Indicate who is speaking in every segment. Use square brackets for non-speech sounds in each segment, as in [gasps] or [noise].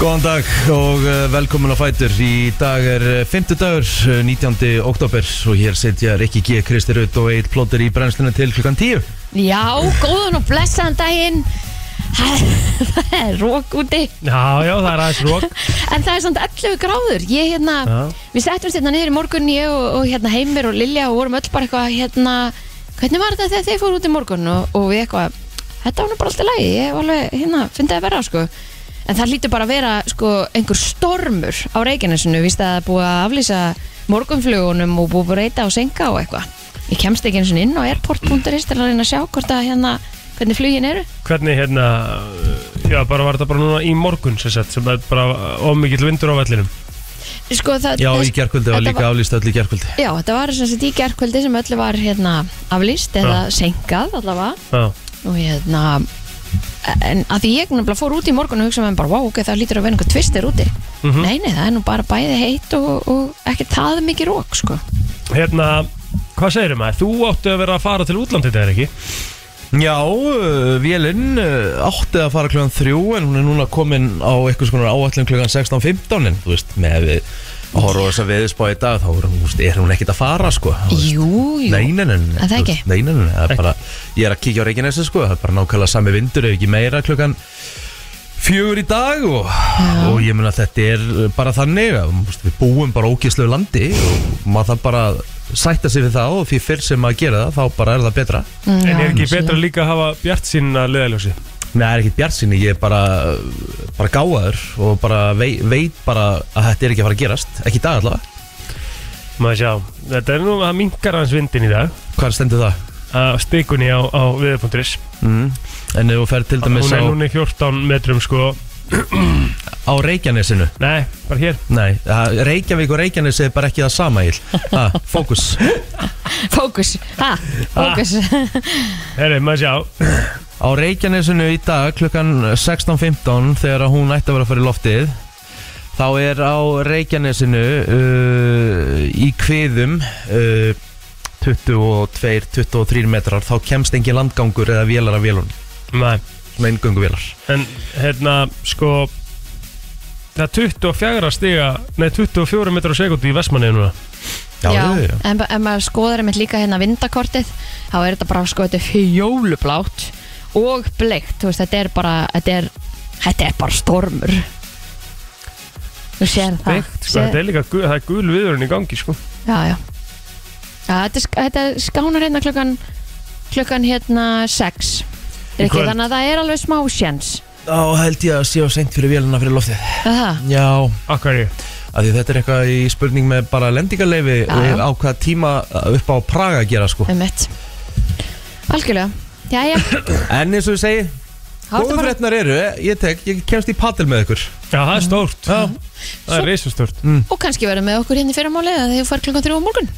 Speaker 1: Góðan dag og eh, velkomin á Fætur Í dag er 5. dagur, eh, 19. oktober Og hér setja Rikki G, Kristi Rutt og Egil Plóter í brennsluna til klukkan 10
Speaker 2: Já, góðan og blessaðan daginn [laughs] Það er rók úti
Speaker 3: Já, já, það er aðeins rók
Speaker 2: En það er samt 11 gráður Ég hérna, við settumst hérna niður í morgun Ég og, og hérna Heimir og Lilja og vorum öll bara eitthvað hérna Hvernig var þetta þegar þeir fóru út í morgun og, og við eitthvað Þetta var nú bara alltaf lægi Ég var alveg, hérna, fyndi að vera sko En það lítur bara að vera sko einhver stormur á Reykjanesinu Víst að það er búið að aflýsa morgunflugunum og búið að breyta og senka og eitthvað Ég kemst ekki eins og inn á airport.is til að reyna að sjá hvort að hérna hvernig flugin eru
Speaker 3: Hvernig hérna, já, bara var þetta bara núna í morgun sem sett sem það er bara ómikill vindur á vellinum
Speaker 2: sko, það,
Speaker 1: Já,
Speaker 2: þess-
Speaker 1: í gerkvöldi var
Speaker 2: þetta
Speaker 1: líka aflýst öll í gerkvöldi
Speaker 2: Já, þetta var sem sagt í gerkvöldi sem öllu var hérna aflýst eða senkað allavega
Speaker 3: Já,
Speaker 2: og hérna en að því ég nefnilega fór út í morgun og hugsa með mér bara, wow, ok, það lítur að vera einhver tvistir úti
Speaker 3: Mhm.
Speaker 2: Nei, nei, það er nú bara bæði heitt og, og ekki það mikið rók, sko
Speaker 3: hérna, hvað segirðu maður? Þú áttu að vera að fara til útlandið þegar ekki?
Speaker 1: Já, uh, vélinn uh, átti að fara klukkan 3 En hún er núna komin á eitthvað svona áætlum klukkan 16.15 En þú veist, með við að horfa á þess að veðspá í dag Þá er hún, þú veist, er hún ekkit að fara, sko Þú veist,
Speaker 2: Jú, jú
Speaker 1: Nei, nei, nei, nei,
Speaker 2: Er það
Speaker 1: þú
Speaker 2: ekki?
Speaker 1: veist, Nei, nei, nei, nei, það er bara Ég er að kíkja á Reykjanesi, sko Það er bara nákvæmlega sami vindur Ef ekki meira klukkan fjögur í dag Og, og ég mun að þetta er bara þannig að, þú veist, Við búum bara á ógeðslegu landi Og maður þarf bara að sætta sig við það Og því fyrr sem maður gera það, þá bara er það betra
Speaker 2: Mm,
Speaker 3: En
Speaker 2: já,
Speaker 3: er ekki
Speaker 2: sé.
Speaker 3: betra líka að hafa bjart sín að leðaljósi?
Speaker 1: Nei, það er ekkert bjart sinni Ég er bara, bara gáður Og bara vei, veit bara að þetta er ekki að fara að gerast Ekki í dag allavega
Speaker 3: Maður sjá, þetta er nú að minkar hans vindin í dag
Speaker 1: Hvar stendur það?
Speaker 3: að stikunni á, á viðupunkturis
Speaker 1: Mm. En ef þú fer til dæmis
Speaker 3: Hún
Speaker 1: á,
Speaker 3: er núna í 14 metrum sko
Speaker 1: á Reykjanesinu
Speaker 3: Nei, bara hér
Speaker 1: Nei, það- Reykjavík og Reykjanes er bara ekki það sama íl Fókus
Speaker 2: Fókus, ha, fókus
Speaker 3: Herri, maður sjá,
Speaker 1: Á Reykjanesinu í dag klukkan 16.15 þegar að hún ætti að vera að fara í loftið Þá er á Reykjanesinu uh, í kviðum uh, 22-23 metrar Þá kemst engin landgangur eða vélar af vélun
Speaker 3: nei
Speaker 1: Svona eingöngu vélar
Speaker 3: En hérna, sko Það er 24 stiga Nei, 24 metrar á sekundi í Vestmanniðu núna
Speaker 1: já, já.
Speaker 2: en, ba- en maður skoðar einmitt líka hérna vindakortið þá er þetta bara sko, þetta er fjólublátt og bleikt, þú veist, þetta er bara þetta er, þetta er bara stormur þú sér það
Speaker 3: Beikt, sko, þetta er líka gu- það er gul viðurinn í gangi sko.
Speaker 2: já, já. Já, þetta, er sk- þetta er skánar hérna klukkan klukkan hérna 6
Speaker 3: Í
Speaker 2: er ekki,
Speaker 3: kvöld.
Speaker 2: þannig að það er alveg smá sjens
Speaker 1: Þá held ég að séu seint fyrir véluna fyrir loftið
Speaker 2: það,
Speaker 1: Já,
Speaker 3: Akkari,
Speaker 1: af því þetta er eitthvað í spurning með bara lendingarleifi
Speaker 2: Já, já.
Speaker 1: og á hvaða tíma upp á Praga að gera sko
Speaker 2: um mitt algjörlega, já, já
Speaker 1: En eins og ég segi, góðu fréttnar eru Ég tek, ég kemst í padel með ykkur Mm.
Speaker 3: já það er stórt já. Það er reisastórt
Speaker 2: og kannski verðum með okkur hérna í fyrramálið að þið fær klukkan 3 á morgun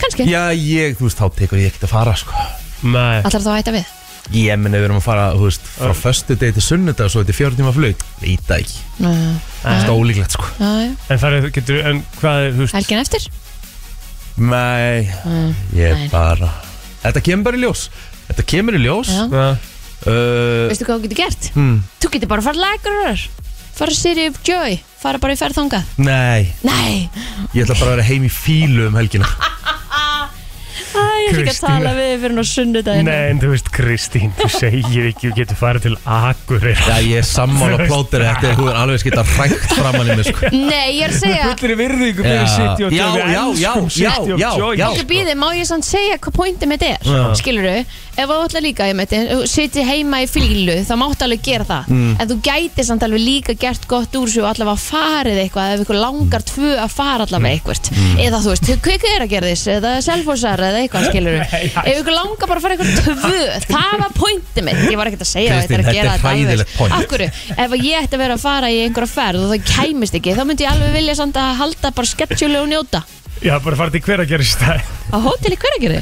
Speaker 2: kannski,
Speaker 1: Já, ég, þú veist, þá tekur ég ekkert að fara sko.
Speaker 3: Nei,
Speaker 2: allar þá að hætta við
Speaker 1: Ég meni við erum að fara, þú veist Frá föstu degi til sunnudag, svo þetta er fjóra tíma flug Í dag,
Speaker 2: Nú, já,
Speaker 3: Nei.
Speaker 1: stólíklegt sko
Speaker 2: já, já.
Speaker 3: en það er, getur, en hvað er, þú veist
Speaker 2: helgin eftir
Speaker 1: Nei,
Speaker 2: Mm,
Speaker 1: ég
Speaker 2: Nei.
Speaker 1: bara Þetta kemur bara í ljós Þetta kemur í ljós
Speaker 2: já.
Speaker 3: Já,
Speaker 1: uh,
Speaker 2: veistu hvað þú getur gert?
Speaker 1: hmm,
Speaker 2: þú getur bara að fara lagurar fara Siri of Joy, fara bara í ferð þangað
Speaker 1: Nei,
Speaker 2: nei,
Speaker 1: ég ætla bara að vera heim í fílu um helgina
Speaker 2: Æ, ég ætla ekki að
Speaker 3: Kristín.
Speaker 2: tala við þig fyrir ná sunnudaginn
Speaker 3: Nei, en þú veist Kristín, þú segir ekki Þú getur farið til Akureyri
Speaker 1: Já, ég er sammála plótir Þetta er hún er alveg skita hrægt framan í mig sko.
Speaker 2: Nei, ég er að segja
Speaker 3: Fullir virðingu
Speaker 1: Já.
Speaker 3: fyrir City of Joy
Speaker 1: Já,
Speaker 3: Við
Speaker 1: já, já,
Speaker 3: elskum
Speaker 1: já,
Speaker 3: City of
Speaker 1: já,
Speaker 3: Joy.
Speaker 1: já.
Speaker 2: Þú býðir, má ég sann segja hvað pointið mitt er
Speaker 3: Já.
Speaker 2: Skilurðu, ef þú ætla líka ég meitt, Sittir heima í fílu, þá máttu alveg gera það
Speaker 1: Mm.
Speaker 2: En þú gæti samt alveg líka gert gott úr svo allavega farið eitthvað Ef ykkur langar tvö að fara
Speaker 1: Mm.
Speaker 2: allavega eitthvað Eða þú veist, kvika er að gera þess Eða selfhúsar eða
Speaker 1: [laughs]
Speaker 2: eitthvað skilurðu Ef ykkur langar bara að fara eitthvað tvö Það var pointið mitt, ég var ekkert að segja
Speaker 1: Kristín,
Speaker 2: að
Speaker 1: þetta er hræðilegt point.
Speaker 2: Akkur, ef ég ætti að vera að fara í einhverja ferð og það kæmist ekki Þá myndi ég alveg vilja samt að halda bara sketsjuleg og njóta
Speaker 3: Já, bara farið til hver að gera stæð
Speaker 2: Á hóteli hveragerði?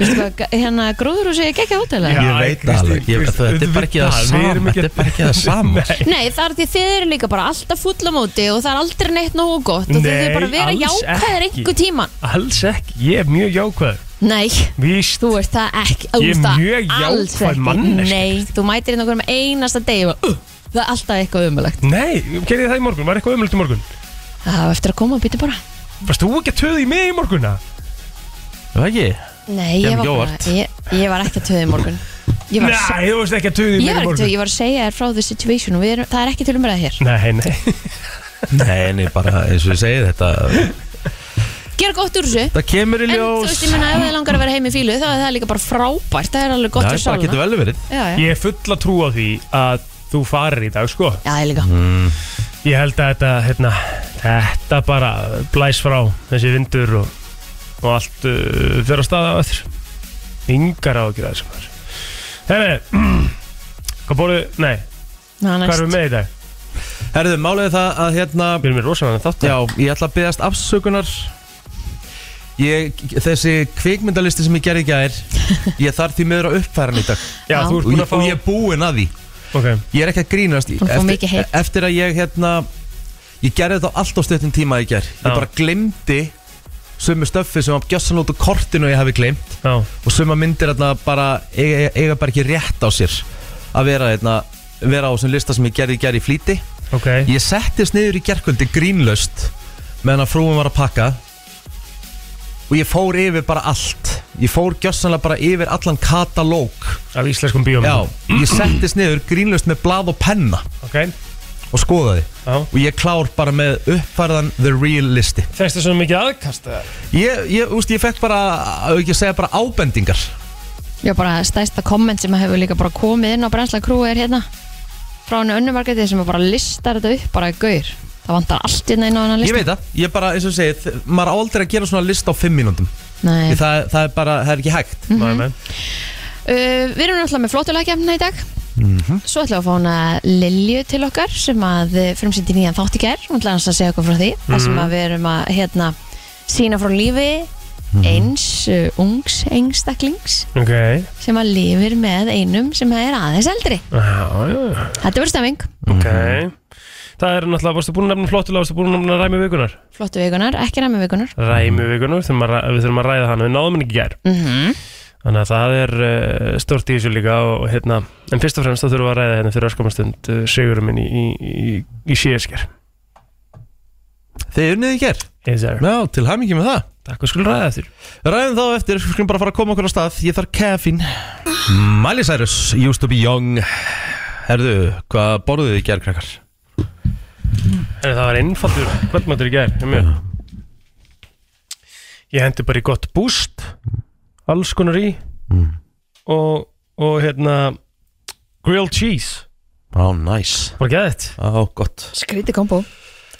Speaker 2: Veistu hvað, hérna gróðurhúsi er gekkja hóteli?
Speaker 3: Já.
Speaker 1: Ég veit það
Speaker 3: Kristín,
Speaker 1: alveg Ég-
Speaker 3: Kristín,
Speaker 1: Þetta er bara ekki það
Speaker 3: auðvitað, við
Speaker 1: sama
Speaker 3: erum ekki-
Speaker 1: Þetta er bara ekki það sama sko.
Speaker 2: Nei, það er því þið eru líka bara alltaf fullamóti og það er aldrei neitt nógu gott og þið
Speaker 3: Nei,
Speaker 2: eru bara að vera
Speaker 3: alls
Speaker 2: jákvæðir
Speaker 3: ekki.
Speaker 2: einhver tíman.
Speaker 3: Alls ekki, ég er mjög jákvæð
Speaker 2: Nei,
Speaker 3: Víst,
Speaker 2: þú ert það ekki. þú
Speaker 3: Ég er
Speaker 2: ert það
Speaker 3: mjög
Speaker 2: alls
Speaker 3: jákvæð
Speaker 2: ekki.
Speaker 3: manneskja.
Speaker 2: Nei, þú mætir inn okkur um einasta degi og bara, uh, það er alltaf eitthvað umulagt
Speaker 3: Nei, gerði það í morgun, var eitthvað umlögt í morgun
Speaker 2: Það var eftir að koma og býta bara
Speaker 3: Varst þú ekki að töði í mig í morgunna?
Speaker 1: Það ekki?
Speaker 2: Nei,
Speaker 1: Kemur
Speaker 2: ég var,
Speaker 1: ekki
Speaker 2: bara,
Speaker 1: óvart.
Speaker 2: ég, ég var ekki að töða í morgun Ég var,
Speaker 3: Nei, þú varst ekki að töði
Speaker 2: ég
Speaker 3: í mig
Speaker 2: var, ekki, að
Speaker 3: í
Speaker 2: töða,
Speaker 3: morgun
Speaker 2: ég var að segja þér frá the situation og við erum, það er ekki til umræða hér
Speaker 3: Nei, nei
Speaker 1: Nei, nei, bara eins og ég segi þetta
Speaker 2: Gera gott úr þessu
Speaker 1: Það kemur í
Speaker 2: En þú
Speaker 1: ljós
Speaker 2: veist, ég meina, ef þið langar að vera heim í fílu þá er það líka bara frábært, það er alveg gott
Speaker 1: Það
Speaker 2: fyrir
Speaker 1: er bara getur
Speaker 2: sáluna
Speaker 1: vel verið
Speaker 2: Já, já,
Speaker 3: Ég er full að trúa því að þú farir í dag, sko
Speaker 2: já, ég líka
Speaker 1: Mm.
Speaker 3: Ég held að þetta, hérna, þetta bara blæs frá þessi vindur og, og allt uh, fyrir að staða á öður Yngar á ekki það sem var Herri, [clears throat] hvað bóruðu, nei,
Speaker 2: Ná,
Speaker 3: hvað erum
Speaker 2: næst
Speaker 3: við með í dag?
Speaker 1: Herðu, málið er það að hérna
Speaker 3: Við erum með rosalega þátt
Speaker 1: Já, ég ætla að beðast afsökunar ég, Þessi kvikmyndalisti sem ég gerði í gær Ég þarf því miður að uppfæra hann í dag
Speaker 3: Já,
Speaker 2: Já.
Speaker 3: þú ert
Speaker 1: og
Speaker 3: búin
Speaker 1: ég,
Speaker 3: að fá
Speaker 1: og ég er búinn að því
Speaker 3: Ok,
Speaker 1: Ég er ekki að grínast
Speaker 2: Búin að fá mikið
Speaker 1: eftir,
Speaker 2: hate.
Speaker 1: eftir að ég hérna Ég gerði þetta á allt á stöttum tíma í gær Ég
Speaker 3: Já.
Speaker 1: bara glemdi Sumi stöffi sem var gjössan út á kortinu og ég hafi glemt
Speaker 3: já,
Speaker 1: Og suma myndir hérna bara eiga, eiga bara ekki rétt á sér Að vera hérna vera á þessum lista sem ég gerði í gær í flýti
Speaker 3: ok
Speaker 1: Ég settist niður í gerkvöldi grínlaust meðan að frúin var að pakka og ég fór yfir bara allt ég fór gjössanlega bara yfir allan katalóg
Speaker 3: Af íslenskum bíómyndum
Speaker 1: Já, ég settist niður grínlaust með blað og penna
Speaker 3: Ok,
Speaker 1: og skoðaði
Speaker 3: já
Speaker 1: og ég klár bara með uppfærðan The Real listi
Speaker 3: Fæstu svo mikið aðkast eða?
Speaker 1: Ég, ég, úst, ég fekk bara, á ekki að segja bara ábendingar
Speaker 2: Já, bara stæsta komment sem hefur líka bara komið inn á brennsla krú er hérna frá henni önnumarketið sem bara listar þetta upp bara í gaur Það vantar allt hérna inn á hennar
Speaker 1: Ég
Speaker 2: lista
Speaker 1: veit það, ég bara, eins og segi þ- maður á aldrei að gera svona lista á fimm mínúndum
Speaker 2: Nei.
Speaker 1: það, það er bara, það er ekki hægt
Speaker 3: Nei, nei
Speaker 2: Uh, við erum náttúrulega með flottulegjafna í dag
Speaker 1: Mhm.
Speaker 2: Svo ætlum við að fá hana Lilju til okkar sem að eh, frumsýndi nýjan þátt í gerð Hún ætlaði að segja okkur frá því þar
Speaker 1: Mhm.
Speaker 2: sem að við erum að hérna sína frá lífi
Speaker 1: Mhm.
Speaker 2: eins uh, ungs engstaklings
Speaker 3: Ok,
Speaker 2: sem að lifir með einum sem er aðeins eldri
Speaker 3: já,
Speaker 1: Ah.
Speaker 3: já,
Speaker 2: Þetta verður stemming,
Speaker 3: ok
Speaker 1: Mhm.
Speaker 3: Það er náttúrulega, varstu búin að nefna flottulega, varstu búin að nefna ræmi vikunar
Speaker 2: flottu vikunar, ekki ræmi vikunar
Speaker 1: Mhm.
Speaker 3: Ræmi vikunar, þurfum að, ræ- við þurfum að ræða hana, við náðum henni ekki í gær
Speaker 2: mm
Speaker 3: Þannig að það er uh, stórt í þessu líka og hérna En fyrst og fremst þá þurfum við að ræða hérna fyrir öskumastund uh, Sigurum minn í, í, í, í síðasker
Speaker 1: Þið unnið í ger
Speaker 3: Yes, sir
Speaker 1: Já, til hæmingi með það
Speaker 3: Takk og skulum ræða eftir
Speaker 1: Ræðum þá eftir, við skulum bara fara að koma okkur á stað Ég þarf kefin Miley Cyrus, used to be young Herðu, hvað borðuðu þið í gær, krakkar?
Speaker 3: En það var einfaldur kvöldmættur í gær hjá mér. Ég hendi bara í gott búst Alls konar í
Speaker 1: Mm.
Speaker 3: og, og hérna Grilled cheese
Speaker 1: Á, nice
Speaker 3: Bara geðið
Speaker 1: Á, gott
Speaker 2: Skríti kombo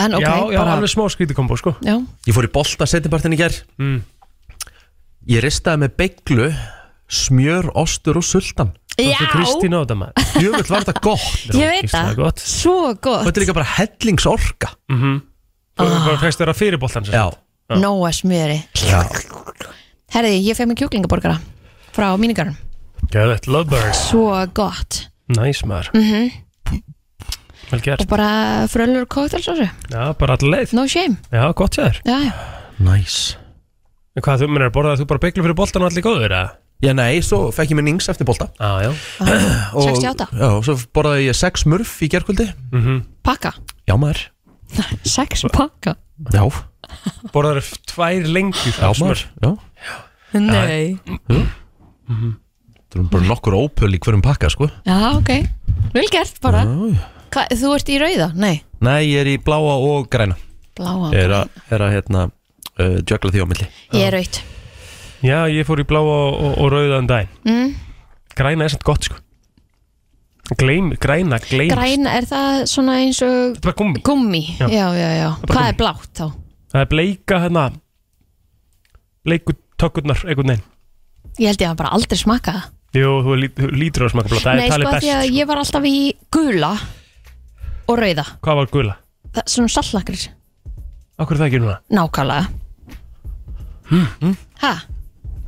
Speaker 2: En ok,
Speaker 3: Já, já,
Speaker 2: bara
Speaker 3: alveg smá skrítikombó sko
Speaker 2: já.
Speaker 1: Ég fór í bolta setjapartin í gær
Speaker 3: Mm.
Speaker 1: Ég ristaði með beiglu Smjör, ostur og sultan
Speaker 2: já,
Speaker 3: Þetta er Kristín á þetta maður
Speaker 1: Jöfull var þetta gott
Speaker 2: ég veit
Speaker 3: Gíslega
Speaker 2: það
Speaker 3: gott
Speaker 2: Svo
Speaker 1: Og
Speaker 2: gott,
Speaker 1: Þetta er líka bara hellingsorka
Speaker 3: mm -hmm.
Speaker 2: Ah.
Speaker 3: Bara fækst þeirra fyrirboltan sem
Speaker 1: Já,
Speaker 3: sagt.
Speaker 2: nóa smjöri
Speaker 1: já
Speaker 2: Herði, ég fekk mér kjúklingaborgara frá mínigarun
Speaker 3: Geðið, lovebirds
Speaker 2: Svo gott Mhm.
Speaker 3: Næs maður Vel
Speaker 2: Og
Speaker 3: gert
Speaker 2: bara frölur kóktelsósu
Speaker 3: Já, bara all leið
Speaker 2: No shame
Speaker 3: Já, gott hjá þér
Speaker 2: Já, já
Speaker 1: Nice
Speaker 3: En Hvað þú munir að borða þú bara beiglu fyrir boltan og allir góður eða?
Speaker 1: Já, nei, svo fekk ég minn yngs eftir bolta
Speaker 3: Já, já
Speaker 1: [clears throat] og,
Speaker 2: 68.
Speaker 1: Já, svo borðaði ég sex smurf í gerkvöldi
Speaker 3: mm
Speaker 2: Pakka [laughs]
Speaker 1: Já, maður
Speaker 2: Sex pakka
Speaker 1: Já,
Speaker 3: Borðar tvær lengjur
Speaker 1: já,
Speaker 3: af smör.
Speaker 1: maður Já
Speaker 2: Nei
Speaker 3: Mhm.
Speaker 1: Það eru bara nokkur ópöl í hverjum pakka sko
Speaker 2: Já, ok Vel gert bara Hva, Þú ert í rauða? Nei
Speaker 1: Nei, ég er í bláa og græna
Speaker 2: Bláa
Speaker 1: Ég er að, er að hérna uh, Jögla því á milli
Speaker 2: Ég er raut
Speaker 3: Já, ég fór í blá og, og, og rauðan daginn
Speaker 2: mm.
Speaker 3: Græna er samt gott sko Gleim, græna, gleim
Speaker 2: Græna, er það svona eins og
Speaker 3: Þetta er bara gummi
Speaker 2: gummi?
Speaker 3: Já.
Speaker 2: Já, já, já,
Speaker 3: bara
Speaker 2: Hvað
Speaker 3: gúmmí.
Speaker 2: er blátt þá?
Speaker 3: Það er bleika hérna Bleiku tökurnar, einhvern veginn
Speaker 2: Ég held ég að bara aldrei smaka það
Speaker 3: Jú, þú, lít, þú lítur á smaka blá Það
Speaker 2: Nei,
Speaker 3: er
Speaker 2: sko,
Speaker 3: talið
Speaker 2: af
Speaker 3: best
Speaker 2: því að
Speaker 3: sko.
Speaker 2: ég var alltaf í gula og rauða
Speaker 3: Hvað var gula?
Speaker 2: það, Svona saltlakris
Speaker 3: Akkur er það ekki núna? Hm?
Speaker 2: Nákvæmlega Hæ,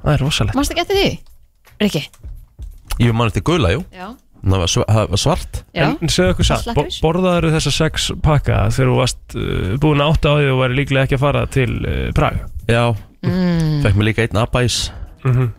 Speaker 3: Það er rosalegt
Speaker 2: mannstu ekki eftir því? Rikki?
Speaker 1: Ég man eftir gula, jú
Speaker 2: Já,
Speaker 1: Það var, sv það var svart
Speaker 2: já.
Speaker 3: En segðu okkur satt, bo
Speaker 2: Slakkar.
Speaker 3: borðaður þessa sex pakka þegar þú varst uh, búin eh, að átta á því og væri líklega ekki að fara til uh, Prag
Speaker 2: Mm.
Speaker 1: Já mm. Fekk mér líka einn abæs
Speaker 3: Mhm.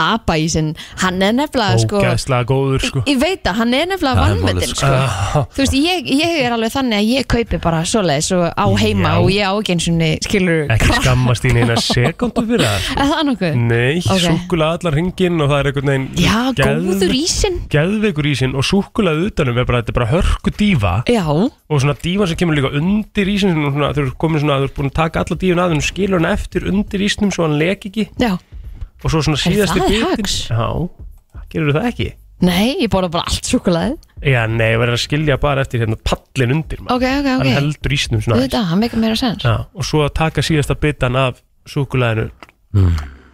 Speaker 2: Abaísinn, hann er nefnilega sko,
Speaker 3: Ógæðslega góður sko
Speaker 2: Ég veit að hann er nefnilega
Speaker 1: Það er málið,
Speaker 2: vannmöndin
Speaker 1: sko.
Speaker 2: sko. Þú veist, ég, ég er alveg þannig að ég kaupi bara svoleiðis og á heima
Speaker 3: Já.
Speaker 2: og ég á ekki eins og skilur
Speaker 3: Ekki skammast þín eina sekundu fyrir það sko.
Speaker 2: Er það nokkuð?
Speaker 3: Nei,
Speaker 2: Eh, Ok.
Speaker 3: okay. súkulega allar hringin og það er einhvern veginn
Speaker 2: Já,
Speaker 3: geð-
Speaker 2: góður ísinn
Speaker 3: Geðveikur ísinn og súkulega utanum er bara, þetta er bara hörku dífa
Speaker 2: Já,
Speaker 3: og svona dífa sem kemur líka undir ísinn sem er svona, þú er komin svona, þú er búin að taka alla dífun að þú skilur hann eftir undir ísnum svo hann lek ekki
Speaker 2: já
Speaker 3: og svo svona síðasti
Speaker 2: það
Speaker 3: bitin
Speaker 2: hacks?
Speaker 3: Já, gerur það ekki?
Speaker 2: Nei, ég borða bara allt súkulaði
Speaker 3: Já, nei, verður að skilja bara eftir hérna pallin undir maður.
Speaker 2: Ok, ok,
Speaker 3: Hann
Speaker 2: ok
Speaker 3: heldur ísnum
Speaker 2: Þú
Speaker 3: svona
Speaker 2: veit að hann meikar meira sens
Speaker 3: Já, og svo að taka síðasta bitan af súkulæðinu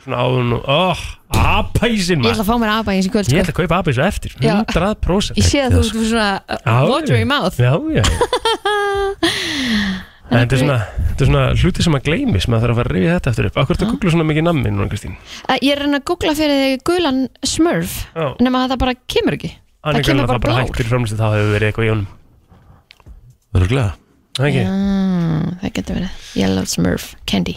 Speaker 3: svona áðun og oh, apæsin
Speaker 2: Ég ætla
Speaker 3: maður
Speaker 2: að fá mér abaísinn í kvöld
Speaker 3: ég
Speaker 2: sko.
Speaker 3: ætla að kaupa apæs á eftir,
Speaker 2: Já.
Speaker 3: 100%
Speaker 2: Ég sé að þú ert með svona uh,
Speaker 3: Já,
Speaker 2: water
Speaker 3: já.
Speaker 2: í mouth
Speaker 3: já, já
Speaker 2: [laughs]
Speaker 3: En þetta er, svona, þetta er svona hluti sem að gleymis maður þarf að fara að rifja þetta eftir upp Akkur þetta googla svona mikið nammi núna Kristín
Speaker 2: Eh, Ég er að reyna að googla fyrir þig gulan smurf
Speaker 3: Já.
Speaker 2: nema að það bara kemur ekki
Speaker 3: Hann er
Speaker 2: Það kemur
Speaker 3: greinilega
Speaker 2: bara
Speaker 3: bara
Speaker 2: blár
Speaker 3: hægt fyrir framlýstu það hefur verið eitthvað í honum
Speaker 1: Örgulega
Speaker 3: Það ekki?
Speaker 2: mm, Það getur verið Yellow smurf candy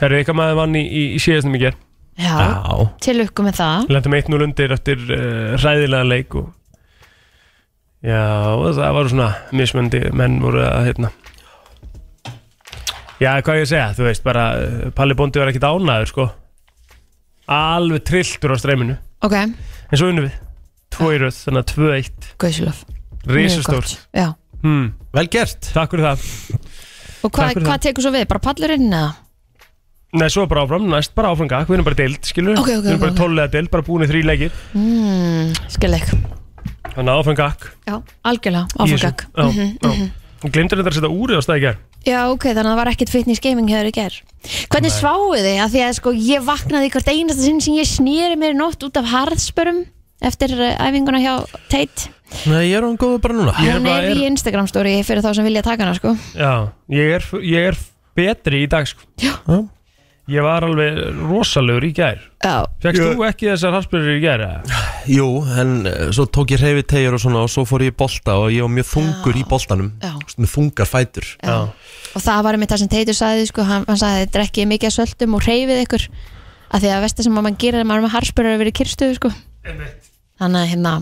Speaker 3: Herru, eitthvað maður vann í, í, í síðastum um í ger
Speaker 2: Já,
Speaker 1: Já
Speaker 2: til lukku með það
Speaker 3: Lendum 1-0 undir eftir uh, ræðilega leik og já, og það var svona mismöndi, menn voru að hérna Já, hvað á ég að segja, þú veist bara eh, Palli Bondi var ekkit ánæður sko Alveg trilltur á streyminu
Speaker 2: Ok,
Speaker 3: En svo unnum við, 2 í röð, þannig að 2-1
Speaker 2: gauðsilöf
Speaker 3: Rísastórt
Speaker 2: Já,
Speaker 3: hmm,
Speaker 1: Vel gert
Speaker 3: Takk fyrir það
Speaker 2: og
Speaker 3: Takk
Speaker 2: hvað
Speaker 3: fyrir
Speaker 2: hva tekur svo við? Bara pallurinn eða?
Speaker 3: Nei, svo bara áfram, næst bara áfram gakk, við erum bara deild, skilur
Speaker 2: Ok, ok,
Speaker 3: Við erum
Speaker 2: ok,
Speaker 3: bara
Speaker 2: ok.
Speaker 3: tólulega deild, bara búin í þrý leikir
Speaker 2: Mm, Skilleik
Speaker 3: Þannig að áfram gakk í
Speaker 2: Já, algjörlega, Mhm,
Speaker 3: þessu.
Speaker 2: áfangak
Speaker 3: Já, já Glimtur þetta að setja úrið á stað í ger
Speaker 2: Já, ok, þannig að það var ekkit fitness gaming hefur í ger Hvernig sváuð þið? Af því að sko, ég vaknaði í hvert einasta sinn sem ég snýri mér í nótt út af harðspörum eftir eh, æfinguna hjá Tate
Speaker 1: Nei, ég er án góðu bara núna
Speaker 3: Ég er
Speaker 2: Hún
Speaker 3: bara-
Speaker 2: er í Instagram story fyrir þá sem vilja taka hana sko.
Speaker 3: Já, ég er, ég er betri í dag sko.
Speaker 1: Já.
Speaker 3: Ég var alveg rosalegur í gær
Speaker 2: Já,
Speaker 3: Fekst
Speaker 1: Ég-
Speaker 3: þú ekki þessar harspyrir í gær? eða?
Speaker 1: Jú, en uh, svo tók ég reyfi tegjur og svona og svo fór ég í bolta og ég var mjög þungur í boltanum
Speaker 2: Já.
Speaker 1: Þú veist, Með þungar fætur
Speaker 2: já. Og það var með það sem Teitur sagði sko, hann, hann sagði, drekkið mikið af svöldum og reyfið ykkur af því að vestu sem að mann gerir er að maður er með harspörur að vera í kyrstuðu sko. þannig að hérna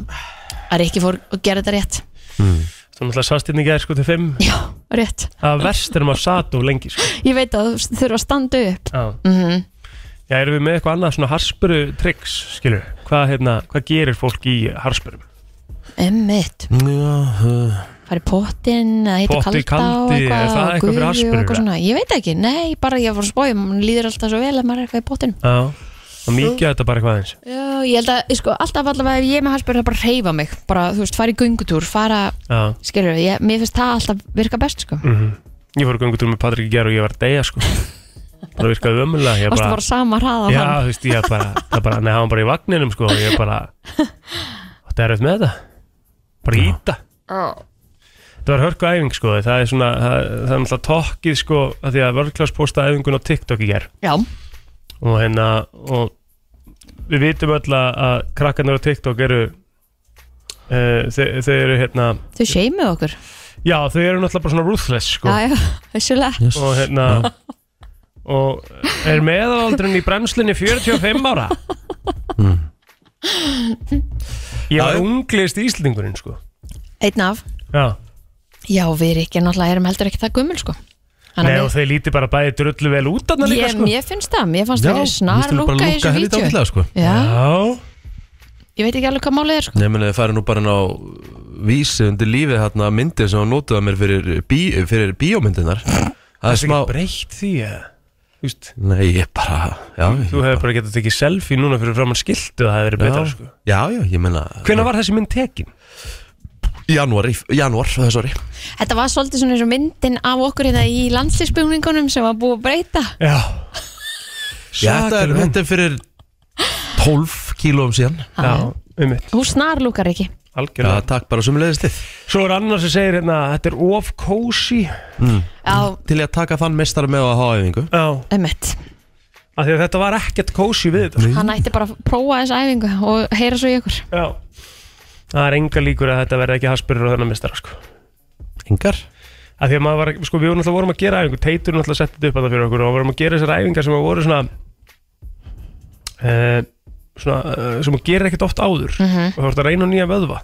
Speaker 2: að Rikki fór og gera þetta rétt
Speaker 3: Þú náttúrulega sast hérna í gær sko til 5
Speaker 2: Já, rétt,
Speaker 3: Það verst er maður satt og lengi sko.
Speaker 2: ég veit að þú þurfa að standa upp
Speaker 3: Já,
Speaker 2: mm
Speaker 3: Já erum við með eitthvað annað svona harspyru tricks skilur Hvað, hérna, hvað gerir fólk í harspyrum?
Speaker 2: Emmitt,
Speaker 1: Já, uh,
Speaker 2: farið pottin eða hitta
Speaker 3: Potti,
Speaker 2: kalda og
Speaker 3: kaldi,
Speaker 2: eitthvað
Speaker 3: er
Speaker 2: og
Speaker 3: það eitthvað fyrir
Speaker 2: gufu og
Speaker 3: harspörur,
Speaker 2: eitthvað
Speaker 3: eða?
Speaker 2: svona. Ég veit ekki, nei, bara ég fór að spója mann líður alltaf svo vel að maður er eitthvað í pottinum
Speaker 3: Já, og mikið þetta bara eitthvað eins
Speaker 2: Já, ég held að, sko, alltaf allavega ef ég er með harspörur að bara reyfa mig, bara, þú veist, fara í göngutúr fara,
Speaker 3: Já,
Speaker 2: skilur við, ég, mér finnst það alltaf virka best, sko
Speaker 3: mm ég fór að göngu með Patrik í gær og ég var að deyja sko Bara virkaði ömulega Ég
Speaker 2: Varstu
Speaker 3: bara,
Speaker 2: bara sama hraða á
Speaker 3: já,
Speaker 2: hann
Speaker 3: þú veist, ég bara, það bara, nei, hann var bara í vagninum sko og ég bara, þetta er auðvitað með þetta bara íta það var hörku æfing sko, það er svona það, það er náttúrulega tokkið sko að því að vörklás posta æfingun á TikTok í ger
Speaker 2: Já,
Speaker 3: og hérna og við vitum öll að, að krakkarnir á TikTok eru uh, þau, þau eru hérna
Speaker 2: þau seimið okkur
Speaker 3: já, þau eru náttúrulega bara svona ruthless sko
Speaker 2: Já, [laughs] já, þessulega
Speaker 1: yes.
Speaker 3: og hérna og er meðaldurinn í brennslinni 45 ára
Speaker 1: Hmm.
Speaker 3: ég
Speaker 1: Já,
Speaker 3: var
Speaker 1: já.
Speaker 3: unglist íslendingurinn sko
Speaker 2: Einn af
Speaker 3: já
Speaker 2: Já, við erum ekki náttúrulega erum heldur ekki það gummul, sko Þannig
Speaker 3: Nei,
Speaker 2: að
Speaker 3: og
Speaker 2: við-
Speaker 3: þeir líti bara bæði drullu vel út þarna líka
Speaker 2: Ég,
Speaker 3: sko
Speaker 2: ég finnst það, mér fannst
Speaker 1: Já,
Speaker 2: það
Speaker 1: mér
Speaker 2: snar
Speaker 1: finnst
Speaker 2: lúka
Speaker 1: bara
Speaker 2: í þessu
Speaker 1: helviti
Speaker 2: vídeo
Speaker 1: ágætlega, sko.
Speaker 2: Já,
Speaker 3: Já,
Speaker 2: ég veit ekki alveg hvað málið er sko
Speaker 1: Nei, meni, þið færi nú bara inn á vísi undir lífið hérna myndir sem hún notaði mér fyrir, bí, fyrir bíómyndinar Það er
Speaker 3: það er
Speaker 1: smá
Speaker 3: ekki breytt því eða? Þú veist,
Speaker 1: Nei, ég bara, já ég
Speaker 3: þú hefur bara getað tekið selfie núna fyrir framann skiltu það hefur verið betra
Speaker 1: já,
Speaker 3: sko
Speaker 1: já, já, ég meina
Speaker 3: Hvenær var þessi mynd tekin?
Speaker 1: Janúar, janúar, þessu ári
Speaker 2: Þetta var svolítið svona eins og myndin af okkur hérna í landslýsbúningunum sem var búið að breyta
Speaker 3: Já
Speaker 1: Já, þetta er, þetta er fyrir 12 kílóum síðan
Speaker 3: Já, um mitt,
Speaker 2: Hún snar lúkar ekki
Speaker 1: Já,
Speaker 3: algjörlega
Speaker 1: takk bara sem leiðist þið
Speaker 3: Svo er annar sem segir hérna, þetta er of cozy
Speaker 2: Já,
Speaker 1: Mm. Til ég að taka þann mestari með á að hafa yfingu
Speaker 3: Já,
Speaker 2: emmett
Speaker 3: af því að þetta var ekkert cozy við þetta sko.
Speaker 2: Hann ætti bara að prófa þessu æfingu og heyra svo í okkur
Speaker 3: Já Það er enga líkur að þetta verði ekki haspurur á þennan mistara sko
Speaker 1: Engar
Speaker 3: að því að maður var, sko við vorum alltaf vorum að gera æfingu, Teitur náttúrulega setti þetta upp að það fyrir okkur og vorum að gera þessar æfingar sem að voru svona uh, svona, uh, sem hún gerir ekkert oft áður
Speaker 2: Mhm.
Speaker 3: og þú ert að reyna nýja vöðva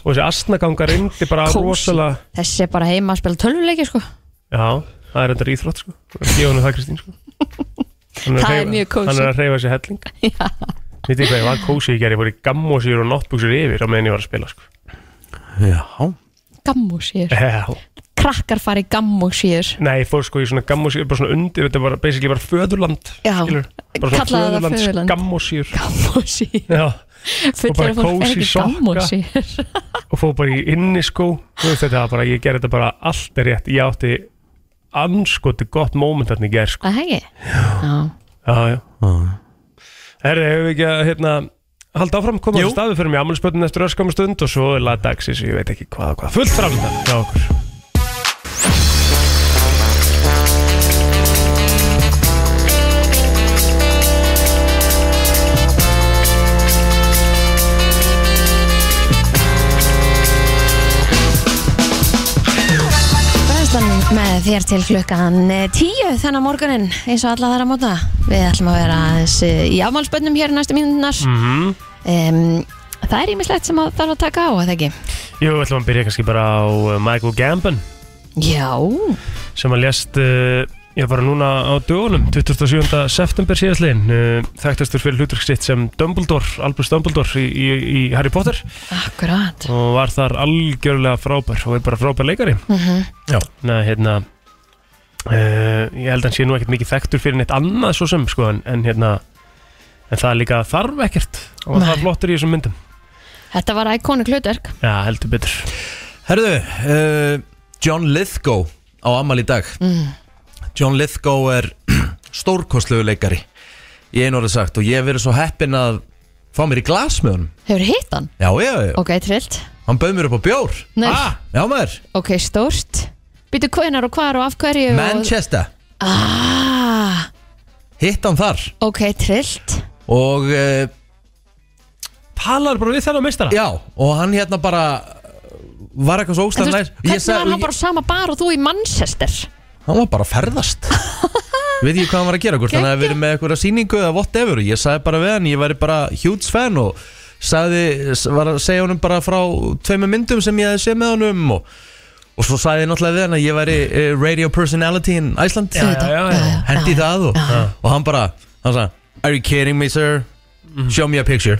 Speaker 3: og þessi astnaganga reyndi bara
Speaker 2: Kósí.
Speaker 3: rosalega
Speaker 2: Þessi er bara heima að spila tölvuleiki sko
Speaker 3: já, það er þetta íþrótt sko gefa hennu það Kristín sko Hann
Speaker 2: Það
Speaker 3: að
Speaker 2: er
Speaker 3: hreyfa-
Speaker 2: mjög kósí.
Speaker 3: hann er að hreyfa sér
Speaker 2: [laughs]
Speaker 3: helling veit ég hvað, ég var kósi í gerð ég voru í gammósýr og náttbúksir yfir á meðan ég var að spila sko
Speaker 1: Já
Speaker 2: Gammúsýr
Speaker 3: Já.
Speaker 2: Krakkar fari gammúsýr
Speaker 3: Nei, ég fór sko í svona gammósýr, bara svona undir, þetta var basically bara föðurland,
Speaker 2: Já.
Speaker 3: skilur. Bara svona
Speaker 2: Kallaðu það
Speaker 3: föðurlands
Speaker 2: föðurland. [laughs]
Speaker 3: Gammósýr.
Speaker 2: Gammúsýr
Speaker 3: Já,
Speaker 2: Fullir
Speaker 3: bara
Speaker 2: að fólk
Speaker 3: kósí
Speaker 2: er ekki
Speaker 3: sokka.
Speaker 2: gammúsýr
Speaker 3: og fór bara í inniskó, þú veist þetta var bara, ég gerði þetta bara allt er rétt, ég átti anskoti gott moment þarna í gerð, sko.
Speaker 2: Það hengi Já
Speaker 3: Já, já.
Speaker 1: Já.
Speaker 3: Herri, hefur við ekki að, hérna, halda áfram, koma
Speaker 1: Jú.
Speaker 3: á staðu fyrir mig, ammálspötun eftir öskamma stund og svo er laða dagsins, ég veit ekki hvað og hvað, fullt framöndan hjá okkur.
Speaker 2: Bræðslan með þér til klukkan eh, 10 þennan morgunin eins og alla þar að móta Við ætlum að vera aðeins eh, í afmálspönnum hér næstu mínunar mm
Speaker 3: Mhm.
Speaker 2: Það er ímislegt sem að þarf að taka á, að það ekki?
Speaker 3: Jú, við ætlum að byrja kannski bara á uh, Michael Gambon.
Speaker 2: Já,
Speaker 3: sem að lést uh, ég var núna á dögunum 27. september síðastliðin uh, þekktastur fyrir hlutverk sitt sem Dumbledore Albus Dumbledore í, í, í Harry Potter
Speaker 2: akkurat
Speaker 3: og var þar algjörlega frábær og er bara frábær leikari
Speaker 2: Mhm.
Speaker 1: Já.
Speaker 3: Næ, hérna uh, ég held að hann sé nú ekkert mikið þekktur fyrir neitt annað svo sem sko en, en hérna en það líka þarf ekkert og
Speaker 2: Nei.
Speaker 3: það er flottur í þessum myndum
Speaker 2: Þetta var íkónik hlutverk
Speaker 3: Já, heldur betur
Speaker 1: Herðu, uh, John Lithgow á amal í dag
Speaker 2: Mm.
Speaker 1: John Lithgow er [clears throat] stórkostlegu leikari Ég einu orðið sagt og ég hef verið svo heppinn að fá mér í glas með honum
Speaker 2: Hefur hitt hann?
Speaker 1: Já, já, já,
Speaker 2: Ok, trillt
Speaker 1: hann bauð mér upp á bjór
Speaker 2: Nei.
Speaker 1: ah, Já maður,
Speaker 2: Ok, stórt Býtu hvenar og hvar og af hverju og...
Speaker 1: Manchester
Speaker 2: ah,
Speaker 1: Hitt hann þar
Speaker 2: Ok, trillt
Speaker 1: Og uh,
Speaker 3: Talar bara við þennan meistara
Speaker 1: já, og hann hérna bara Var eitthvað svo
Speaker 2: En þú
Speaker 1: óslega
Speaker 2: veist,
Speaker 1: nær
Speaker 2: hvernig var hann bara á sama bar og þú í Manchester?
Speaker 1: hann var bara að ferðast Veit ég hvað hann var að gera, hvort hann hefði verið með eitthvað sýningu eða whatever og ég sagði bara við hann, ég væri bara huge fan og sagði, var að segja honum bara frá tveimur myndum sem ég hefði séð með honum og, og svo sagði ég náttúrulega við hann að ég væri eh, radio personality in Iceland
Speaker 3: já, já, já.
Speaker 1: hendi í það og, og hann bara hann sagði, are you kidding me sir
Speaker 3: Mhm.
Speaker 1: show me a picture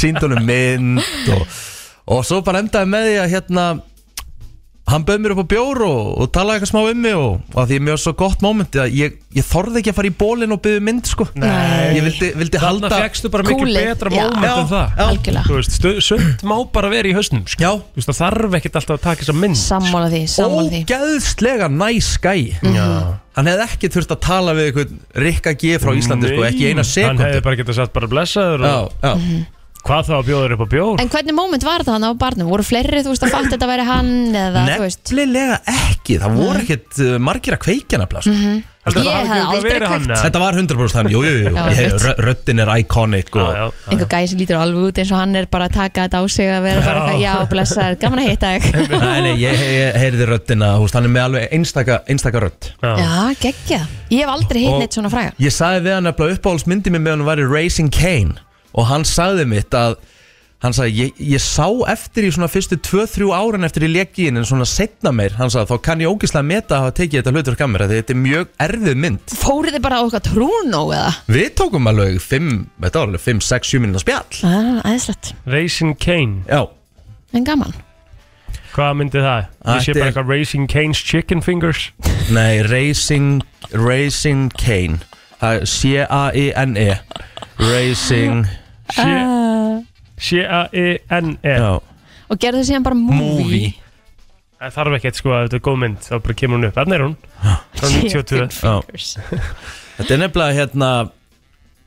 Speaker 1: sínd honum mynd og, og svo bara endaði með því að hérna hann bauð mér upp á bjór og, og talaði eitthvað smá um mig og, og að því ég er mjög svo gott moment að ég, ég þorði ekki að fara í bólinn og byggði mynd sko
Speaker 2: Nei.
Speaker 1: ég vildi, vildi
Speaker 3: Þarna
Speaker 1: halda
Speaker 3: fegstu bara miklu
Speaker 2: Kúlið,
Speaker 3: betra
Speaker 2: já.
Speaker 3: moment en það
Speaker 1: Já.
Speaker 2: Algjörlega
Speaker 3: Þú veist, stu- sumt má bara vera í hausnum sko.
Speaker 1: Já.
Speaker 3: Þú veist, það þarf ekkert alltaf að taka þess að mynd sko.
Speaker 2: Sammála því, sammála því
Speaker 1: ógeðslega næs gæ
Speaker 2: Mhm.
Speaker 3: Já.
Speaker 1: hann hefði ekki þurft að tala við einhvern Rikka G frá Íslandi sko, ekki í eina
Speaker 3: Hann hefði
Speaker 1: sekundu
Speaker 3: bara getað sagt bara blessaður
Speaker 1: já,
Speaker 3: og
Speaker 1: já.
Speaker 2: Mhm.
Speaker 3: hvað þá að bjóða þér upp á bjór
Speaker 2: En hvernig moment var það hann á barnum? Voru fleiri, þú veist, að fatta þetta væri hann eða, þú veist
Speaker 1: Nefnilega ekki, það voru ekkert uh, margir að kveikja nefnilega sko.
Speaker 3: Heldur
Speaker 2: Mhm. Ég
Speaker 3: það
Speaker 2: hefði
Speaker 3: hafi örugglega
Speaker 2: aldrei
Speaker 3: verið hann,
Speaker 2: kveikt.
Speaker 3: eða?
Speaker 1: Þetta var 100% hann, jú, jú, jú.
Speaker 2: Já,
Speaker 1: Ég-
Speaker 2: einmitt.
Speaker 1: rö- Röddin er iconic og,
Speaker 3: Já, já, já.
Speaker 2: Einhver gæði sem lítur alveg út eins og hann er bara að taka þetta á sig að vera bara
Speaker 3: Já.
Speaker 2: eitthvað, já, blessaður, gaman að
Speaker 1: [laughs]
Speaker 2: hitta þig
Speaker 1: Nei, nei, ég, ég heyrði röddina húst, Hann er með alveg einstaka, einstaka rödd
Speaker 3: Já.
Speaker 2: Já, geggja Ég hef aldrei hitt
Speaker 1: Og-
Speaker 2: neitt svona fræga
Speaker 1: Ég sagði við hann nefnilega uppáhaldsmyndi mér með hann var Racing Kane Og hann sagði mitt að Hann sagði, ég, ég sá eftir í svona fyrstu 2-3 árin eftir ég lék í legin En svona setna meir, hann sagði, þá kann ég ógislega meta að hafa tekið þetta hlutur kamer Því þetta er mjög erfið mynd
Speaker 2: Fóruð þið bara á eitthvað trúnó eða?
Speaker 1: Við tókum alveg 5, þetta var alveg 5, 6, 7 minna spjall
Speaker 2: Það er aðeinslegt,
Speaker 3: Racing Kane,
Speaker 1: Já,
Speaker 2: en gaman
Speaker 3: hvað myndi það? Ég
Speaker 1: Þetta
Speaker 3: sé bara
Speaker 1: er-
Speaker 3: eitthvað Racing Kane's Chicken Fingers
Speaker 1: Nei, Racing, Racing Kane Það er C-A-I-N-E E. Racing
Speaker 2: Ah.
Speaker 3: C- C-A-E-N-E
Speaker 1: Já,
Speaker 2: Eh, Og gerðu þið síðan bara movie,
Speaker 1: movie
Speaker 3: Það þarf ekkert sko að þetta er góð mynd þá bara kemur hún upp, þannig er hún frá 92
Speaker 1: Já.
Speaker 2: fingers
Speaker 1: Þetta er nefnilega hérna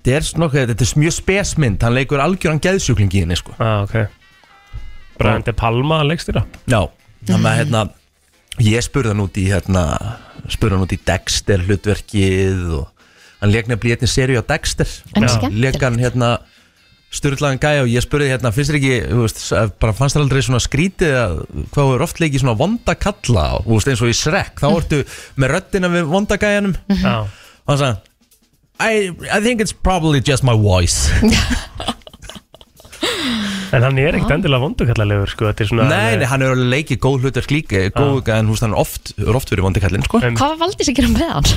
Speaker 1: Þetta er nokkuð, þetta er mjög spesmynd Hann leikur algjöran geðsjúkling í henni sko
Speaker 3: ah, okay. Brian De Palma leggst þér á
Speaker 1: Já, þannig að hérna Ég spurði hann út í hérna Spurði hann út í Dexter hlutverkið og hann leik nefnilega í einni seríu á Dexter
Speaker 2: En
Speaker 1: Já.
Speaker 2: skemmtilegt.
Speaker 1: Lék hann hérna styrlaðan gæja og ég spurði hérna finnst þér ekki, þú veist, bara fannst þér aldrei svona skrítið að hvað er oft leikið svona vonda kalla og þú veist eins og í Shrek þá ertu með röddina við vonda gæjanum
Speaker 3: Mhm. Já
Speaker 1: og hann sagði I, I think it's probably just my voice
Speaker 3: [laughs] En hann er ekkert endilega vondukallalegur sko, þetta er svona
Speaker 1: Nei, nei, hann er alveg leikið góð hlutark líka eh, góð,
Speaker 3: Ah.
Speaker 1: En húst hann er oft, er oft verið vondi kallinn sko.
Speaker 2: Hvað var Valdís að gera með hann?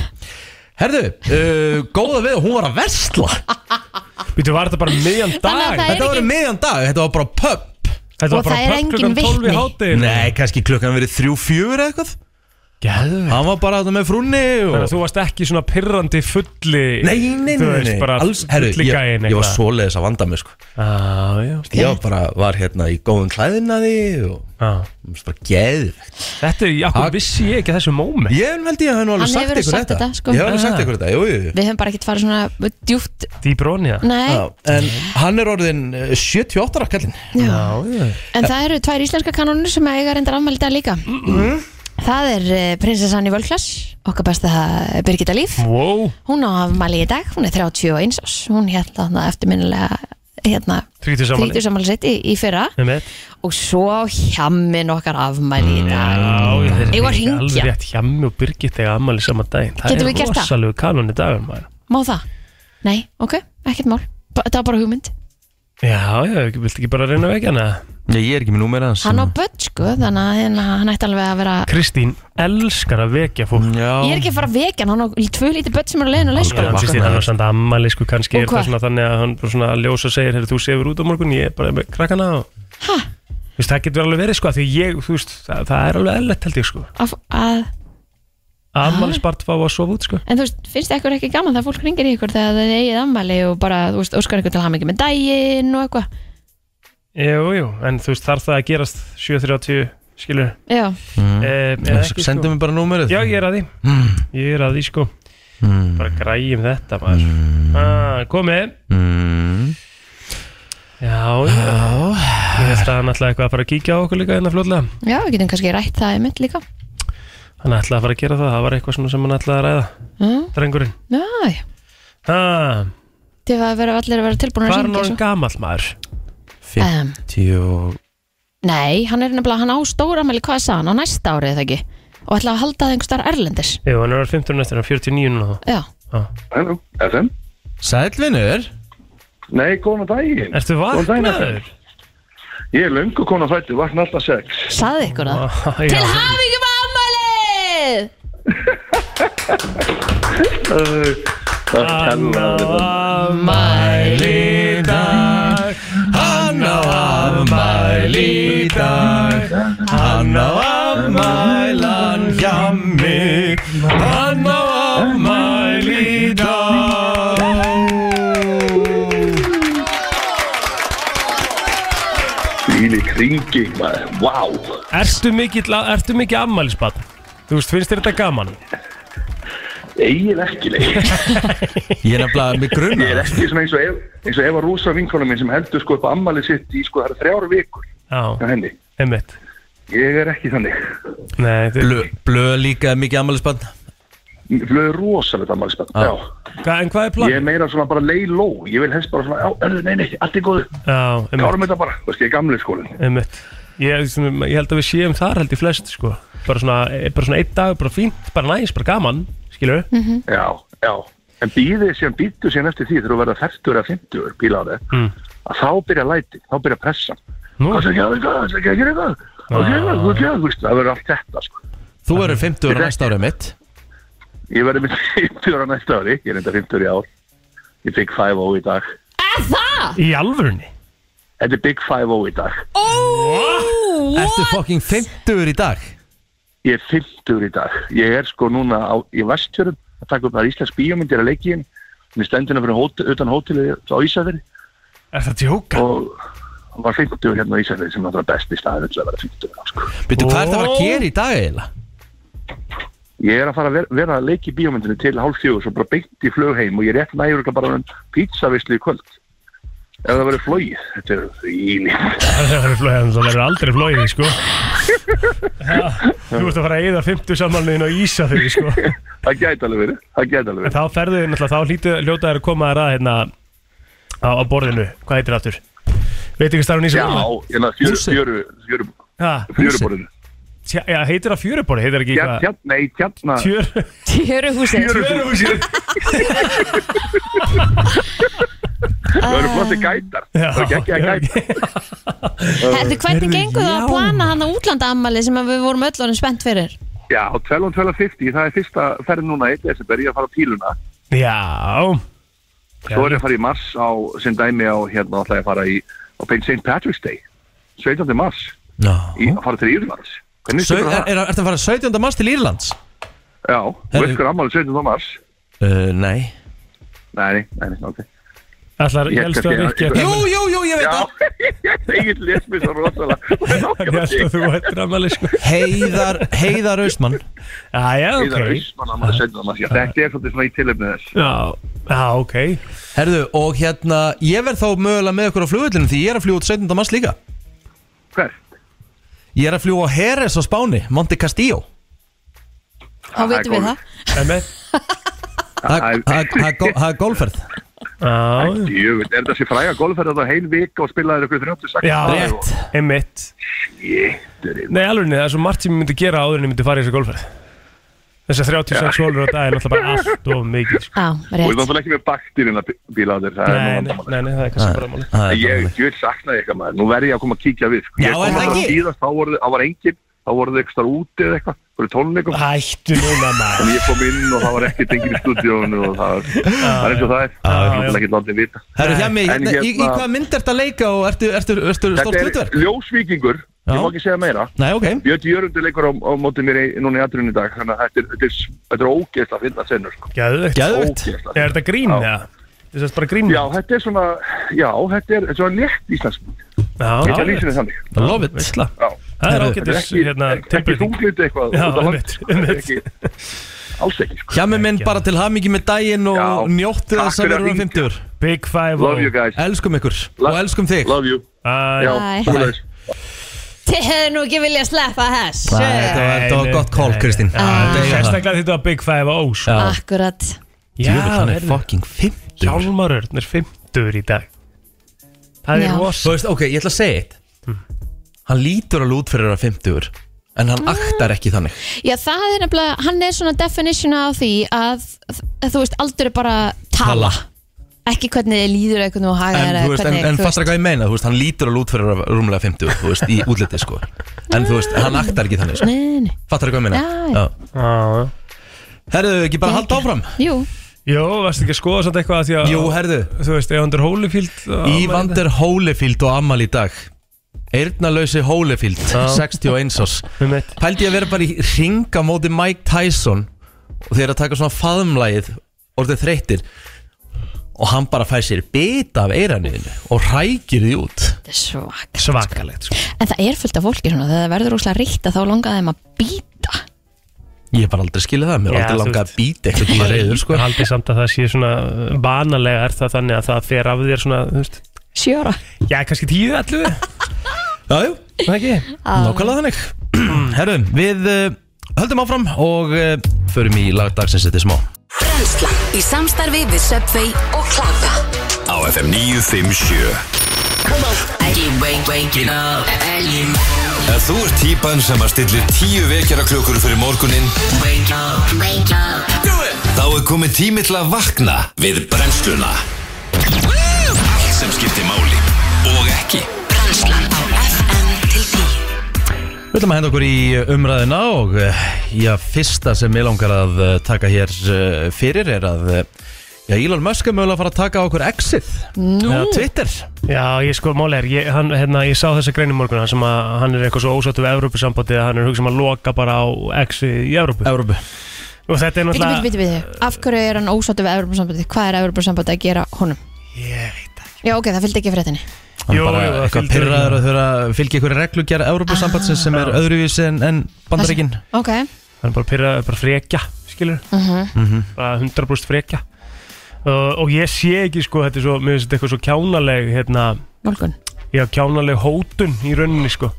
Speaker 1: Herðu, uh, góða við að hún var að versla
Speaker 3: Býtu, var þetta bara um miðjan
Speaker 2: Þannig að það
Speaker 3: dag?
Speaker 2: er
Speaker 1: Þetta var
Speaker 2: ekki-
Speaker 1: um miðjan dag, þetta var bara pub
Speaker 3: Þetta
Speaker 2: Og
Speaker 3: var bara
Speaker 2: það er
Speaker 3: pöpp
Speaker 2: engin
Speaker 3: klukkan 12 í
Speaker 2: vitni.
Speaker 3: hátteginu
Speaker 1: Nei, kannski klukkan verið þrjú, fjör eitthvað
Speaker 3: Gæðvegt
Speaker 1: Hann var bara þarna með frunni
Speaker 3: Þannig
Speaker 1: og...
Speaker 3: að þú varst ekki svona pirrandi fulli
Speaker 1: Nei, nei, nei,
Speaker 3: Þú
Speaker 1: nei,
Speaker 3: veist,
Speaker 1: nei.
Speaker 3: bara
Speaker 1: herru,
Speaker 3: fulli
Speaker 1: ég,
Speaker 3: gæinn
Speaker 1: ég var
Speaker 3: eitthvað.
Speaker 1: svoleiðis að vanda mig sko.
Speaker 3: Á, já,
Speaker 1: Ég var bara var hérna í góðum klæðinaði og
Speaker 3: á.
Speaker 1: Mér finnst bara geðvegt
Speaker 3: Ah. Þetta er,
Speaker 1: Ha-
Speaker 3: akkur vissi ég ekki þessu móment
Speaker 1: Ég held ég að hann var alveg
Speaker 2: Hann
Speaker 1: sagt
Speaker 2: hefur
Speaker 1: ykkur
Speaker 2: sagt
Speaker 1: þetta
Speaker 2: þetta, sko.
Speaker 1: Ég hef alveg sagt
Speaker 3: Ah.
Speaker 1: ykkur þetta, jú, jú, jú.
Speaker 2: Við höfum bara ekkert farið svona djúpt
Speaker 3: Dýbrónið
Speaker 2: Nei,
Speaker 1: Já, En hann er orðin eh, 78 ára kallinn
Speaker 2: já.
Speaker 3: já
Speaker 1: Eh.
Speaker 2: En það eru tvær íslenska kanónur sem eiga reyndar afmæli í dag líka Það er eh, prinsessan í Völklass okkar besta eh, Birgitta Líf
Speaker 3: Wow,
Speaker 2: Hún á afmæli í dag, hún er 31 árs Hún hérna þarna eftirminnilega hérna,
Speaker 3: þrítið saman
Speaker 2: 30 sammæli sitt í, í fyrra
Speaker 3: Einmitt.
Speaker 2: og svo hjamin okkar afmæli í dag
Speaker 3: Já, þeir eru
Speaker 2: Eigum við að
Speaker 3: líka
Speaker 2: hringja?
Speaker 3: Alveg rétt hjemmi og Birgit þegar ammali saman daginn Það
Speaker 2: Getum við
Speaker 3: er
Speaker 2: gert það?
Speaker 3: rosalegu kanon í dagur maður
Speaker 2: Má það? Nei, ok, ekkert mál Ba- Það var bara hugmynd
Speaker 3: Já, já, ekki- viltu ekki bara reyna vekja hana?
Speaker 1: Ég er ekki með númer hans
Speaker 2: Hann á börn sko, þannig að hérna, hann ætti alveg að vera
Speaker 3: Kristín elskar að vekja fólk
Speaker 2: Ég er ekki að fara að vekja hann, hann á tvö lítið börn sem eru að leiðin og leið sko
Speaker 3: Hann sýst í hann að senda ammali sko kannski
Speaker 2: Og
Speaker 3: er það
Speaker 2: hvað?
Speaker 3: svona þannig að hann bara svona ljósa segir Herri, þú sefur út á morgun, ég er bara með krakkana og...
Speaker 2: Ha?
Speaker 3: Þú veist, það getur alveg verið sko af Því ég, þú veist, það, það er alveg eðlert held ég sko
Speaker 2: Af, að,
Speaker 3: Ammali spart fá að sofa út sko
Speaker 2: En þú veist, finnst þið ekkur ekki gaman það að fólk ringir í ykkur þegar það er eigið ammæli og bara, þú veist, óskar ykkur til að hafa mikið með daginn og eitthvað
Speaker 3: Jú, jú, en þú veist, þarf það að gerast 7.30, skilur
Speaker 2: Já,
Speaker 3: mm. e,
Speaker 1: Sendu mér bara númerið
Speaker 3: Já, ég er að því
Speaker 1: Mm.
Speaker 3: Ég er að því sko
Speaker 1: Mm.
Speaker 3: Bara græjum þetta maður ah, Komið
Speaker 1: Mm.
Speaker 3: Já, já Ég held að hann ætlaði eitthvað að fara að kíkja á okkur líka hérna fljótlega
Speaker 2: já, við getum kannski rætt það einmitt líka
Speaker 3: Hann ætlaði að fara að gera það, það var eitthvað svona sem hann ætlaði að ræða
Speaker 2: Já,
Speaker 3: Drengurinn
Speaker 2: já, já
Speaker 3: ha,
Speaker 2: Til að vera allir að vera tilbúin að
Speaker 3: Hvað er hann
Speaker 2: ringja
Speaker 3: orðin
Speaker 2: svo
Speaker 3: gamall maður?
Speaker 2: um,
Speaker 1: 50 og-
Speaker 2: Nei, hann er nefnilega, hann á stóra ammæli, hvað sagði hann, á næsta árið eða ekki Og ætlaði að halda það einhver starf erlendis
Speaker 3: Jú, hann er orðin 15 næstur, hann er 49 núna þá
Speaker 2: Já,
Speaker 4: Halló, FM?
Speaker 1: Sælvinur
Speaker 4: Nei, góðan daginn.
Speaker 3: Ertu vaknaður?
Speaker 4: Ég er löngu konar fættu, vakna alltaf sex.
Speaker 2: sagði ykkur það
Speaker 3: Ah, já.
Speaker 2: Til hafa ykkur með ammælið
Speaker 4: Uh, það kennaði það.
Speaker 3: Afmæli í dag
Speaker 1: Hann á afmæli í dag Hann á afmælan hjá mig Hann á afmæli í dag
Speaker 4: Bíli kringi, maður. Vá.
Speaker 3: Ertu mikið, ertu mikið afmælisbarn? Þú veist, finnst þér þetta gaman?
Speaker 4: Egil ekki
Speaker 3: [laughs]
Speaker 4: leik.
Speaker 1: Ég er nefnilega með grunna
Speaker 4: Ég er ekki svona eins og, Ef- eins og Eva Rúsa vinkona minn sem heldur sko upp á ammalið sitt í sko það eru þrjár vikur hjá
Speaker 3: Já,
Speaker 4: henni.
Speaker 3: einmitt
Speaker 4: Ég er ekki þannig.
Speaker 3: Nei, þið,
Speaker 1: Blö, blö líka er mikið afmælisbann
Speaker 4: Blöð er rosalegt ammalið
Speaker 1: Ah.
Speaker 4: Já.
Speaker 3: hva, en hvað er
Speaker 4: Ég
Speaker 3: plan?
Speaker 4: er meira svona bara lay low. Ég vil helst bara svona, já, erðu, nei, nei, allt er góð.
Speaker 3: Já, einmitt,
Speaker 4: Klárum þetta bara. Þú veist, ég er gamli skólinn.
Speaker 3: einmitt. Ég, svona, ég held að við séum þar held í flest sko. bara, svona, bara svona einn dag, bara fínt bara næs, bara gaman, skilur við
Speaker 4: Já, já. En býðið síðan, býttu síðan eftir því þegar þú verða 40 eða 50 bíláði
Speaker 3: Mm.
Speaker 4: að þá byrja læti, þá byrja pressan.
Speaker 3: Nú,
Speaker 4: Það er ekki aðeins, það er ekki að gera eitthvað, það er ekki að gera eitthvað, það er ekki að gera eitthvað, það verður allt þetta sko.
Speaker 1: Þú verður 50 ára næsta árið mitt
Speaker 4: Ég verði [laughs] minn 50 ára næsta ári, ég er enda 50 í ár, ég fikk 5-0 í dag.
Speaker 2: Er það?
Speaker 3: í alvörunni
Speaker 4: Þetta er Big 5-0 í dag,
Speaker 2: Ó,
Speaker 1: Ertu fucking 50 í dag
Speaker 4: ég er 50 í dag, ég er sko núna á, í vestjörum að taka upp það íslensk bíómyndir að leiki henni, hún er stendina fyrir hótel, utan hótelið á Ísafjörði
Speaker 3: Er það tjóka?
Speaker 4: og var 50 hérna á Ísafjörði sem náttúrulega besti staðið til að vera 50 ára sko.
Speaker 1: Býttu hvað er það
Speaker 3: Ó.
Speaker 1: að gera í dag eiginlega?
Speaker 4: Ég er að fara að vera, vera að leiki bíómyndinu til hálf fjögur svo bara beint í flug heim og ég er rétt nægur ekki bara um pizzavislu í kvöld ef það verður flóið þetta er þvíli
Speaker 3: Það verður flóið, það verður aldrei flóið sko. Já, Þú ert að fara að eyða 50 samanlegin á Ísa þegar sko.
Speaker 4: það gæti alveg verið það gæti alveg
Speaker 3: En
Speaker 4: verið
Speaker 3: þá ferðu þér náttúrulega, þá hlýtu ljótaður að koma þér að hérna á, á borðinu, hvað heitir það aftur? Veit ekki starf hún í
Speaker 4: já,
Speaker 3: sem
Speaker 4: hérna fjöru
Speaker 1: Húsið.
Speaker 4: fjöru, fjöru,
Speaker 3: Já,
Speaker 4: fjöruborðinu
Speaker 3: tja- já, heitir það fjöruborði, heitir það ekki
Speaker 4: Tjarn,
Speaker 3: eitthvað
Speaker 4: tjarn, nei, tjarna
Speaker 3: Tjör, [laughs]
Speaker 2: Tjöruhúsið
Speaker 4: Tjöruhúsið Það eru flotti gætar
Speaker 3: Já,
Speaker 4: Það er ekki að
Speaker 3: já,
Speaker 4: gæta
Speaker 3: [laughs]
Speaker 2: Herðu, hvernig
Speaker 3: Heyrðu,
Speaker 2: gengur það
Speaker 3: já.
Speaker 2: að plana hann á útlandaammali sem að við vorum öll orðin spennt fyrir?
Speaker 4: Já, 12.12.50 Það er fyrsta ferð núna í desember Ég er að fara á píluna
Speaker 3: já
Speaker 4: Svo er ég að fara í mars á sem dæmi á hérna Það er að fara í á beint St. Patrick's Day 17. mars í,
Speaker 1: Já
Speaker 4: að fara til Írlands Hvernig
Speaker 1: Sau-
Speaker 4: styrir
Speaker 1: Er
Speaker 4: það?
Speaker 1: er- ertu að fara 17. mars til Írlands?
Speaker 4: Já, þú veist hver ammálið 17. mars
Speaker 1: Uh, nei
Speaker 4: Nei, nei, nei, ok
Speaker 3: Ætlar,
Speaker 4: Ég
Speaker 3: ég helst að
Speaker 4: kannski-
Speaker 3: Rikki
Speaker 4: Jú,
Speaker 3: ætlar að-
Speaker 1: jú, jú, ég
Speaker 4: Já, [laughs] ég les mér svo
Speaker 3: [laughs]
Speaker 4: rosalega
Speaker 3: Ég held að þú ættir ammali sko
Speaker 1: Heiðar, Heiðar Austmann
Speaker 3: Jæja, ok
Speaker 4: Íðar Ísmann ammálið 17. mars Já, Þetta er svolítið svona í tilöfnið þess
Speaker 3: Já, já, ok
Speaker 1: Herðu, og hérna, ég verð þá mögulega með ykkur á flugvöllinu því ég er að fljúa út 17. mars líka
Speaker 4: Hvert?
Speaker 1: Ég er að fljúa á Heres á Spáni, Monte Castillo
Speaker 2: Þá
Speaker 4: það er
Speaker 2: vitum við
Speaker 4: góð.
Speaker 2: það.
Speaker 3: Emmett
Speaker 4: Æ,
Speaker 1: Það það- það er gó- það er golferð
Speaker 3: Já,
Speaker 4: Jú, er þetta þessi fræga golferð þetta heil vika og spilaði ykkur 36
Speaker 3: Já,
Speaker 1: Rétt
Speaker 3: Emmett
Speaker 4: Jétturinn
Speaker 3: Nei, alveg, það er svo margt sem ég myndi gera áður en ég myndi fara í þessu golfferð Þessar 36 hólur á dag er náttúrulega bara allt
Speaker 2: [laughs]
Speaker 3: of mikið sko.
Speaker 2: Já,
Speaker 4: Og ég
Speaker 2: rétt.
Speaker 4: náttúrulega ekki með baktirinn að bíla þér Það er nú
Speaker 3: nei, nei,
Speaker 4: vandamál
Speaker 3: nei, nei, það er kannski bara máli
Speaker 1: Það er
Speaker 4: Ég,
Speaker 1: bara-
Speaker 4: ég vil sakna ykkar maður, nú verð ég að koma að kíkja við sko.
Speaker 1: Já,
Speaker 4: Ég kom
Speaker 1: er það
Speaker 4: þarna
Speaker 1: ekki?
Speaker 4: síðast, Þá voru- þá var enginn, þá voru þau ekki starf úti eða eitthvað Fyrir tónleikum
Speaker 3: Hættu núna maður
Speaker 4: En ég kom inn og það var ekkert enginn í stúdíónu og það var, það er eins og það er. Það er
Speaker 3: já.
Speaker 4: náttúrulega ekki látið vita.
Speaker 1: Herru, hjá mig,
Speaker 4: En
Speaker 1: hérna, í, í
Speaker 4: hérna-
Speaker 1: hvað mynd ertu að leika og ertu, ertu, ertu stórt
Speaker 4: Þetta
Speaker 1: hlutverk?
Speaker 4: er ljósvíkingur,
Speaker 1: Já.
Speaker 4: ég má ekki segja meira.
Speaker 1: Nei, ok
Speaker 4: Björn Jörgundur leikur á, á mótið mér í, núna í aðrunni í dag, þannig að þetta er, þetta er, s- þetta er ógeðsla að finna sennur. Sko.
Speaker 3: Gæðvegt
Speaker 1: Gæðvögt
Speaker 4: Ógeðsla.
Speaker 3: Er þetta grín,
Speaker 4: Já.
Speaker 3: já? Þess að bara grín
Speaker 4: Já, þetta er svona, já, þetta er, þetta er svona létt íslensmynd. Ég ætla að lýsa
Speaker 3: já
Speaker 4: henni þannig.
Speaker 1: Love it
Speaker 3: Veistla.
Speaker 4: Já.
Speaker 3: Það er
Speaker 1: Herru,
Speaker 4: Þetta er
Speaker 3: ágætis
Speaker 4: ekki,
Speaker 3: hérna,
Speaker 4: ekki, ekki
Speaker 3: tilbreyting
Speaker 4: þunglindi eitthvað. út
Speaker 3: Já,
Speaker 4: á land.
Speaker 3: einmitt,
Speaker 4: Þetta er
Speaker 3: einmitt.
Speaker 4: ekki- Alls ekki, sko.
Speaker 1: Hjá mig minn bara til hamingi með daginn og
Speaker 4: Já.
Speaker 1: njóttu
Speaker 4: Takk
Speaker 1: þess að
Speaker 4: fyrir
Speaker 1: við
Speaker 4: að
Speaker 1: erum
Speaker 4: hringja.
Speaker 1: 50
Speaker 3: Big Five
Speaker 4: Love you guys.
Speaker 1: Elskum ykkur og
Speaker 4: Love-
Speaker 1: elskum þig
Speaker 4: Love you.
Speaker 3: Æ,
Speaker 4: Já,
Speaker 2: Bye.
Speaker 4: svoleiðis.
Speaker 2: Þið hefðu nú ekki viljað sleppa þess.
Speaker 1: Nei, þetta var- þetta var
Speaker 3: nei,
Speaker 1: gott call,
Speaker 3: nei,
Speaker 1: Kristín
Speaker 3: nei. Ah,
Speaker 1: Þetta eiga það.
Speaker 3: Sérstaklega þetta var Big Five O sko.
Speaker 1: Já.
Speaker 2: Akkurat.
Speaker 1: Djöfull, hann er
Speaker 3: heyrðu,
Speaker 1: fucking 50
Speaker 3: Hjálmar Örn er 50 í dag Það
Speaker 2: Já.
Speaker 3: er rosa Hmm.
Speaker 1: Þú veist, ok, ég ætla að segja eitt Hann lítur alveg út fyrir að vera 50 En hann
Speaker 2: Mm.
Speaker 1: aktar ekki þannig
Speaker 2: Já, það er nefnilega, hann er svona definition á því að, að þú veist, aldur er bara tala.
Speaker 1: Tala.
Speaker 2: Ekki hvernig þið líður eða hvernig þú hagar
Speaker 1: En,
Speaker 2: eða
Speaker 1: þú veist, en,
Speaker 2: hvernig,
Speaker 1: en
Speaker 2: þú veist.
Speaker 1: fastar hvað ég meina, þú veist, hann lítur alveg út fyrir að vera rúmlega 50, þú veist, í útliti, sko En þú veist, hann aktar ekki þannig, sko
Speaker 2: Nei, nei.
Speaker 1: Fattar hvað ég meina?
Speaker 2: Já, já.
Speaker 1: Já.
Speaker 3: Já.
Speaker 1: Herðu, ekki bara
Speaker 2: Ég
Speaker 1: halda
Speaker 2: ekki.
Speaker 1: áfram?
Speaker 2: Jú,
Speaker 3: Jó, varstu ekki að skoða samt eitthvað að því að
Speaker 1: Jú, herðu,
Speaker 3: Þú veist, Evander Holyfield á-
Speaker 1: Ívandir Hólefield og Amal í dag Eirnalösi Hólefield, 61 árs
Speaker 3: Um eitt.
Speaker 1: Pældi ég að vera bara í ringa móti Mike Tyson og þeir að taka svona faðumlægið orðið þreyttir og hann bara fær sér bita af eiraniðinu og hrækir því út
Speaker 2: þetta er svak.
Speaker 3: Svakalegt sko.
Speaker 2: En það er fullt af fólki svona, þegar það verður óslega ríkt að þá langaði þeim að býta.
Speaker 1: Ég hef bara aldrei skilið það, mér
Speaker 3: Já,
Speaker 1: er aldrei
Speaker 3: þú
Speaker 1: langað að
Speaker 3: veist.
Speaker 1: býta eitthvað tíma reyður sko
Speaker 3: En haldið samt að það sé svona uh, Vanalega er það þannig að það fer af þér svona þú veist,
Speaker 2: Sjóra.
Speaker 3: Já, kannski tíu allu
Speaker 1: Jájú,
Speaker 3: Það ekki?
Speaker 1: nákvæmlega þannig [clears throat] Herru, við uh, höldum áfram og uh, förum í lagdagsins þetta er smá
Speaker 5: Brennslan í samstarfi við Subway og Klaka
Speaker 6: á FM 957
Speaker 5: Ekki wake, wake it up Elgin,
Speaker 6: Ef þú ert típan sem að stillir tíu vekjara klukkur fyrir morguninn
Speaker 5: wake up, wake up
Speaker 6: þá er komið tími til að vakna við brennsluna Allt sem skiptir máli og ekki
Speaker 5: Brennslan á FM til 10
Speaker 1: Við ætlum að henda okkur í umræðina og eh, já, fyrsta sem ég langar að eh, taka hér eh, fyrir er að eh, já, Elon Musk er mögulega að fara að taka okkur exit Nú. eða Twitter
Speaker 3: Já, ég sko, máli er ég, hann, hérna, ég sá þessa greinu morgun hann sem að hann er eitthvað svo ósáttu við Evrópusambandi að hann er hugsa um að loka bara á exi í Evrópu
Speaker 1: Európu.
Speaker 3: Og þetta er
Speaker 2: Bíti,
Speaker 3: náttúrulega
Speaker 2: bíti, bíti, bíti. Af hverju er hann ósáttu við Evropasambandi? Hvað er Evropasambandi að gera honum?
Speaker 3: Ég veit það
Speaker 2: Já, ok, það fylgdi ekki fréttinni.
Speaker 1: Hann
Speaker 3: Jú,
Speaker 1: er bara
Speaker 3: jú, það
Speaker 1: eitthvað
Speaker 3: fylgdi
Speaker 1: pyrraður
Speaker 3: örugglega.
Speaker 1: að þurfa að fylgja ykkur reglugjara Európusambandsins sem er öðruvísi en, en bandaríkin
Speaker 2: Ok,
Speaker 3: hann er bara pyrraður, bara frekja skilur,
Speaker 2: Mhm.
Speaker 1: Mhm.
Speaker 3: bara 100% frekja uh, og ég sé ekki sko, þetta er svo, mér finnst þetta eitthvað svo kjánaleg hérna,
Speaker 2: nálgun.
Speaker 3: já, kjánaleg hótun í rauninni sko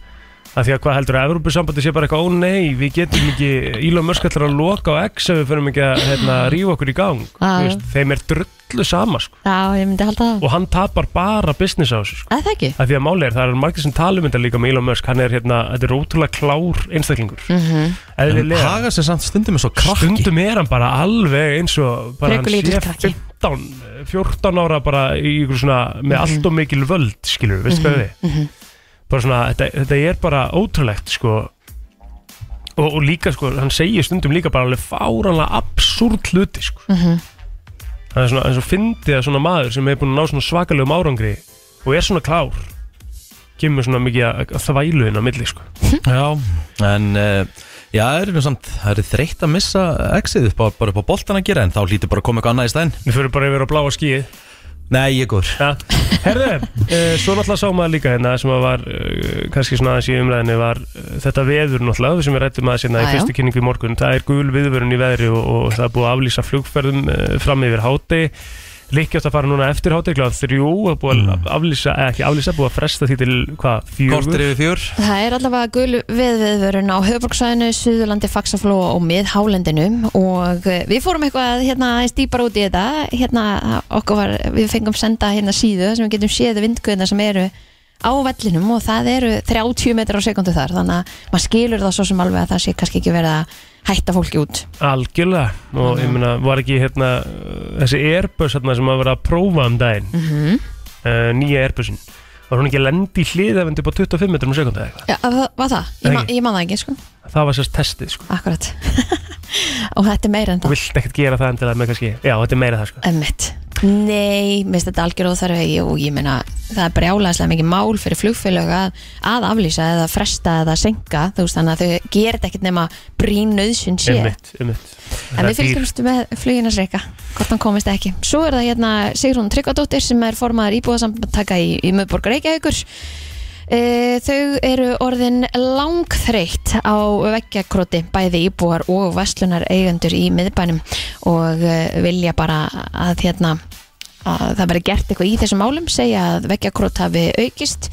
Speaker 3: Af því að hvað heldur að Evrópusambandi sé bara eitthvað, ó nei, við getum ekki Elon Musk ætlar að loka á X ef við förum ekki að hérna, rífa okkur í gang
Speaker 2: Já,
Speaker 3: Þú veist, Þeim er drullu sama sko.
Speaker 2: Já, ég myndi halda það
Speaker 3: og hann tapar bara business á þessu sko.
Speaker 2: Eða það ekki?
Speaker 3: Af því að máli er, það er margir sem tala um þetta líka með Elon Musk, hann er hérna, þetta er ótrúlega klár einstaklingur mm
Speaker 2: Mhm.
Speaker 1: En haga sér samt stundum eins og krakki
Speaker 3: Stundum er hann bara alveg eins og bara hann
Speaker 2: Frekulítill
Speaker 3: sé
Speaker 2: krakki.
Speaker 3: 15, 14 eh, ára bara í ykkur svona með allt og mikil völd skilur, veistu hvað við bara svona, þetta, þetta er bara ótrúlegt sko og, og líka sko, hann segir stundum líka bara alveg fáranlega absúrt hluti sko
Speaker 2: Mhm.
Speaker 3: það er svona, eins og fyndi að svona maður sem er búin að ná svona svakalegum árangri og er svona klár kemur svona mikið að, að þvælu inn á milli sko
Speaker 1: Já, en uh, já, það eru nú samt, það eru þreytt að missa exið upp á, bara upp á boltan að gera en þá hlýtur bara að koma eitthvað annað í stæðin
Speaker 3: við fyrir bara yfir á bláa skíið
Speaker 1: Nei, ég er góður
Speaker 3: Já, herðu, e, svo náttúrulega sá maður líka hérna sem að var, e, kannski svona aðeins í umræðinni var e, þetta veður náttúrulega við sem við rættum aðeins hérna í
Speaker 2: Já, já.
Speaker 3: fyrstu kynningu í morgun það er gul viðvörun í veðri og, og það er búið að aflýsa flugferðum e, fram yfir háti líkja átt að fara núna eftir háti kláð þrjú, það er búið að aflýsa eða ekki aflýsa, búið að fresta því til hvað,
Speaker 1: Kortir
Speaker 3: fjögur
Speaker 1: yfir fjör
Speaker 2: Það er allavega gul viðviðvörun á höfbruksvæðinu, Suðurlandi, Faxaflóa og miðhálendinu og eh, við fórum eitthvað hérna aðeins dýpar út í þetta hérna okkur var, við fengum senda hérna síðu þar sem við getum séð vindguðina sem eru á vellinum og það eru 30 metrar á sekundu þar þannig að maður skilur það svo sem alveg að það sé kannski ekki verið að hætta fólki út
Speaker 3: algjörlega
Speaker 2: Mm.
Speaker 3: og ég meina, var ekki hérna e, þessi Airbus hérna sem að vera að prófa um daginn mm nýja Airbusin var hún ekki að lenda í hliðavendi upp á 25 metrum á sekundi eða eitthvað
Speaker 2: Já, það var það,
Speaker 3: Nei.
Speaker 2: ég, ma ég man það ekki sko.
Speaker 3: það var sérst testið sko
Speaker 2: akkurat [laughs] og þetta er meira en
Speaker 3: þú
Speaker 2: það
Speaker 3: vilt ekkert gera það endilega með kannski já, þetta er meira það sko
Speaker 2: Emmett Nei, minnst þetta algjör óþarfi og ég meina það er brjálæðislega mikið mál fyrir flugfélög að, að aflýsa eða fresta eða senka þú veist þannig að þau gerir þetta ekkert nema brýn nöðsyn sé
Speaker 3: ummitt, ummitt
Speaker 2: en við fylgjumst með fluginars reyka hvort hann komist ekki. Svo er það hérna Sigrún Tryggvadóttir sem er formaður íbúðasamtaka í, í Möðborg Reykjavíkur e, þau eru orðin langþreytt á veggjakróti bæði íbúar og vestlunar eigundur í miðbænum og e, vilja bara að hérna að það verði gert eitthvað í þessum málum segja að veggjakrót hafi aukist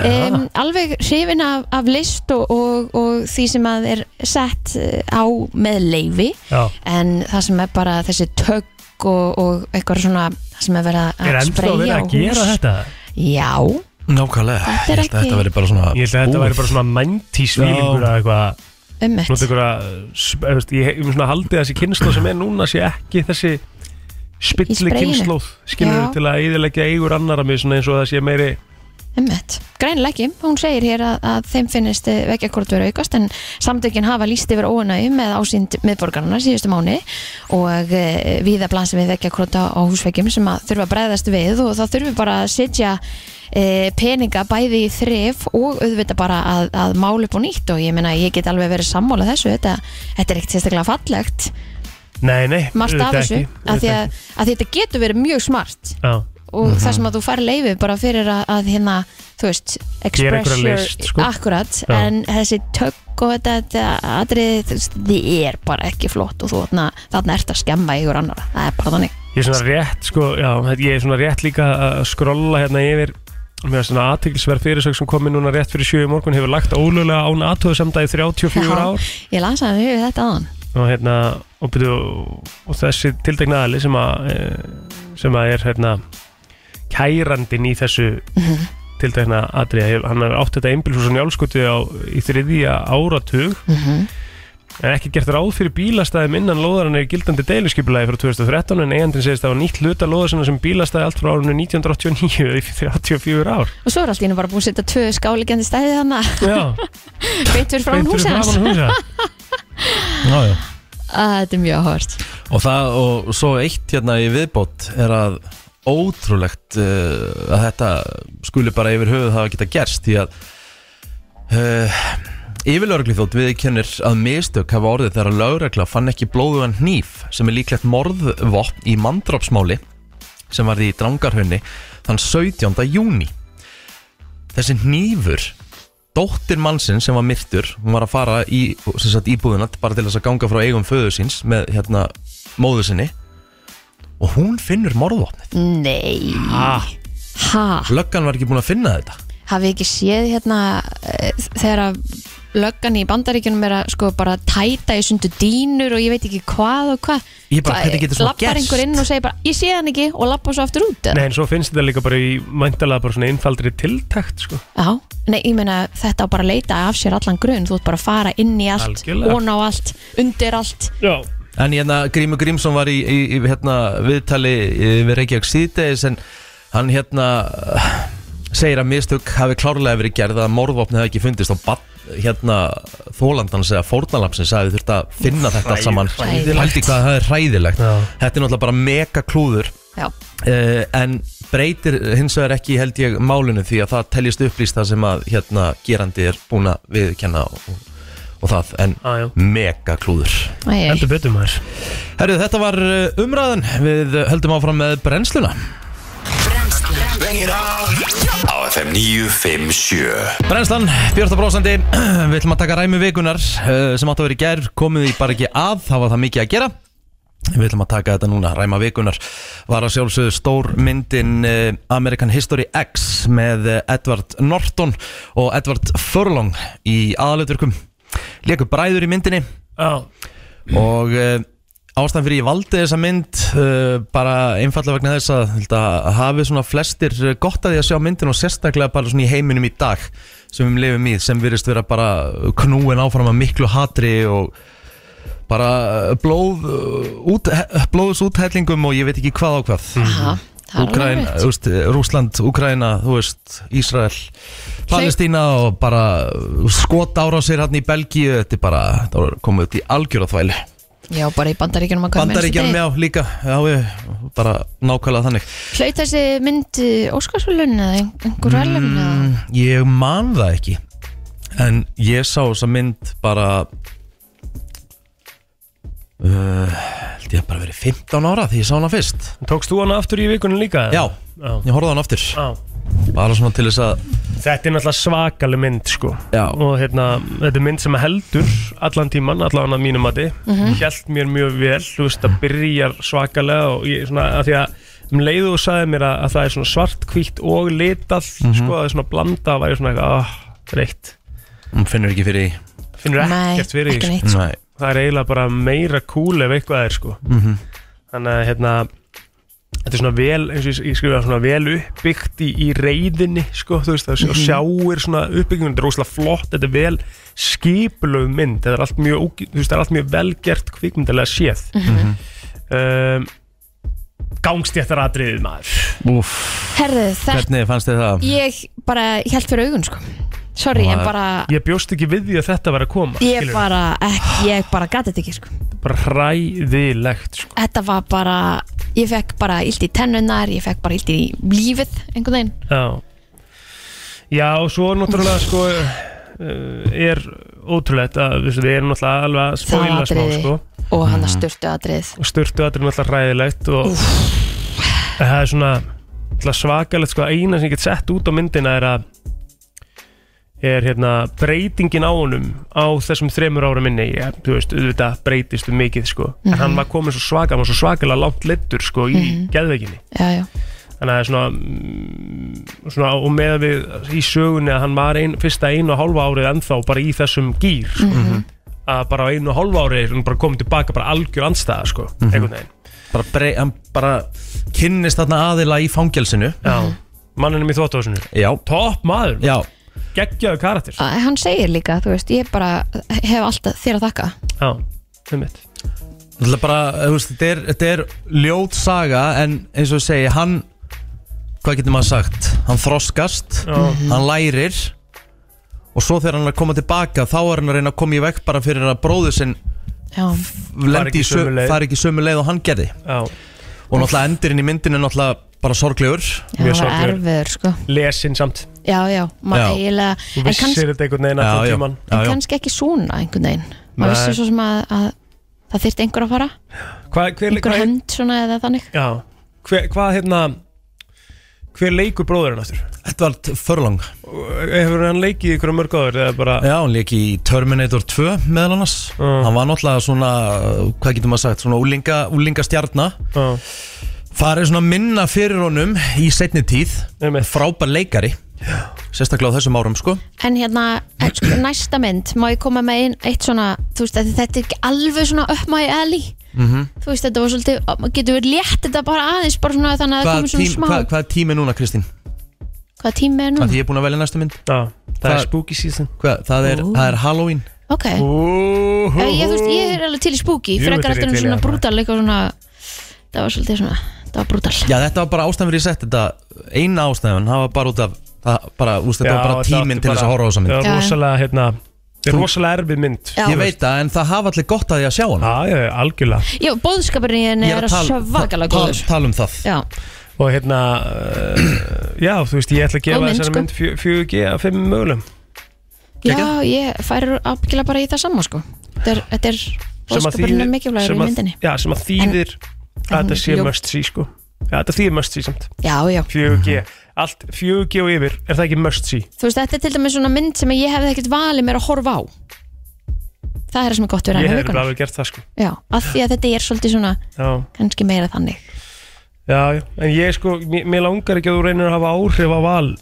Speaker 2: um, alveg hrifin af, af list og, og, og því sem að er sett eh, á með leifi
Speaker 3: Já.
Speaker 2: en það sem er bara þessi tögg og, og eitthvað svona það sem er verið
Speaker 3: er
Speaker 2: að
Speaker 3: ennþá
Speaker 2: spreyja
Speaker 3: verið að gera þetta
Speaker 2: Já,
Speaker 1: Nákvæmlega
Speaker 2: Þetta er
Speaker 1: Ég held að
Speaker 2: ekki-
Speaker 1: Þetta verði bara svona
Speaker 3: ég held að þetta
Speaker 1: búið.
Speaker 3: væri bara svona mentís vílingur
Speaker 1: Já.
Speaker 3: að eitthvað
Speaker 2: ummitt
Speaker 3: nút einhverja sp- þú veist, ég hef svona haldið að þessi kynnslóð sem er núna sé ekki þessi
Speaker 2: Í
Speaker 3: spilli
Speaker 2: spreyinu.
Speaker 3: kynnslóð skilur
Speaker 2: Já.
Speaker 3: til að eðilegja eigur annara með svona eins og það sé meiri
Speaker 2: Einmitt. Greinilega ekki, hún segir hér að, að þeim finnist vekkjakort vera aukast en samtökin hafa líst yfir óanægum með ásýnd miðborgarna síðustu mánu og e, viða blansi við vekkjakorta á húsvekkjum sem að þurfa að bregðast við og það þurfi bara að setja e, peninga bæði í þrif og auðvita bara að, að máli upp og nýtt og ég meina ég get alveg verið sammála þessu, þetta, þetta er ekkert sérstaklega fallegt,
Speaker 3: nei, nei,
Speaker 2: margt af
Speaker 3: auðvitað
Speaker 2: þessu
Speaker 3: ekki,
Speaker 2: af því
Speaker 3: auðvitað
Speaker 2: að, að þetta getur verið mjög smart
Speaker 3: ekki. Já.
Speaker 2: og
Speaker 1: Mhm.
Speaker 2: það sem að þú fær leifi bara fyrir að, að hérna, þú veist
Speaker 3: Gera
Speaker 2: express
Speaker 3: einhverja
Speaker 2: your,
Speaker 3: list, sko.
Speaker 2: akkurat
Speaker 3: Já.
Speaker 2: en þessi tögg og þetta, þetta atrið, þú veist, þið er bara ekki flott og þú þarna, þarna ert að skemma ykkur annar, það er bara þannig
Speaker 3: Ég er svona rétt, sko, já, ég er svona rétt líka að skrolla hérna yfir með svona aðteglisverð fyrirsök sem komi núna rétt fyrir sjö í morgun hefur lagt ólöglega án aðtöðusemda í 34
Speaker 2: Já.
Speaker 3: ár
Speaker 2: ég lasa það mjög þetta aðan
Speaker 3: og hérna, og, byrju, og þessi tiltegna aðli sem að e, sem að er hérna kærandin í þessu tiltegna aðri, hann er átt þetta einbilhúsan í álskutu á, í þriðja áratug En ekki gert ráð fyrir bílastæðum innan lóðarinn er gildandi deiluskipulagi frá 2013 en eigandinn segist að það var nýtt hluta lóðarsina sem bílastæði allt frá árunni 1989 í 34 ár.
Speaker 2: og svo er allt í hennu bara búin að setja tvö skálegjandi stæði þannig [laughs]
Speaker 3: Já,
Speaker 2: beintur frá hún hús hans
Speaker 3: húsa.
Speaker 1: Já, já.
Speaker 2: [laughs] Að þetta er mjög hort
Speaker 1: Og það, og svo eitt hérna í viðbót er að ótrúlegt uh, að þetta skuli bara yfir höfuð hafa geta gerst því að uh, yfirlöreglu þótt viðkennir að mistök hafa orðið þegar að lögregla fann ekki blóðugan hníf sem er líklegt morðvopn í mandrópsmáli sem varði í drangarhunni þann 17. júni þessi hnífur dóttir mannsinn sem var myrtur hún var að fara í sem sagt, íbúðuna bara til þess að ganga frá eigum föður síns með hérna móður sinni og hún finnur morðvopnið
Speaker 2: nei,
Speaker 3: Ah,
Speaker 2: ha
Speaker 1: löggan var ekki búin að finna þetta
Speaker 2: hafið ekki séð hérna eh, þegar að löggan í bandaríkjunum er að sko bara tæta í sundu dýnur og ég veit ekki hvað og hvað
Speaker 1: Ég bara, hvernig getur svona
Speaker 2: Lappar
Speaker 1: gerst?
Speaker 2: einhver inn og segir bara, ég sé hann ekki og lappar svo aftur út eða?
Speaker 3: Nei, en svo finnst þetta líka bara í mæntalega bara svona einfaldri tiltækt, sko.
Speaker 2: Já, nei, ég meina þetta á bara að leita af sér allan grunn, þú ert bara að fara inn í allt,
Speaker 3: Algjörlega.
Speaker 2: ón á allt, undir allt
Speaker 3: Já.
Speaker 1: En hérna Grímur Grímsson var í, í, í hérna, viðtali eh, við Reykjavík síðdegis en hann hérna eh, segir að mistök hafi klárlega verið gerð að morðvopni hafi ekki fundist og bat, hérna þólandans eða fórnalapsins hafi þurft að finna þetta allt saman
Speaker 2: Hræðilegt.
Speaker 1: Hældi hvað það er hræðilegt
Speaker 3: Já.
Speaker 1: Þetta er náttúrulega bara mega klúður
Speaker 2: Já,
Speaker 1: uh, en breytir hins vegar ekki held ég málinu því að það teljist upplýst það sem að hérna gerandi er búin að viðkenna og, og það en
Speaker 3: Á, já.
Speaker 1: mega klúður
Speaker 2: Æ, æ.
Speaker 3: Heldur betur maður.
Speaker 1: Herru, þetta var uh, umræðan Við uh, höldum áfram með brennsluna
Speaker 6: Bengir á Á FM 957
Speaker 1: Brennslan, Björta Brósandi [clears throat] Við ætlum að taka ræmi vikunar uh, sem átt að vera í gær, komið því bara ekki að það var það mikið að gera Við ætlum að taka þetta núna, ræma vikunar var að sjálfsögðu stór myndin uh, American History X með uh, Edward Norton og Edward Furlong í aðalutverkum Leku bræður í myndinni
Speaker 3: Já.
Speaker 1: og uh, ástæðan fyrir ég valdi þessa mynd uh, bara einfallega vegna þess að, held að hafi svona flestir eh, gott að því að sjá myndin og sérstaklega bara svona í heiminum í dag sem við lifum í sem virðist vera bara knúin áfram að miklu hatri og bara eh, blóð, eh, út, blóðs úthellingum og ég veit ekki hvað á hvað
Speaker 2: Aha, það er alveg
Speaker 1: Úkraina,
Speaker 2: rétt.
Speaker 1: þú veist, Rúsland, Úkraina, þú veist, Ísrael, Palestína og bara skot ára sér hann í Belgíu, þetta er bara, það var komið út í algjöraþvæli.
Speaker 2: Já, bara í bandaríkjunum að hverjum
Speaker 1: Bandaríkjanum, já, líka, já, ég, bara nákvæmlega þannig.
Speaker 2: Hlaut þessi mynd Óskarsvölun eða ein- einhver velum mm.
Speaker 1: Mm, Ég man það ekki, en ég sá þessa mynd bara, uh, held ég að bara verið 15 ára því ég sá hana fyrst.
Speaker 3: Tókst þú hana aftur í vikunum líka?
Speaker 1: Já,
Speaker 3: eða? Já.
Speaker 1: ég horfði á hana aftur,
Speaker 3: Já.
Speaker 1: bara svona til þess að,
Speaker 3: Þetta er náttúrulega svakaleg mynd, sko.
Speaker 1: Já.
Speaker 3: Og hérna, þetta er mynd sem heldur allan tíman, allan að mínum mati. Mm
Speaker 2: Mhm.
Speaker 3: Hjælt mér mjög vel, þú veist, það byrjar svakalega og ég, svona, að því að um leiðu og sagði mér að, að það er svona svart, hvítt og litað,
Speaker 1: Mhm.
Speaker 3: sko, að það er svona blanda, var ég svona eitthvað, ah, reitt.
Speaker 1: hún finnur ekki fyrir í.
Speaker 3: Finnur ekkert fyrir því,
Speaker 2: ekki
Speaker 3: sko.
Speaker 2: neitt sko.
Speaker 1: Nei. Mhm.
Speaker 3: það er eiginlega bara meira cool ef eitthvað er sko þannig að hérna þetta er svona vel, eins og ég- ég skrifa svona vel uppbyggt í, í reyðinni sko, þú veist, það mm
Speaker 1: Mhm.
Speaker 3: sjáir svona uppbyggingun þetta er rosalega flott, þetta er vel skipulöf mynd, þetta er allt mjög ógi- þú veist, það er allt mjög velgert kvikmyndalega séð
Speaker 1: Mhm.
Speaker 3: um, gangstjættaratriðið maður
Speaker 1: Úf,
Speaker 2: Herðu, þetta,
Speaker 1: hvernig fannst þið það?
Speaker 2: ég bara held fyrir augun sko Sorry,
Speaker 1: Maður-
Speaker 2: en bara,
Speaker 3: ég bjóst ekki við því að þetta var að koma
Speaker 2: ég
Speaker 3: skilurðu.
Speaker 2: bara, ekki, ég bara gati þetta ekki sko
Speaker 3: bara hræðilegt sko.
Speaker 2: Þetta var bara, ég fekk bara illt í tennunar, ég fekk bara illt í lífið einhvern veginn
Speaker 3: Já Já og svo náttúrulega sko eh, er ótrúlegt að þú veist, við erum náttúrulega alveg að
Speaker 2: Það
Speaker 3: spoila smá
Speaker 2: atriði.
Speaker 3: sko
Speaker 2: og hann að styrtu aðrið
Speaker 3: og styrtu aðrið náttúrulega ræðilegt og það er svona náttúrulega svakalegt sko að eina sem ég get sett út á myndina er að er hérna breytingin á honum á þessum þremur ára minni ég, þú veist, auðvitað breytist um mikið sko en
Speaker 2: Mhm.
Speaker 3: hann var komin svo svaka, hann var svo svakalega langt leittur sko í geðveikinni
Speaker 2: já, já.
Speaker 3: þannig að það er svona, mm, svona og með við í sögunni að hann var ein, fyrsta einu og hálfa árið ennþá bara í þessum gýr sko.
Speaker 2: Mhm.
Speaker 3: að bara á einu og hálfa árið er hann bara komið tilbaka bara algjör andstæða sko,
Speaker 2: Mhm.
Speaker 3: einhvern veginn
Speaker 1: Bara, brei, hann bara kynnist þarna aðila í fangelsinu
Speaker 3: já, manninum í þvóttóðsunu
Speaker 1: Já,
Speaker 3: topp maður,
Speaker 1: já,
Speaker 3: geggjaðu karakter
Speaker 2: Æ, hann segir líka, þú veist, ég bara hef alltaf þér að þakka
Speaker 3: já, um mitt
Speaker 1: þetta er bara, þú veist, þetta er, þetta er ljót saga en eins og ég segi, hann, hvað getur maður sagt, hann þroskast,
Speaker 3: já,
Speaker 1: hann lærir og svo þegar hann er að koma tilbaka þá er hann að reyna að koma í vekk bara fyrir að bróður sinn
Speaker 2: já,
Speaker 1: lendi í
Speaker 3: ekki sömu
Speaker 1: sömu
Speaker 3: leið.
Speaker 1: leið. fari ekki sömu leið og hann gerði
Speaker 3: já.
Speaker 1: og náttúrulega endurinn í myndinu er náttúrulega bara sorglegur
Speaker 2: já
Speaker 3: Mjög
Speaker 2: það var
Speaker 3: sorglegur.
Speaker 2: erfiður sko.
Speaker 3: lesin samt,
Speaker 2: já, já, maður
Speaker 1: Já.
Speaker 2: eiginlega
Speaker 3: þú
Speaker 2: en,
Speaker 3: vissir
Speaker 2: kannski,
Speaker 3: þetta einhvern veginn
Speaker 1: Já,
Speaker 3: að
Speaker 1: já, já,
Speaker 3: tíman
Speaker 2: en
Speaker 1: já.
Speaker 2: kannski ekki svona einhvern veginn,
Speaker 3: Nei.
Speaker 2: maður vissi svo sem að, að það þyrfti einhver að fara,
Speaker 3: hvað, hver,
Speaker 2: einhver
Speaker 3: hvað,
Speaker 2: hönd svona eða þannig
Speaker 3: já, hver, hvað hérna hver leikur bróðurinn aftur?
Speaker 1: Edvard Furlong
Speaker 3: hefur hann leikið í einhverju mörg áður eða bara
Speaker 1: Já, hann leik í Terminator 2 meðal annars
Speaker 3: Mm.
Speaker 1: Hann var náttúrulega svona, uh, hvað getur maður sagt, svona úlinga, úlinga stjarnar
Speaker 3: já.
Speaker 1: Farið svona minna fyrir honum í setni tíð
Speaker 3: Einmitt.
Speaker 1: Frábær leikari sérstaklega á þessum árum sko
Speaker 2: En hérna, eh,
Speaker 3: [clears throat]
Speaker 2: sko, næsta mynd Má ég koma með ein, eitt svona Þú veist, þetta þetta er ekki alveg svona upp my alley
Speaker 1: Mhm.
Speaker 2: Þú veist, þetta var svolítið Getur við létt þetta bara aðeins Bara svona þannig að það
Speaker 1: Hvað
Speaker 2: komið svona
Speaker 1: tím,
Speaker 2: smá
Speaker 1: hvað, hvað er tími núna Kristín?
Speaker 2: Hvað tími er
Speaker 1: Af Því
Speaker 2: núna?
Speaker 1: ég er búin að velja næsta mynd
Speaker 3: Já, það
Speaker 1: Það-
Speaker 3: er spooky season
Speaker 1: hvað, það, er, það er Halloween
Speaker 2: Ok
Speaker 3: Úhú.
Speaker 2: Eh, Ég, þú veist, ég er alveg til í spooky
Speaker 3: Jú,
Speaker 2: Frekar
Speaker 3: þetta er
Speaker 2: eftir um
Speaker 3: ég til í
Speaker 2: svona
Speaker 3: það.
Speaker 2: brútal Eitthvað svona Það var svolítið svona Það var brútal
Speaker 1: Já þetta var bara ástæðan fyrir ég sett þetta Eina ástæðan, það var bara út af það, bara, úst, Þetta
Speaker 3: Já,
Speaker 1: var bara
Speaker 3: þetta
Speaker 1: tíminn
Speaker 3: átti
Speaker 1: til þess að
Speaker 3: bara-
Speaker 1: horfa á þessa mynd
Speaker 3: Það
Speaker 2: Já,
Speaker 3: var
Speaker 2: já.
Speaker 3: rosalega, hérna Það er rosalega erfið mynd
Speaker 2: Já.
Speaker 1: Ég veit það, en það hafa allir gott að því að sjá hana
Speaker 3: Já, já, já, algjörlega
Speaker 2: Já, bóðskapurinn í henni
Speaker 1: Ég
Speaker 2: er
Speaker 1: að tala-
Speaker 2: svakalega
Speaker 1: ta-
Speaker 2: góður
Speaker 1: ta- Tala um það
Speaker 2: Já,
Speaker 3: Og hérna, uh, já, þú veist, ég ætla
Speaker 2: Góð
Speaker 3: að gefa
Speaker 2: mynd,
Speaker 3: þessari
Speaker 2: sko.
Speaker 3: mynd fjö- 4G að 5 mögulegum
Speaker 2: já ég færir ábyggilega bara í það saman sko. Þetta er, þetta er
Speaker 3: sem að
Speaker 2: bóðskapurinn sko, er
Speaker 3: þýðir-
Speaker 2: mikilvægur í
Speaker 3: sem að-
Speaker 2: myndinni
Speaker 3: já, sem að þýðir að
Speaker 2: en
Speaker 3: þetta sé
Speaker 2: ljó-
Speaker 3: must see sko já, þetta þýðir must see samt
Speaker 2: Já, já
Speaker 3: 4G, allt 4G og yfir er það ekki must see
Speaker 2: Þú veist, þetta er til dæmis svona mynd sem ég hefði ekkert valið mér að horfa á Það er það sem er gott við
Speaker 3: ég
Speaker 2: ræðum
Speaker 3: hefði
Speaker 2: vikunar
Speaker 3: alveg gert það sko
Speaker 2: Já, af því að þetta er svolítið svona
Speaker 3: já,
Speaker 2: kannski meira þannig
Speaker 3: já, já. en ég sko, mér, mér langar ekki að þú reynir að hafa áhrif á val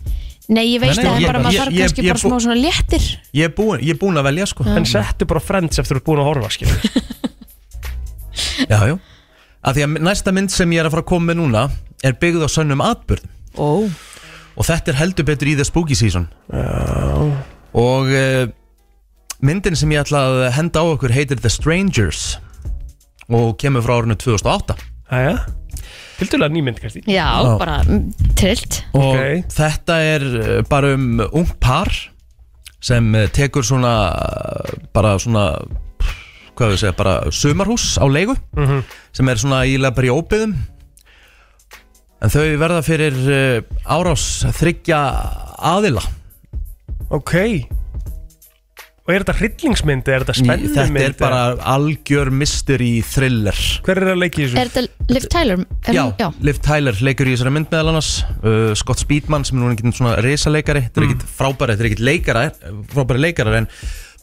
Speaker 2: Nei, ég veist
Speaker 1: Nei, nei,
Speaker 2: að það
Speaker 1: ég-
Speaker 2: er bara maður
Speaker 1: ég-
Speaker 2: þarf
Speaker 1: ég-
Speaker 2: kannski
Speaker 1: ég-
Speaker 2: bara smá svona léttir
Speaker 1: Ég er búin, ég er búin að velja sko
Speaker 3: en settu bara friends eftir þú ert búin að horfa skil
Speaker 1: [laughs] Já, já Af því að næsta mynd sem ég er að fara að koma með núna Er byggð á sönnum atbyrð
Speaker 2: Ó,
Speaker 1: Og þetta er heldur betur í The Spooky Season Já Og uh, myndin sem ég ætla að henda á okkur heitir The Strangers Og kemur frá árinu 2008
Speaker 3: aðja, tildulega nýmynd Kristi
Speaker 2: já, bara mm, trillt
Speaker 1: Og
Speaker 3: Ok.
Speaker 1: þetta er eh, bara um ung par Sem eh, tekur svona eh, Bara svona Hvað við segja, bara sumarhús á leigu
Speaker 3: Mhm.
Speaker 1: Sem er svona ílega bara í óbyðum En þau verða fyrir eh, árás þryggja aðila
Speaker 3: ok og er þetta hryllingsmynd eða er þetta
Speaker 1: Í-
Speaker 3: spennumynd
Speaker 1: Þetta er bara algjör mystery thriller
Speaker 3: hver er að leiki í þessu?
Speaker 2: Er þetta Liv Tyler? Er,
Speaker 1: Já,
Speaker 2: hún- já.
Speaker 1: Liv Tyler leikur í þessari mynd meðal annars uh, Scott Speedman sem er núna ekkert svona reysaleikari
Speaker 3: Mm.
Speaker 1: Þetta er ekkert frábæri, þetta er ekkert leikara frábæri leikarar en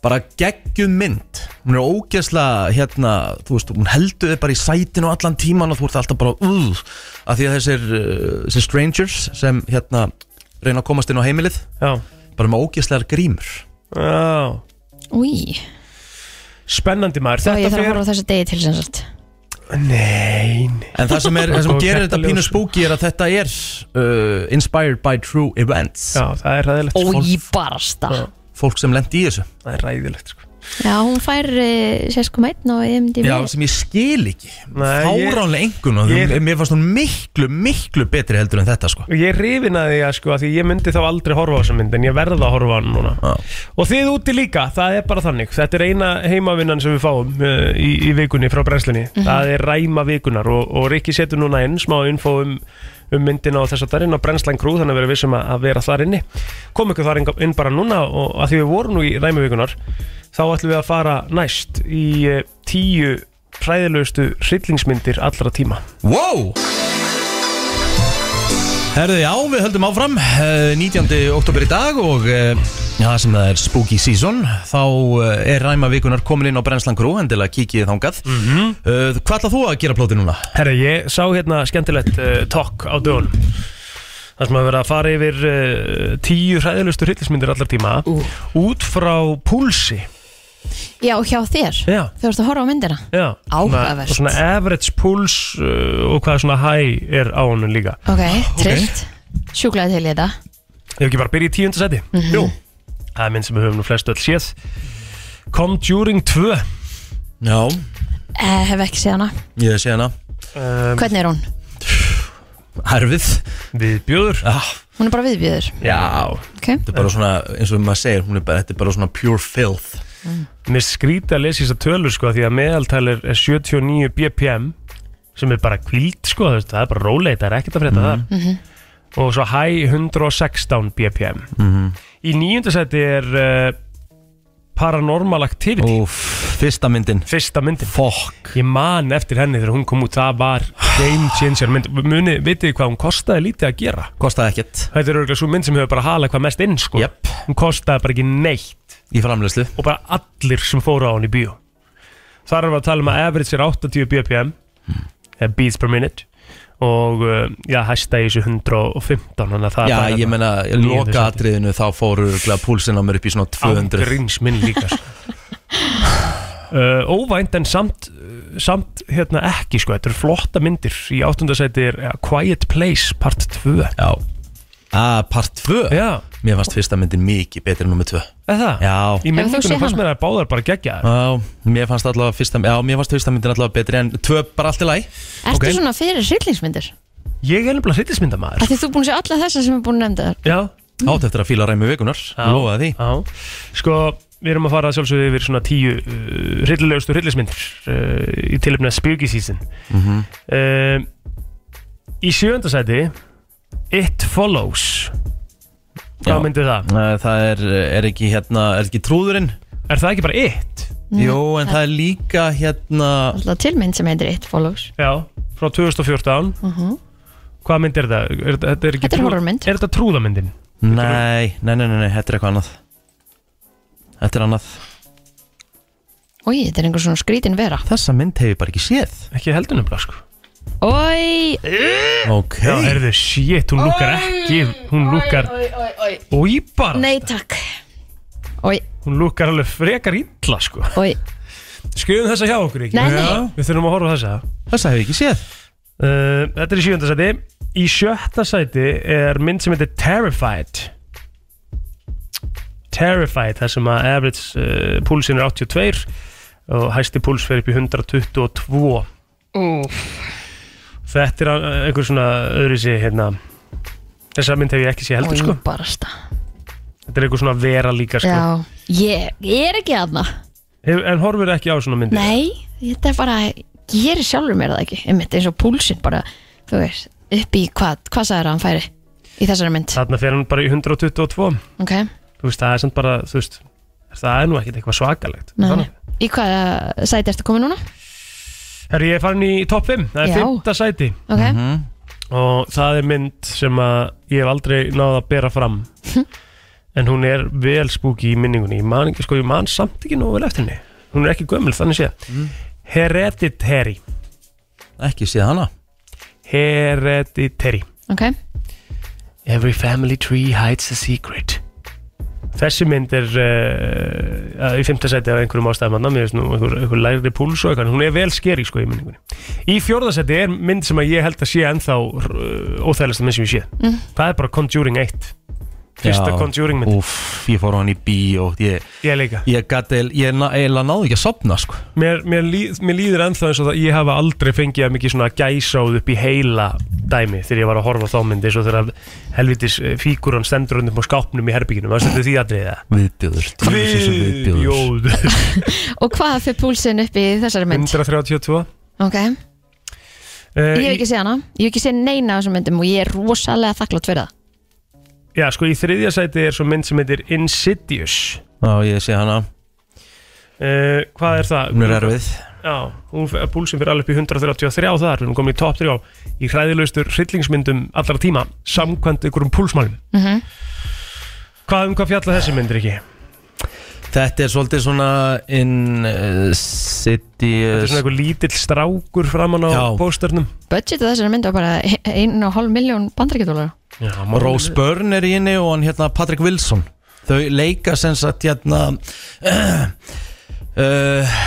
Speaker 1: bara geggjum mynd hún er ógeðslega hérna þú veist, hún heldur þið bara í sætinu allan tíman og þú ert alltaf bara uh, að því að þessir, uh, þessir strangers sem hérna reyna að komast inn á heimilið
Speaker 3: já,
Speaker 1: bara með ógeðslegar grímur
Speaker 3: já
Speaker 2: Új,
Speaker 3: spennandi maður
Speaker 2: þá ég
Speaker 3: þetta
Speaker 2: þarf að
Speaker 3: fer
Speaker 2: horfa á þessa degi til sem sagt
Speaker 3: nei, nei
Speaker 1: En það sem, er, það sem
Speaker 3: Og
Speaker 1: gerir þetta pínu
Speaker 3: kertaljós.
Speaker 1: spooky er að þetta er uh, inspired by true events
Speaker 3: Já, það er ræðilegt sko.
Speaker 2: Új, barasta
Speaker 3: Já.
Speaker 1: Fólk sem lendi í þessu
Speaker 3: Það er ræðilegt sko.
Speaker 2: Já, hún fær uh, 6,1 og MDB
Speaker 1: Já, sem ég skil ekki
Speaker 3: Nei, ég-
Speaker 1: Fáránlega engun og
Speaker 3: ég-
Speaker 1: ég, mér fannst hún miklu, miklu betri heldur en þetta sko
Speaker 3: Og ég er rifin að því að sko að Því ég myndi þá aldrei horfa á þessa mynd En ég verða að horfa á hann núna
Speaker 1: Já.
Speaker 3: Og þið úti líka, það er bara þannig Þetta er eina heimavinnan sem við fáum uh, í, í vikunni frá brenslinni Það er ræma vikunar Og, og Rikki setur núna inn smá info um, um myndina og þess að það er inn á brenslan krú Þannig að við erum vissum að, að vera þar inni Kom ykkur þar inn, inn bara núna Og að því við vorum nú í ræma vikunar Þá ætlum við að fara næst í uh, tíu fræðilegustu hryllingsmyndir allra tíma
Speaker 1: Wow! Herðu, já, við höldum áfram eh, 19. oktober í dag og eh, já, sem það er spooky season þá eh, er ræma vikunar komin inn á Brenslan Crew, endilega kikið þangað mm
Speaker 3: Mhm.
Speaker 1: -hmm. Hvað ætlað þú að gera plóti núna?
Speaker 3: Herra, ég sá hérna skemmtilegt uh, talk á dögun Það sem að vera að fara yfir uh, tíu hræðilegustu hryllismyndir allar tíma Út frá púlsi
Speaker 2: Já, hjá þér
Speaker 3: Já,
Speaker 2: Þú ert að horfa á myndina
Speaker 3: já
Speaker 2: Áhugavert.
Speaker 3: Svona- Og svona average púls uh, og hvað svona high er á honum líka
Speaker 2: Ok, trillt Sjúklaði til í þetta
Speaker 3: Ef ekki bara byrja í tíunda seti Jú Það er mynd sem við höfum nú flest öll séð Conjuring 2
Speaker 1: Já,
Speaker 2: eh, Hef ekki séð hana
Speaker 1: ég sé hana
Speaker 3: um,
Speaker 2: Hvernig er hún?
Speaker 1: Herfið
Speaker 3: Við bjóður
Speaker 1: ah,
Speaker 2: Hún er bara viðbjöður
Speaker 1: Já
Speaker 2: okay.
Speaker 1: Þetta er bara svona, eins og maður segir, hún er bara, þetta er bara svona pure filth
Speaker 3: Mm. Mér skrýta að lesa þess að tölur sko því að meðaltal er er 79 bpm sem er bara kvíld sko þú veist, það er bara róleit, það er ekkert að
Speaker 1: Mhm.
Speaker 3: frétta það og svo high 116 bpm í nýjunda seti er uh, Paranormal Activity
Speaker 1: Úf, fyrsta myndin
Speaker 3: fyrsta myndin
Speaker 1: Fokk
Speaker 3: ég man eftir henni þegar hún kom út það var game changer mynd muni, vitið þið hvað hún kostaði lítið að gera
Speaker 1: Kostaði ekkert
Speaker 3: þetta er örgulega svo mynd sem hefur bara halað hvað mest inn sko
Speaker 1: Jep.
Speaker 3: hún kostaði bara ekki neitt
Speaker 1: í framleyslu
Speaker 3: og bara allir sem fóru á hann í
Speaker 1: Hmm.
Speaker 3: bíó þar erum við að tala um að average er 80 bpm mm. Eh, beats per minute og uh, já, hæsta í þessu 115 þannig að það
Speaker 1: Já,
Speaker 3: bara
Speaker 1: ég
Speaker 3: hérna
Speaker 1: meina,
Speaker 3: níunda
Speaker 1: loka
Speaker 3: sæti.
Speaker 1: atriðinu þá fóru púlsinn á mér upp í svona
Speaker 3: án
Speaker 1: 200
Speaker 3: gríns minn líka
Speaker 1: [laughs]
Speaker 3: sko. uh, óvænt en samt eh, samt hérna ekki sko þetta eru flotta myndir í áttundasæti er ja, Quiet Place part 2
Speaker 1: Já Að Ah, part 2
Speaker 3: já,
Speaker 1: Mér fannst fyrsta myndin mikið betri en nummer 2
Speaker 3: eða það
Speaker 1: Já
Speaker 3: í
Speaker 2: Hefur þú séð
Speaker 3: myndingunum fannst
Speaker 2: hana?
Speaker 3: mér að báðar bara gegja
Speaker 1: Já, mér fannst allavega fyrsta Já, mér fannst fyrsta myndin allavega betri en 2 bara allt í læg
Speaker 2: Ertu svona fyrir hryllingsmyndir?
Speaker 3: ég er nefnilega hryllismyndamaður
Speaker 2: Því þú er búin að sjá alla þessar sem er búin að nefnda þér
Speaker 3: já,
Speaker 1: Átt eftir að fíla ræmi vikunar
Speaker 3: Já.
Speaker 1: Lofaði því
Speaker 3: Já, sko við erum að fara að sjálfsögðu yfir svona tíu uh, hryllilegustu hryllismyndir uh, í tilöfni að Spooky Season
Speaker 1: Mhm.
Speaker 3: mm Í sjöndasæti It Follows
Speaker 1: Já.
Speaker 3: Hvað myndið það?
Speaker 1: Æ, Það er, er ekki hérna, er ekki trúðurinn
Speaker 3: Er það ekki bara It?
Speaker 1: Jó, en það er líka hérna
Speaker 2: Alltaf tilmynd sem heitir It Follows
Speaker 3: Já, frá 2014 Hvað mynd er það? Er, þetta er, ekki
Speaker 2: Mhm. Þetta er
Speaker 3: trú-
Speaker 2: horrormynd.
Speaker 3: Er þetta trúðamyndin?
Speaker 1: Nei, nei, nei, nei, nei, þetta er eitthvað annað Þetta er annað
Speaker 2: Úi, þetta er einhver svona skrítin vera
Speaker 1: Þessa mynd hef ég bara ekki séð
Speaker 3: Ekki heldur nefnilega sko
Speaker 2: Úi,
Speaker 1: Ok
Speaker 3: Já, heyrðu, shit, hún lúkar ekki Hún lúkar Új bara
Speaker 2: nei takk Úi,
Speaker 3: Hún lúkar alveg frekar illa sko
Speaker 2: úi,
Speaker 3: Skrifum þessa hjá okkur ekki?
Speaker 2: Nei, nei.
Speaker 3: Já, Við þurfum að horfa á þessa
Speaker 1: Þessa hef ég ekki séð
Speaker 3: uh, Þetta er í sjönda sæti Í sjötta sæti er mynd sem heitir Terrified Terrified þar sem að average uh, púlsin er 82 og hæsti púls fer upp í 122 Þetta er uh, einhver svona öðruvísi hérna Þessa mynd hef ég ekki séð heldur
Speaker 2: úi
Speaker 3: sko
Speaker 2: barasta
Speaker 3: Þetta er einhver svona vera líka sko
Speaker 2: Já, ég, ég er ekki aðna
Speaker 3: Hef, En horfur ekki á svona myndi
Speaker 2: Nei, þetta er bara Ég er sjálfur mér það ekki Einmitt eins og púlsinn bara, þú veist Upp í hvað, hvað sagður hann færi Í þessari mynd,
Speaker 3: Þarna fer hann bara í 122
Speaker 2: ok
Speaker 3: Þú veist, það er samt bara, þú veist Það er nú ekkert eitthvað svakalegt
Speaker 2: Nei, nei.
Speaker 3: Þannig.
Speaker 2: Í hvað sæti ertu komið núna?
Speaker 3: Herru, ég er farin í topp 5, það er
Speaker 2: Já.
Speaker 3: fymta sæti
Speaker 2: Ok,
Speaker 1: Mhm.
Speaker 3: og það er mynd sem að ég hef aldrei náð að bera fram
Speaker 2: [laughs]
Speaker 3: en hún er vel spúki í minningunni, ég man, ekki- sko, ég man samt ekki nógu vel eftir henni, hún er ekki gömul þannig séð, Hereditary
Speaker 1: Mm. Ekki séð hana
Speaker 3: Hereditary
Speaker 2: ok
Speaker 3: Every family tree hides a secret Þessi mynd er uh, í fymta sæti af einhverjum ástæðamanna mér veist nú einhver, einhver lægri púls og eitthvað en hún er vel skeri sko í minningunni Í fjórða sæti er mynd sem að ég held að sé ennþá uh, óþægilegsta mynd sem ég sé Það er bara Conjuring 1 Fyrsta
Speaker 1: Já.
Speaker 3: Conjuring mynd
Speaker 1: Úff, ég fór á hann í bíó Ég,
Speaker 3: Ég líka
Speaker 1: ég gæti, ég ná- eiginlega náðu ekki að sopna sko.
Speaker 3: mér, mér, líð, mér líður ennþá eins og það ég hafa aldrei fengið að mikið svona gæsáð upp í heila dæmi þegar ég var að horfa á þá myndi svo þegar helvitis fíkuran stendur undir á skápnum í herbygginum Það stendur því atriðið það
Speaker 1: Viðbjóður djöfisins er Viðbjóður
Speaker 3: Viðbjóður
Speaker 2: [laughs] Og hvað fyrir púlsinn upp í þessari mynd?
Speaker 3: 132
Speaker 1: Um,
Speaker 2: Ok,
Speaker 1: eh,
Speaker 2: ég hef
Speaker 3: uh,
Speaker 2: ekki séð hana Ég hef ekki séð neina af þessum myndum og ég er rosalega þakklátt fyrir það
Speaker 3: Já, sko í þriðja sæti er svo mynd sem heitir Insidious
Speaker 1: Já, ég sé hana,
Speaker 3: uh, Hvað er það?
Speaker 1: hún er erfið
Speaker 3: Já, hún fer- púlsinn fyrir alveg upp í 133 þar, við erum komin í top 3 í hræðilegstur hryllingsmyndum allra tíma samkvæmt ykkurum púlsmælum Hvað um hvað fjalla þessi myndir ekki?
Speaker 1: Þetta er svolítið svona In uh, City
Speaker 3: Þetta er svona einhver lítill strákur framan á
Speaker 1: Já.
Speaker 3: pósternum
Speaker 2: Budgetið þessari mynd var bara ein og hálf miljón bandaríkjadólar
Speaker 3: Já,
Speaker 1: Rose Byrne er í henni og hann hérna Patrick Wilson Þau leika sem sagt hérna [clears throat] uh,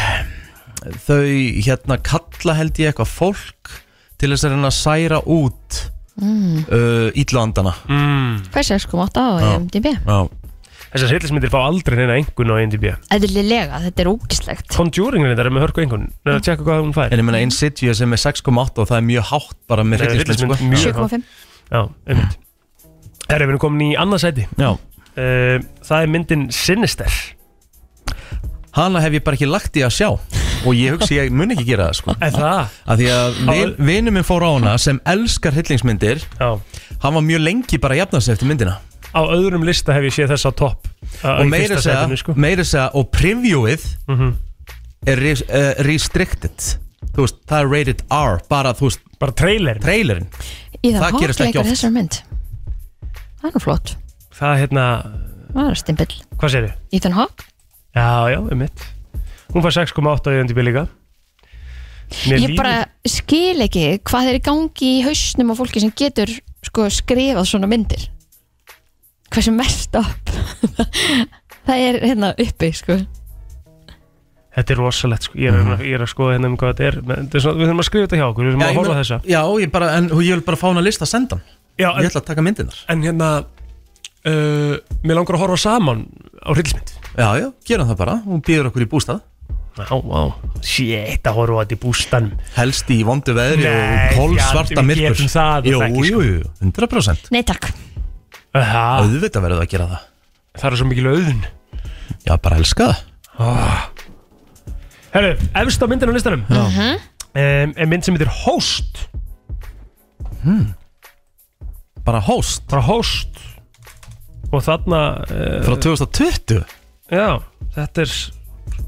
Speaker 1: Þau hérna kalla held ég eitthvað fólk til þess að reyna að særa út mm. uh, ítlandana
Speaker 3: mm.
Speaker 2: Hvað er 6,8 á
Speaker 1: Já.
Speaker 2: sko, IMDb?
Speaker 1: Já,
Speaker 3: Þessar hryllingsmyndir fá aldrei neina engun á IMDb
Speaker 2: Eðlilega, þetta er ógislegt
Speaker 3: Conjuring reyndar er með hörku engun Nei, að tjekka hvað hún fær
Speaker 1: en ég meina Insidious er með 6,8 og það er mjög hátt bara með
Speaker 3: Nei,
Speaker 1: hryllingsmynd
Speaker 3: hryllingsmynd,
Speaker 1: sko.
Speaker 3: mjög.
Speaker 2: 7,5
Speaker 3: Já, einmitt Herra, við erum komin í annað sæti
Speaker 1: Já,
Speaker 3: uh, Það er myndin Sinister
Speaker 1: hana hef ég bara ekki lagt í að sjá og ég hugsi ég mun ekki gera það sko
Speaker 3: Er það?
Speaker 1: að því að vin, vinur minn fór á hana sem elskar hryllingsmyndir
Speaker 3: Já
Speaker 1: hann var mjög lengi bara að jafna sig eftir myndina
Speaker 3: Á öðrum lista hef ég séð þess á topp Á-
Speaker 1: og
Speaker 3: í
Speaker 1: meira
Speaker 3: fyrsta
Speaker 1: að segja,
Speaker 3: sætinu, sko. Mhm.
Speaker 1: meira að segja og previewið er res, uh, restricted þú veist, það er rated R bara þú veist,
Speaker 3: Bara trailer
Speaker 1: trailerin
Speaker 2: Í það
Speaker 1: Það gerist ekki
Speaker 2: hókleikur
Speaker 1: oft.
Speaker 2: þessari mynd Það er nú flott
Speaker 3: Það hérna,
Speaker 2: Það er stimpill
Speaker 3: hvað segir þið?
Speaker 2: Ethan Hawke
Speaker 3: um Já, já, einmitt Hún fær 6,8 á IMDb líka Mér
Speaker 2: Ég
Speaker 3: líður-
Speaker 2: bara skil ekki hvað er í gangi í hausnum á fólki sem getur sko skrifað svona myndir Hversu mest upp [laughs] Það er hérna uppi sko
Speaker 3: Þetta er rosalegt sko. ég, er, ég er að skoða hérna um hvað þetta er Men, þetta er svona, Við þurfum að skrifa þetta hjá okkur Við þurfum
Speaker 1: Mhm. Já,
Speaker 3: að
Speaker 1: ég
Speaker 3: horfa á
Speaker 1: meina-
Speaker 3: þessa
Speaker 1: Já, ég bara, en ég vil bara fá hana list að senda hann
Speaker 3: Já,
Speaker 1: Ég
Speaker 3: en,
Speaker 1: ætla að taka myndinar
Speaker 3: en hérna uh, Mér langar að horfa saman á hryllismynd
Speaker 1: Já, já, gera það bara, hún býður okkur í bústað
Speaker 3: Já, já, shit að horfa á þetta í bústanum
Speaker 1: Helst í vondu veðri
Speaker 3: Nei,
Speaker 1: og kól svarta
Speaker 3: fjandi, við
Speaker 1: myrkur
Speaker 3: getum það,
Speaker 1: Jú,
Speaker 3: það ekki,
Speaker 1: jú,
Speaker 3: sko.
Speaker 1: jú, 100%
Speaker 2: Nei takk
Speaker 3: Aha,
Speaker 1: Auðvitað verður það að gera það
Speaker 3: Það er svo mikil auðun
Speaker 1: Já, bara elska það
Speaker 3: Ah. Herru, efst á myndinu á listanum
Speaker 1: Já. Mhm.
Speaker 3: um, Er mynd sem heitir Host
Speaker 1: Hmm. Bara host
Speaker 3: Bara Host Og þarna uh,
Speaker 1: frá 2020
Speaker 3: Já, þetta er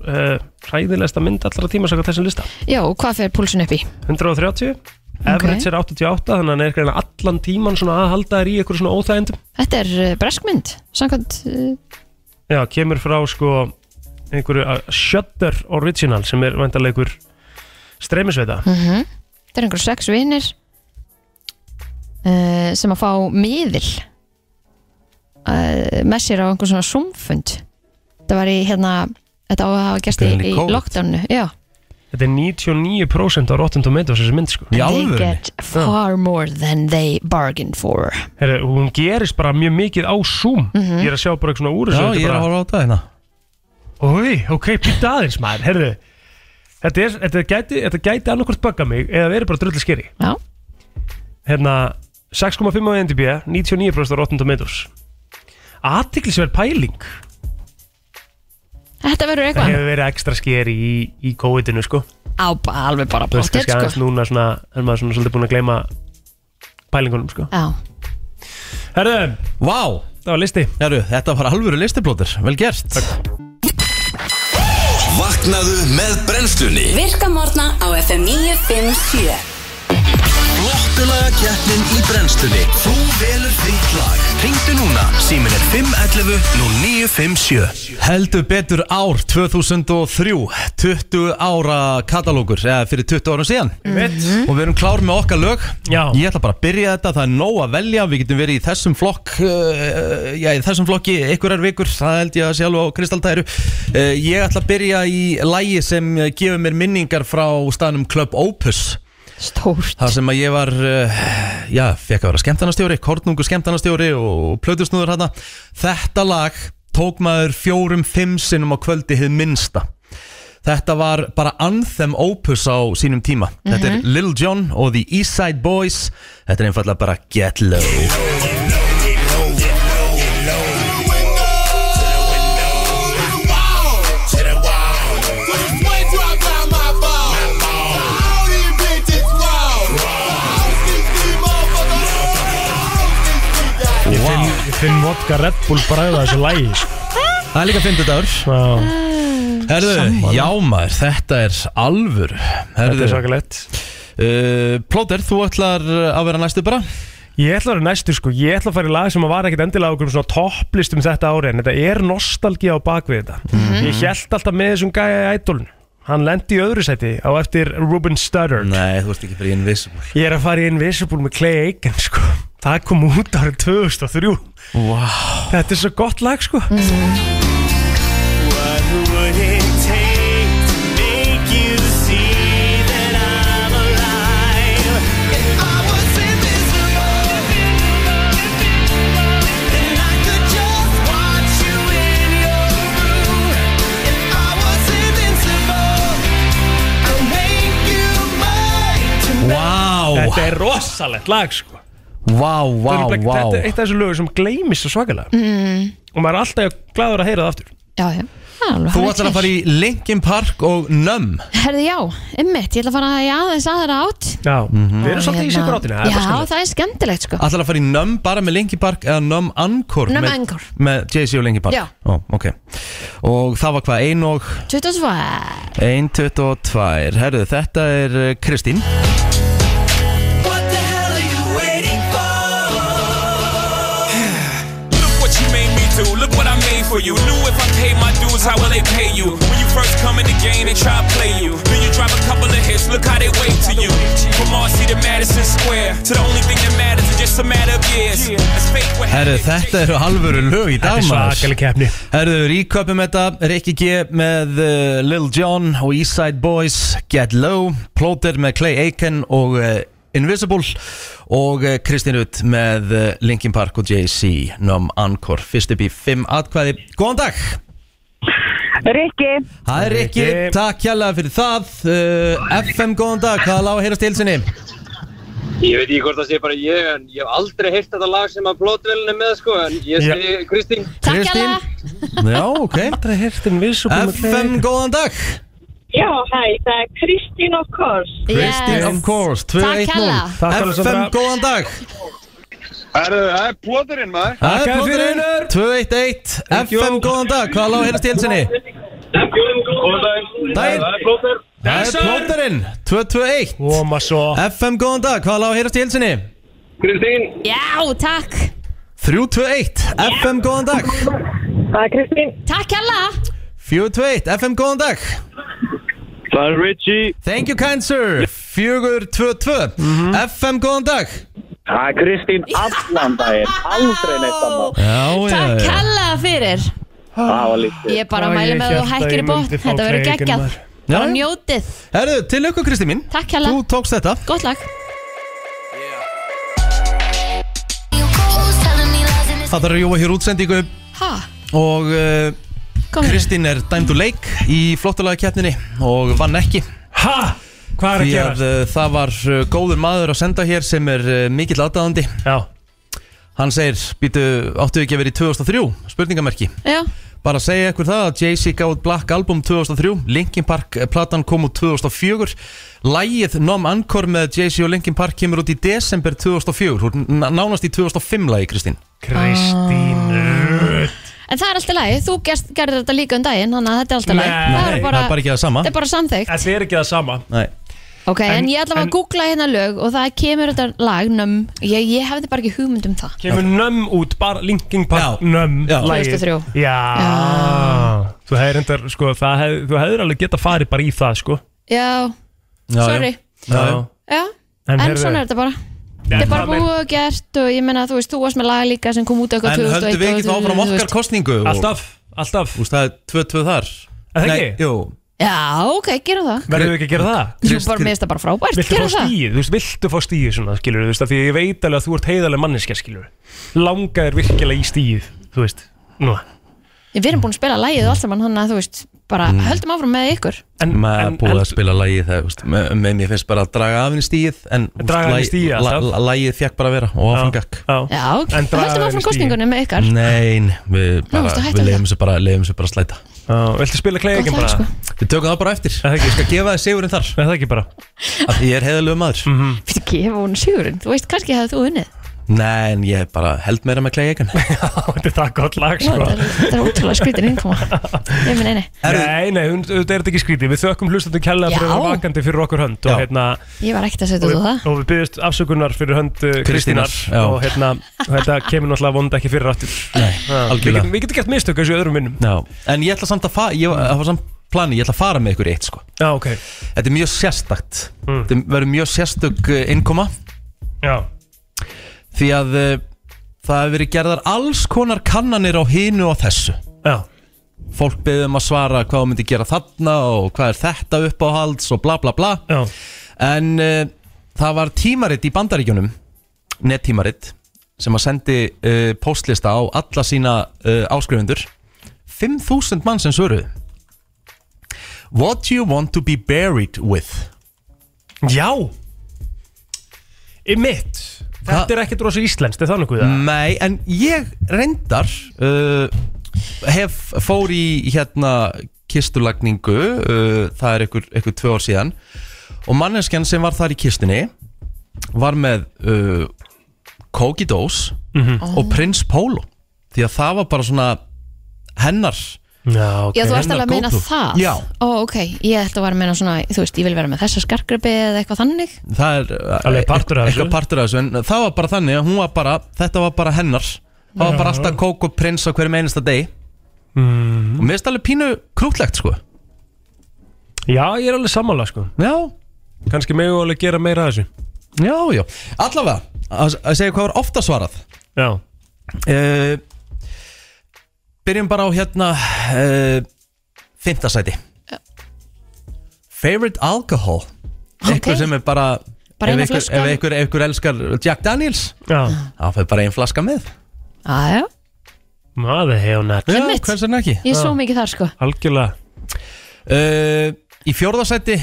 Speaker 3: uh, hræðilegsta mynd allra tíma Saka þessum lista
Speaker 2: Já, og hvað fer púlsun upp í?
Speaker 3: 130 Average er 88 Þannig að hann er greina allan tíman svona að halda þér í eitthvað svona óþægindum
Speaker 2: Þetta er uh, breskmynd Samkvæmt uh,
Speaker 3: Já, kemur frá sko einhverju uh, Shutter Original sem er vantarlega einhver streymisveita
Speaker 2: Mhm. Þetta er einhver sex vinir uh, sem að fá miðil uh, með sér á einhver svona sumfund Þetta var í hérna Þetta á að hafa gerst í,
Speaker 1: Greinlega
Speaker 2: í
Speaker 1: COVID.
Speaker 2: lockdownu Já
Speaker 3: Þetta er 99% á Rotten Tomatoes þessi mynd sko
Speaker 1: Í
Speaker 2: They
Speaker 1: alvörunni?
Speaker 2: get far more than they bargained for
Speaker 3: Heri, Hún gerist bara mjög mikið á Zoom Ég er að sjá bara eitthvað svona
Speaker 1: Já,
Speaker 3: úr þessu Þetta
Speaker 1: ég er
Speaker 3: bara-
Speaker 1: að horfa á þetta hérna
Speaker 3: Ói, ok, býta aðeins maður, herðu Þetta, er, þetta gæti, þetta gæti annarkvort bugga mig eða verið bara drullu skeri
Speaker 2: Já,
Speaker 3: Hérna, 6,5 á NDB 99% á Rotten Tomatoes Athyglisverð pæling
Speaker 2: þetta verður
Speaker 3: Það
Speaker 2: eitthvað
Speaker 3: hefur verið ekstra skeri í, í COVID-inu sko
Speaker 2: á alveg bara
Speaker 3: Þú veist
Speaker 2: bóttið
Speaker 3: kannski aðeins
Speaker 2: sko
Speaker 3: núna svona er maður svona svolítið búin að gleyma pælingunum sko
Speaker 2: Já,
Speaker 3: Herðu,
Speaker 1: Vá,
Speaker 3: það var listi
Speaker 1: heru, þetta var alvöru listiplótur, vel gert
Speaker 6: Vaknaðu með brennslunni
Speaker 7: Virka morgna á FM 957
Speaker 6: Flottulaga keppnin í brennslunni Þú velur þitt lag Ringdu núna, símin er 511 0957
Speaker 1: Heldur betur ár 2003 20 ára katalógur eða fyrir 20 árum síðan og við erum klár með okkar lög
Speaker 3: Já.
Speaker 1: ég ætla bara að byrja þetta, það er nóg að velja við getum verið í þessum flokk uh, já, í þessum flokki einhverjar vikur það held ég að sé alveg á kristaltæru uh, ég ætla að byrja í lægi sem eh, gefur mér minningar frá staðnum Club Opus
Speaker 2: stórt
Speaker 1: þar sem að ég var uh, já, fekk að vera skemmtanastjóri, kortnungu skemmtanastjóri og plötusnúður hana þetta lag tók maður fjórum fimm sinnum á kvöldi hið minnsta þetta var bara anthem opus á sínum tíma þetta er Lil Jon og The East Side Boys þetta er einfallega bara Get Low wow.
Speaker 3: Ég finn vodka Red Bull bræða þessu lægi sko.
Speaker 1: það er líka 50 dagur
Speaker 3: Já,
Speaker 1: Herðu, já maður, þetta er alvör
Speaker 3: Þetta er
Speaker 1: Herðu,
Speaker 3: svakalegt
Speaker 1: uh, Plóter, þú ætlar uh, að vera næstu bara
Speaker 3: Ég ætla að vera næstur sko, ég ætla að fara í lag sem að var ekkert endilega okkur svona topplistum þetta ári en þetta er nostalgi á bakvið þetta
Speaker 1: Mhm.
Speaker 3: Ég held alltaf með þessum gæja í ædolun Hann lendi í öðru sæti á eftir Ruben Studdard
Speaker 1: Nei, þú ert ekki fyrir Invisible
Speaker 3: Ég er að fara í Invisible með Clay Aiken sko Það kom út árið 2003
Speaker 1: Vá Mhm.
Speaker 3: Þetta er svo gott lag sko
Speaker 1: Vá,
Speaker 3: Þetta er rosalegt lag sko
Speaker 1: vá, vá,
Speaker 3: Þetta er nefnilega-
Speaker 1: vá Mhm.
Speaker 3: Þetta er eitt af þessu lögur sem gleymis svo svakalega Og maður er alltaf glæður að heyra það aftur
Speaker 2: Mm, Já, já Það er alveg
Speaker 1: Þú
Speaker 2: hárrétt
Speaker 1: ætlar að
Speaker 2: hér.
Speaker 1: fara í Linkin Park og Numb
Speaker 2: Herði já, ymmit, ég ætla að fara í aðeins aðra átt
Speaker 3: Já, við erum svolítið í
Speaker 2: Hérna,
Speaker 3: sig grátinu
Speaker 2: Já, það er skemmtilegt sko
Speaker 1: Mhm. Ætlar að fara í Numb bara með Linkin Park eða Numb Encore
Speaker 2: Numb
Speaker 1: með,
Speaker 2: Encore.
Speaker 1: Með Jay-Z og Linkin Park
Speaker 2: Já.
Speaker 1: Ó, ok Og það var hvað, ein og
Speaker 2: 22
Speaker 1: ein, 22 Herðu, þetta er eh, Kristín
Speaker 8: Look what you made me do, look what I made for you. Knew if I paid my dues, how will they pay you? When you first come in the game, they try to play you. Then you drive a couple of hits, look how they wave to you. From Marcy to Madison Square, to the only thing that matters is just a matter of years. As fate would have
Speaker 1: Herru,
Speaker 8: it,
Speaker 1: þetta eru alvöru lög í dag
Speaker 3: Þetta er
Speaker 1: maður.
Speaker 3: svakaleg keppni
Speaker 1: Herðu, ríköpum þetta Rikki G með uh, Lil Jon og Eastside Boys Get Low, Plotter með Clay Aiken og uh, Invisible og uh, Kristín Rutt með uh, Linkin Park og Jay-Z Num Encore, fyrst upp í 5 atkvæði Góðan dag!
Speaker 9: Rikki,
Speaker 1: Hæ Rikki,
Speaker 3: Rikki.
Speaker 1: takk hérlega fyrir það uh, FM, góðan dag, hvað er lág að heyrast til sinni?
Speaker 10: Ég veit ekki hvort það sé bara ég en ég hef aldrei heyrt þetta lag sem að plótvelin er með sko en ég
Speaker 3: Já.
Speaker 10: segi Kristín
Speaker 2: Takk
Speaker 1: Kristín.
Speaker 2: hérlega.
Speaker 1: Já, ok
Speaker 3: Aldrei heyrt um viss og
Speaker 1: FM, góðan dag
Speaker 9: já hæ, það er Kristín of course.
Speaker 1: Kristín,
Speaker 2: Yes.
Speaker 1: of course,
Speaker 2: Takk hérlega.
Speaker 1: 2-1-0
Speaker 3: Takk
Speaker 1: FM,
Speaker 3: alveg, Sandra.
Speaker 1: góðan dag
Speaker 10: Herru, það er plóturinn maður
Speaker 1: Það er
Speaker 3: Takk fyrir,
Speaker 1: plóturinn, 2-1-1 FM, góðan dag, hvað lág að heyrast í helsinni?
Speaker 10: Góðan dag
Speaker 1: Daginn. Það
Speaker 10: er plótur
Speaker 1: Það er plóturinn, 2-2-1
Speaker 3: Óma svo
Speaker 1: FM, góðan dag, hvað lág að heyrast í helsinni?
Speaker 10: Kristín
Speaker 2: Já, takk
Speaker 1: 3-2-1 FM, góðan dag
Speaker 9: Það er Kristín.
Speaker 2: Takk hérlega
Speaker 1: 4-2-1 FM, góðan dag
Speaker 10: Það er Richie
Speaker 1: Thank you, kind sir 4-2-2 FM, góðan dag
Speaker 4: Það er Kristín allan daginn, aldrei neitt annað.
Speaker 1: Já,
Speaker 2: Takk hérlega fyrir
Speaker 1: Ah.
Speaker 4: Það var lítið.
Speaker 2: Ég bara
Speaker 3: Ah. Æ,
Speaker 2: mæli
Speaker 3: ég
Speaker 2: með þú
Speaker 3: hélt að
Speaker 2: hækkir
Speaker 3: ég
Speaker 2: í bótt
Speaker 3: myndi fá
Speaker 2: Þetta verður
Speaker 3: kleikin
Speaker 2: geggjað
Speaker 3: maður.
Speaker 2: Bara
Speaker 1: Já, já.
Speaker 2: njótið
Speaker 1: Herðu, til auku Kristi mín
Speaker 2: Takk hérlega.
Speaker 1: Þú tókst þetta
Speaker 2: Gott lag
Speaker 1: Það þarf að jóa hér útsendingu
Speaker 2: Ha,
Speaker 1: og uh,
Speaker 2: kom hér
Speaker 1: Kristín er dæmd úr leik í flottalega keppninni og vann ekki
Speaker 3: Ha? Hvað er að
Speaker 1: Því að
Speaker 3: gera?
Speaker 1: uh, það var uh, góður maður að senda hér sem er uh, mikill aðdáðandi
Speaker 3: Já
Speaker 1: Hann segir, býtu, áttu ekki að vera í 2003? Spurningamerki
Speaker 2: Já,
Speaker 1: Bara að segja ykkur það að Jay-Z gáði Black Album 2003 Linkin Park eh, platan kom út 2004 Lægið Nom Ankor með Jay-Z og Linkin Park kemur út í desember 2004 Hún er nánast í 2005 lagi, Kristín
Speaker 2: Ah.
Speaker 3: Kristín Rutt
Speaker 2: en það er alltaf lagi Þú gerst, gerðir þetta líka um daginn Þannig að þetta er alltaf lagi Það
Speaker 3: Nei,
Speaker 2: er
Speaker 1: það er bara
Speaker 2: bara,
Speaker 1: ekki það sama
Speaker 2: það er bara samþygt
Speaker 3: Þetta er ekki það sama
Speaker 1: Nei.
Speaker 2: Ok, en,
Speaker 3: En-
Speaker 2: ég ætla bara
Speaker 3: en-
Speaker 2: að googla hérna lög Og það kemur þetta lag nömm Ég, ég hefði bara ekki hugmynd um það
Speaker 3: Kemur nömm út, bara Linkin Park
Speaker 1: Já.
Speaker 3: nömm
Speaker 1: Já.
Speaker 3: lagið.
Speaker 2: 2003.
Speaker 3: Já Þú hefðir endar, sko, það hef, þú hefðir alveg geta farið bara í það, sko
Speaker 2: Já,
Speaker 1: Já, já.
Speaker 2: sorry
Speaker 1: Já, já.
Speaker 2: Já,
Speaker 3: En
Speaker 2: en
Speaker 3: heyrðu-
Speaker 2: svona er þetta bara Þetta er bara búið og gert og ég meina þú veist, þú varst með lag líka sem kom út eitthvað
Speaker 1: En
Speaker 2: 2001
Speaker 1: höldum við ekki þá
Speaker 2: og-
Speaker 1: áfram
Speaker 2: þú
Speaker 1: okkar
Speaker 2: veist.
Speaker 1: kostningu og-
Speaker 3: Alltaf, alltaf
Speaker 1: Þú veist, það er 2-2 þar
Speaker 3: Er það
Speaker 1: Nei,
Speaker 3: ekki?
Speaker 1: jú
Speaker 2: Já, ok, gerum það
Speaker 3: Verður við ekki að gera það?
Speaker 2: Jú,
Speaker 1: Krist-
Speaker 2: bara mér finnst það bara frábært,
Speaker 3: Viltu
Speaker 2: gerum
Speaker 3: fá
Speaker 2: það
Speaker 3: stíð, þú veist, viltu fá stíð svona, skilur þú veist, af því að ég veit alveg að þú ert heiðalega manneskja, skilur Langa þér virkilega í stíð, þú veist Nú,
Speaker 2: Við erum búin að spila lagið og allt saman hann að þú veist bara
Speaker 1: Mm.
Speaker 2: höldum áfram með ykkur
Speaker 3: en,
Speaker 1: maður
Speaker 3: en,
Speaker 1: er búið
Speaker 3: en,
Speaker 1: að spila lagið það, veist, með, með mér finnst bara að draga af henni stíð en þú veist,
Speaker 3: Draga af henni
Speaker 1: lagi-
Speaker 3: stigið
Speaker 1: la-
Speaker 3: alltaf.
Speaker 1: la- lagið fekk bara að vera og áfram gakk
Speaker 3: Já,
Speaker 2: Já, höldum
Speaker 3: En draga þeim í
Speaker 2: áfram
Speaker 3: stigið.
Speaker 2: kostningunni með ykkar
Speaker 1: Nein, við, bara,
Speaker 2: veistu, hættu
Speaker 1: við
Speaker 2: við
Speaker 1: leiðum þessu bara, leiðum þessu bara að slæta
Speaker 3: já, viltu spila
Speaker 2: Gott
Speaker 3: kleikin
Speaker 2: lag,
Speaker 3: bara?
Speaker 2: sko.
Speaker 3: Er
Speaker 1: Við tökum það bara eftir
Speaker 3: það
Speaker 1: Ég
Speaker 3: ekki,
Speaker 1: skal gefa þið sigurinn þar
Speaker 3: er það ekki bara? Mhm.
Speaker 1: af því Ég er heiðalög maður
Speaker 2: Fyrir ekki, ég hef hún sigurinn, þú veist kannski hefði þú unnið
Speaker 1: Nei, en ég bara held meira með klæði eikan
Speaker 3: [laughs] Þetta er það gott lag, sko
Speaker 2: Þetta er- þetta er ótrúlega skrítin innkoma Ég minn eini,
Speaker 3: Nei, nei, hún- þetta er þetta ekki skrítið Við þökkum hlustandi kella
Speaker 2: Já.
Speaker 3: fyrir að vera vakandi fyrir okkur hönd og,
Speaker 1: Já.
Speaker 3: hérna,
Speaker 2: ég var ekkert að setja
Speaker 3: og,
Speaker 2: þú það
Speaker 3: og við byggjast afsökunar fyrir hönd uh,
Speaker 1: Kristínar,
Speaker 3: Kristínar
Speaker 1: já.
Speaker 3: og hérna, þetta kemur náttúrulega vond ekki fyrir aftur
Speaker 1: Nei,
Speaker 3: Já, Við
Speaker 1: algjörlega.
Speaker 3: getum- við getum gett mistök þessu í öðrum minnum
Speaker 1: Já, en ég ætla samt að fara Ég var- það var samt plani, ég ætla að fara með ykkur í eitt sko.
Speaker 3: Já, ok
Speaker 1: Þetta er mjög sérstakt
Speaker 3: Mm.
Speaker 1: Þetta verður mjög sérstök eh, innkoma
Speaker 3: Já,
Speaker 1: Því að eh, það hefur verið gerðar alls konar kannanir á hinu og þessu
Speaker 3: já,
Speaker 1: fólk beðið um að svara hvað þú myndi gera þarna og hvað er þetta uppáhalds og bla bla bla
Speaker 3: já
Speaker 1: en uh, það var tímarit í bandaríkjunum nettímarit sem að sendi uh, postlista á alla sína uh, áskrifundur 5000 mann sem svöruðu What do you want to be buried with?
Speaker 3: Já Í mitt
Speaker 1: Hva-
Speaker 3: Þetta er ekkert rosa íslenskt, er það nokkuð það?
Speaker 1: Nei, en ég reyndar uh, hef fór í hérna kistulagningu uh, það er einhver, einhver tvö ár síðan og manneskjan sem var þar í kistunni var með uh, kókidós og prins Pólo því að það var bara svona hennar
Speaker 3: Já, ok
Speaker 2: Já, þú varst
Speaker 1: hennar
Speaker 2: alveg að meina
Speaker 1: go-to.
Speaker 2: það
Speaker 1: Já.
Speaker 2: Ó, ok, ég ætla að vera að meina svona þú veist, ég vil vera með þessa skarkrabbi eða eitthvað þannig
Speaker 1: það er uh,
Speaker 3: Alveg partur
Speaker 1: eitthvað-
Speaker 3: af þessu.
Speaker 1: eitthvað partur af þessu en það var bara þannig að hún var bara þetta var bara hennar það var bara alltaf kók og prins á hverjum einasta deg mm. og mér finnst alveg pínu krútlegt sko
Speaker 3: Já, ég er alveg sammála, sko
Speaker 1: já
Speaker 3: kannski megum við alveg gera meira af þessu
Speaker 1: Já, já, allavega að, að segja hvað var ofta svarað
Speaker 3: Já
Speaker 1: uh, Byrjum bara á hérna uh, Fintasæti Favorite alcohol Eitthvað sem er bara
Speaker 2: Bara
Speaker 1: ef
Speaker 2: eina
Speaker 1: einhver-
Speaker 2: flaskan.
Speaker 1: Ef einhver, einhver elskar Jack Daniels
Speaker 3: Já
Speaker 1: Það fyrir bara ein flaska með
Speaker 2: Aðja,
Speaker 3: Maður hefur nætt
Speaker 1: Já,
Speaker 2: Einmitt.
Speaker 1: hvers er ekki
Speaker 2: ég er svo mikið þar sko
Speaker 3: Algjörlega
Speaker 1: uh, Í fjórðasæti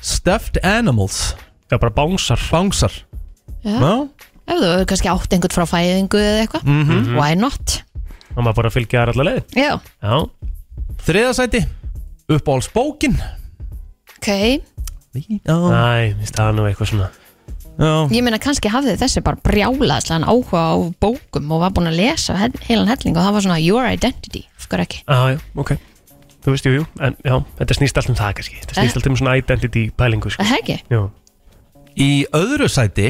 Speaker 1: Stuffed Animals
Speaker 3: Já, bara bánsar
Speaker 1: Bánsar
Speaker 2: Já.
Speaker 1: Já. Mhm.
Speaker 2: Ef þú hefur kannski átt einhvern frá fæðingu eða eitthvað Mm-hmm. Why not?
Speaker 3: Og maður bara að fylgja þær allar leið
Speaker 2: Já,
Speaker 3: Já
Speaker 1: Þriðasæti Uppáhaldsbókin
Speaker 2: ok
Speaker 1: Já,
Speaker 3: Næ, minnst það nú eitthvað svona
Speaker 1: já
Speaker 2: Ég meina kannski hafði þessi bara brjálaðslegan áhuga á bókum og var búin að lesa he heilan helling og það var svona your identity, af hverju ekki
Speaker 3: Já, já, ok Þú veist, jú, jú, en já, þetta snýst allt um það kannski Þetta snýst allt um svona identity pælingu sko.
Speaker 2: Eh? Er Það ekki?
Speaker 3: Jú,
Speaker 1: Í öðru sæti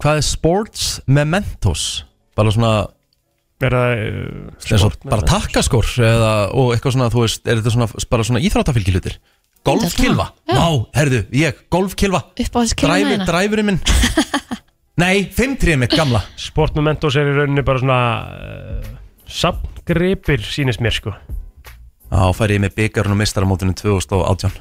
Speaker 1: Hvað er sports mementos? Bara svona
Speaker 3: er það uh,
Speaker 1: eins og
Speaker 3: sport-
Speaker 1: bara takkaskor eða, og eitthvað svona, þú veist, er þetta svona bara svona íþrátafylgi hlutir? Golfkilva?
Speaker 2: Já.
Speaker 1: Má, herðu, ég, golfkilva
Speaker 2: Upp á þessi
Speaker 1: Dræfi,
Speaker 2: kynnaðina [laughs]
Speaker 1: Dræfurinn minn Nei, fimmtríðin mitt gamla
Speaker 3: Sport Mementos er í rauninni bara svona uh, Sapngripir sýnist mér sko
Speaker 1: Á, færi ég með byggarinn og mistaramótinu 2018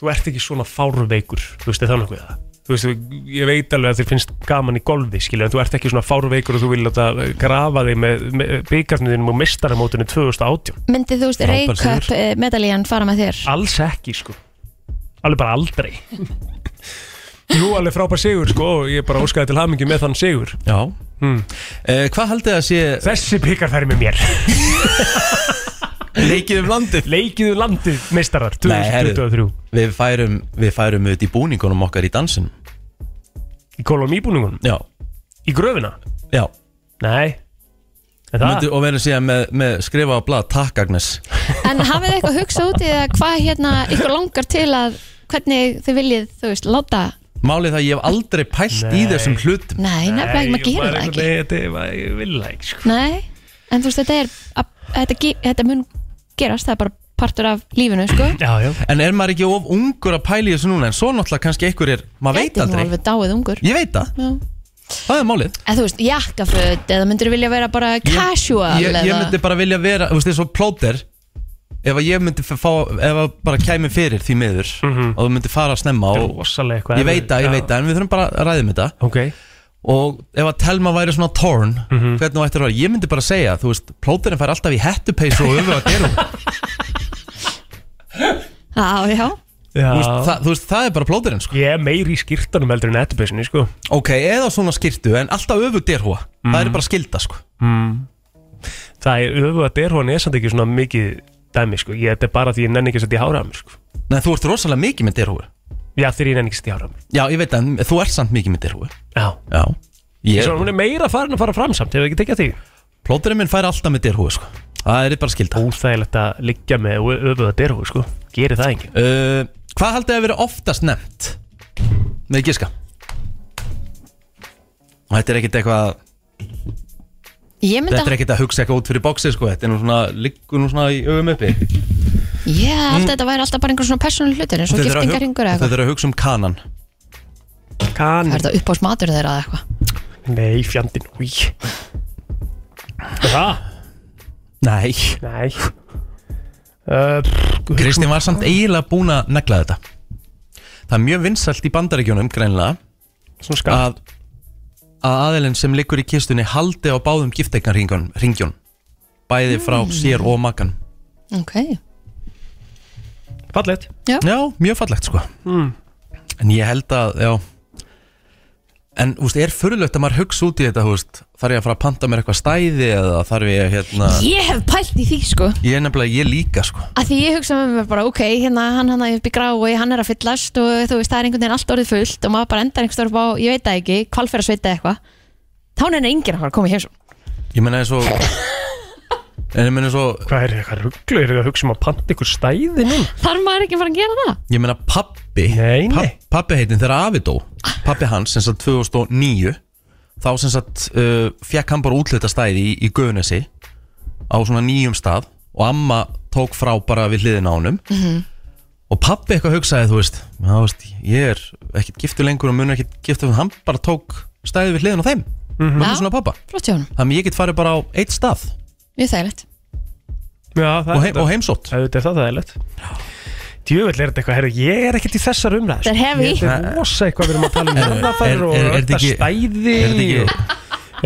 Speaker 3: Þú ert ekki svona fárveikur Þú veist, er það nokkuð það Þú veist, ég veit alveg að þér finnst gaman í golfi skilja, en þú ert ekki svona fárveikur og þú vil láta grafa þig með, með byggarniðinum og mistaramótinu 2018
Speaker 2: Myndið þú veist
Speaker 1: Frábær
Speaker 2: reykjöp
Speaker 1: sigur.
Speaker 2: medalíjan fara með þér
Speaker 3: Alls ekki sko Alveg bara aldrei [laughs] Jú, alveg frábær sigur sko og ég bara óskaði til hamingi með þann sigur
Speaker 1: Já hmm. eh, Hvað haldið að sé
Speaker 3: Þessi byggar fær með mér
Speaker 1: [laughs] leikið um landið?
Speaker 3: Leikið um landið meistarar
Speaker 1: Nei, herru.
Speaker 3: 2023
Speaker 1: Við færum, við færum auðvitað í búningunum okkar í dansin
Speaker 3: Í kolum íbúningunum
Speaker 1: Já,
Speaker 3: Í gröfina
Speaker 1: já
Speaker 3: Nei En það
Speaker 1: Myndu, og verður síðan með, með skrifa á blað Takk Agnes
Speaker 2: En hafið þið eitthvað hugsað út í það hvað hérna ykkur langar til að hvernig þið viljið, þú veist, láta
Speaker 1: Málið það að ég hef aldrei pælt í
Speaker 3: Nei.
Speaker 1: þessum hlutum
Speaker 2: Nei, nefnilega ekki, maður gerir það ekki
Speaker 3: ekki Ég vil það ekki sko
Speaker 2: Nei, en þú veist, þetta er að, þetta, ge- þetta mun gerast, það er bara partur af lífinu, sko
Speaker 3: Já, já
Speaker 1: En er maður ekki of ungur að pæla í þessu núna En svo náttúrulega kannski einhver er, maður veit
Speaker 2: Gæti nú
Speaker 1: aldrei
Speaker 2: alveg dáið ungur
Speaker 1: Ég veit það,
Speaker 2: Já.
Speaker 1: það er málið
Speaker 2: En þú veist, jakkaföt eða myndir vilja vera bara casual
Speaker 1: ég, ég
Speaker 2: eða-
Speaker 1: myndi bara vilja vera, þú veist, eins og plóter Ef að ég myndi f- fá, ef að bara kæmi fyrir því miður
Speaker 3: Mhm.
Speaker 1: Og þú myndi fara að snemma og,
Speaker 3: Rósalega eitthvað
Speaker 1: Ég veit það, ég veit það, en við þurfum bara að ræðum þetta
Speaker 3: Ok Mhm.
Speaker 1: Og ef að Telma væri svona torn Hvernig þú ættir að vera, ég myndi bara segja Þú veist, plóterinn fær alltaf í hettupeysu og öfu að gerum
Speaker 2: Já, já
Speaker 1: Þú veist,
Speaker 3: [laughs] Já
Speaker 1: það, þú veist, það er bara plóterinn sko.
Speaker 3: Ég er meiri í skýrtanum heldur en ettubessinni sko
Speaker 1: Ok, eða svona skirtu en alltaf öfugt er hóa Það er bara skilda sko.
Speaker 3: Mm. Það er öfu að derhóðan er samt ekki svona mikið dæmi sko Ég, þetta er bara því ég nenni ekki að setja í hára á mér sko
Speaker 1: Nei, þú ert rosalega mikið með derhúi
Speaker 3: Já, þegar ég nenni ekki að setja í hára á mér
Speaker 1: Já, ég veit það, en þú ert samt mikið með derhúi
Speaker 3: Já
Speaker 1: Já ég,
Speaker 3: Svo hún er meira farin að fara fram samt, hefur ekki tekið því
Speaker 1: Plóterinn minn fær alltaf með derhúi sko. Það er bara skilda
Speaker 3: Óþægilegt að liggja með öfuð að derhóð sko Gerir það enginn
Speaker 1: uh, Hvað haldið að vera oftast nefnt? Með gíska Og þetta er ekkit eitthvað
Speaker 2: Ég myndi
Speaker 1: Þetta er ekkit að hugsa eitthvað út fyrir bóksi sko. Þetta er nú svona, liggur nú svona í öfum uppi
Speaker 2: Ég held að þetta væri alltaf bara einhver svona persónul hlutur eins og
Speaker 1: Mm. Þetta er að hug-
Speaker 2: giftingarringur eða
Speaker 1: Þetta
Speaker 2: eitthvað
Speaker 1: er að hugsa um kanan
Speaker 3: Kan
Speaker 2: Það er þetta upp á smatur þeirra eða eitthvað
Speaker 3: Nei, fjandinn, úi Það?
Speaker 1: Nei
Speaker 3: Nei uh, pff,
Speaker 1: Kristín var samt eiginlega búin að negla þetta Það er mjög vinsalt í bandaríkjónum greinlega
Speaker 3: Svona skatt
Speaker 1: að, að aðilinn sem liggur í kistunni haldi á báðum gifteiknarringjón ringjón, bæði frá
Speaker 2: Mm.
Speaker 1: sér og makan
Speaker 2: Ok,
Speaker 3: Fallet
Speaker 1: Já, mjög fallegt sko En ég held að, já En, þú veist, er fyrirlögt að maður hugsa út í þetta, þú veist Þarf ég að fara að panta mér eitthvað stæði eða þarf ég, hérna
Speaker 2: ég hef pælt í því sko
Speaker 1: Ég er nefnilega, ég líka, sko
Speaker 2: að því ég hugsa með mér bara ok, hérna hann hann er upp í grái, hann er að fyllast og þú veist það er einhvern veginn allt orðið fullt og maður bara endar einhvern veginn á, ég veit það ekki, kvalfæra sveita eitthvað þá er henni enginn að fara að koma í heimsum
Speaker 1: Ég meina eins og En ég meina eins og,
Speaker 3: Hvað er eitthvað rugglu? Er það að hugsa um að panta ykkur stæði núna?
Speaker 2: þarf maður ekki að fara að gera það?
Speaker 1: ég meina pappi
Speaker 3: Nei, nei.
Speaker 1: papp- Pappi heitin þegar afi dó Pappi hans, sem sagt 2009 Þá sem sagt uh, Fjekk hann bara útlita stæði í, í Guðnesi Á svona nýjum stað Og amma tók frá bara við hliðin á honum og pappi eitthvað hugsaði þú veist, já, þú veist ég er ekkert giftur lengur og mun ekkert giftur hann bara tók stæði við hliðin á þeim mm
Speaker 3: Mhm.
Speaker 1: -hmm.
Speaker 2: Já.
Speaker 1: svona pappa
Speaker 2: Flott hjá honum.
Speaker 1: þannig að ég get farið bara á eitt stað
Speaker 2: Mjög þægilegt
Speaker 3: Já, það
Speaker 1: Og
Speaker 3: er
Speaker 1: heim-
Speaker 3: þetta.
Speaker 1: og heimsótt.
Speaker 3: Það er það, það er leitt Djöfull er þetta eitthvað, herru, ég er ekkert í þessar umræð
Speaker 2: Þetta er heavy.
Speaker 3: Þetta er rosa eitthvað við erum að tala um Hörðafærir
Speaker 1: [laughs]
Speaker 3: og
Speaker 1: er- er þetta ekki-
Speaker 3: örðastæði
Speaker 1: er þetta ekki-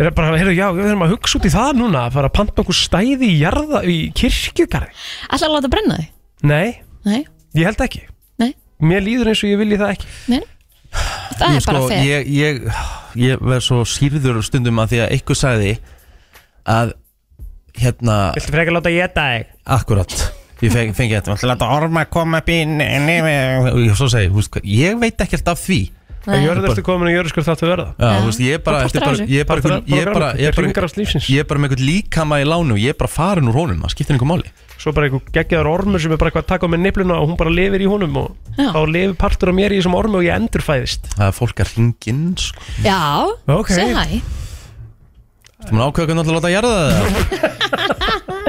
Speaker 3: Er það bara, heyrðu, já, við erum að hugsa út í það núna að fara að panta okkur stæði í jarða, í kirkjugarði
Speaker 2: Alltaf að láta brenna þig?
Speaker 3: Nei,
Speaker 2: Nei,
Speaker 3: ég held ekki
Speaker 2: Nei.
Speaker 3: Mér líður eins og ég vilji það ekki
Speaker 2: nei Það
Speaker 1: Jú, sko,
Speaker 2: er bara fer
Speaker 1: ég, ég, ég verð svo sírður stundum að því að eitthvað sagði að hérna,
Speaker 3: Viltu frekar láta ég þetta þig?
Speaker 1: akkurat ég fengi, fengi þetta, alltaf láta orma koma upp í nefi og ég- svo segi, þú veist, hvað, ég veit ekkert af því
Speaker 3: Að jörðu eftir komin og jörðu skur þáttu verða
Speaker 1: Já, þú veist, ég er bara,
Speaker 2: Þú
Speaker 1: þetta er
Speaker 2: partur
Speaker 1: bara,
Speaker 2: af
Speaker 1: ég er bara,
Speaker 3: Partur af-
Speaker 1: einhver- ég er bara, ég er
Speaker 3: Þetta er hringar
Speaker 1: bara,
Speaker 3: alls lífsins.
Speaker 1: ég er bara með einhvern líkama í lánu, ég er bara farin úr honum, það skiptir einhver máli.
Speaker 3: Svo bara einhver geggjaðar ormur sem er bara eitthvað að taka á með nefluna og hún bara lifir í honum og
Speaker 2: Já.
Speaker 3: þá lifir partur af mér í þessum ormu og ég endurfæðist
Speaker 1: Það er fólk að ringin, sko.
Speaker 2: Já,
Speaker 3: Ok.
Speaker 2: segð hæ
Speaker 1: Þú maður ákveða hvernig alltaf láta að gera það?
Speaker 9: [laughs]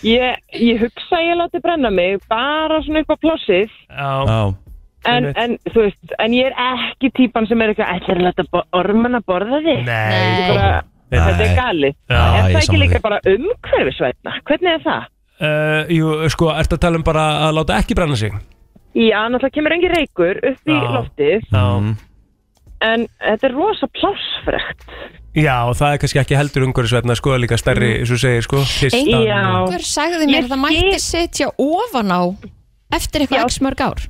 Speaker 9: Ég, ég hugsa að ég láti brenna mig bara svona upp á plossið
Speaker 3: Já,
Speaker 1: Já,
Speaker 9: en,
Speaker 3: Einmitt.
Speaker 9: en, þú veist, en ég er ekki típan sem er eitthvað ætlar að láta bo- ormana borða þig
Speaker 3: nei
Speaker 9: Ég bara,
Speaker 3: Nei.
Speaker 9: Þetta er galið
Speaker 1: ég
Speaker 9: Er það ekki
Speaker 1: sammála
Speaker 9: líka
Speaker 1: því.
Speaker 9: bara umhverfisvætna? Hvernig er það?
Speaker 3: Uh, jú, sko, ertu að tala um bara að láta ekki brenna sig?
Speaker 9: Já, náttúrulega kemur engin reykur upp í
Speaker 3: Já.
Speaker 9: loftið
Speaker 3: Já,
Speaker 9: en þetta er rosa plássfrekt
Speaker 3: Já og það er kannski ekki heldur umhverfisverðna sko, líka stærri, eins og þú segir, sko kistan
Speaker 9: Já,
Speaker 3: og-
Speaker 2: Hver sagði mér
Speaker 9: Ég
Speaker 2: að það mætti setja ofan á eftir eitthvað
Speaker 9: Já.
Speaker 2: x mörg ár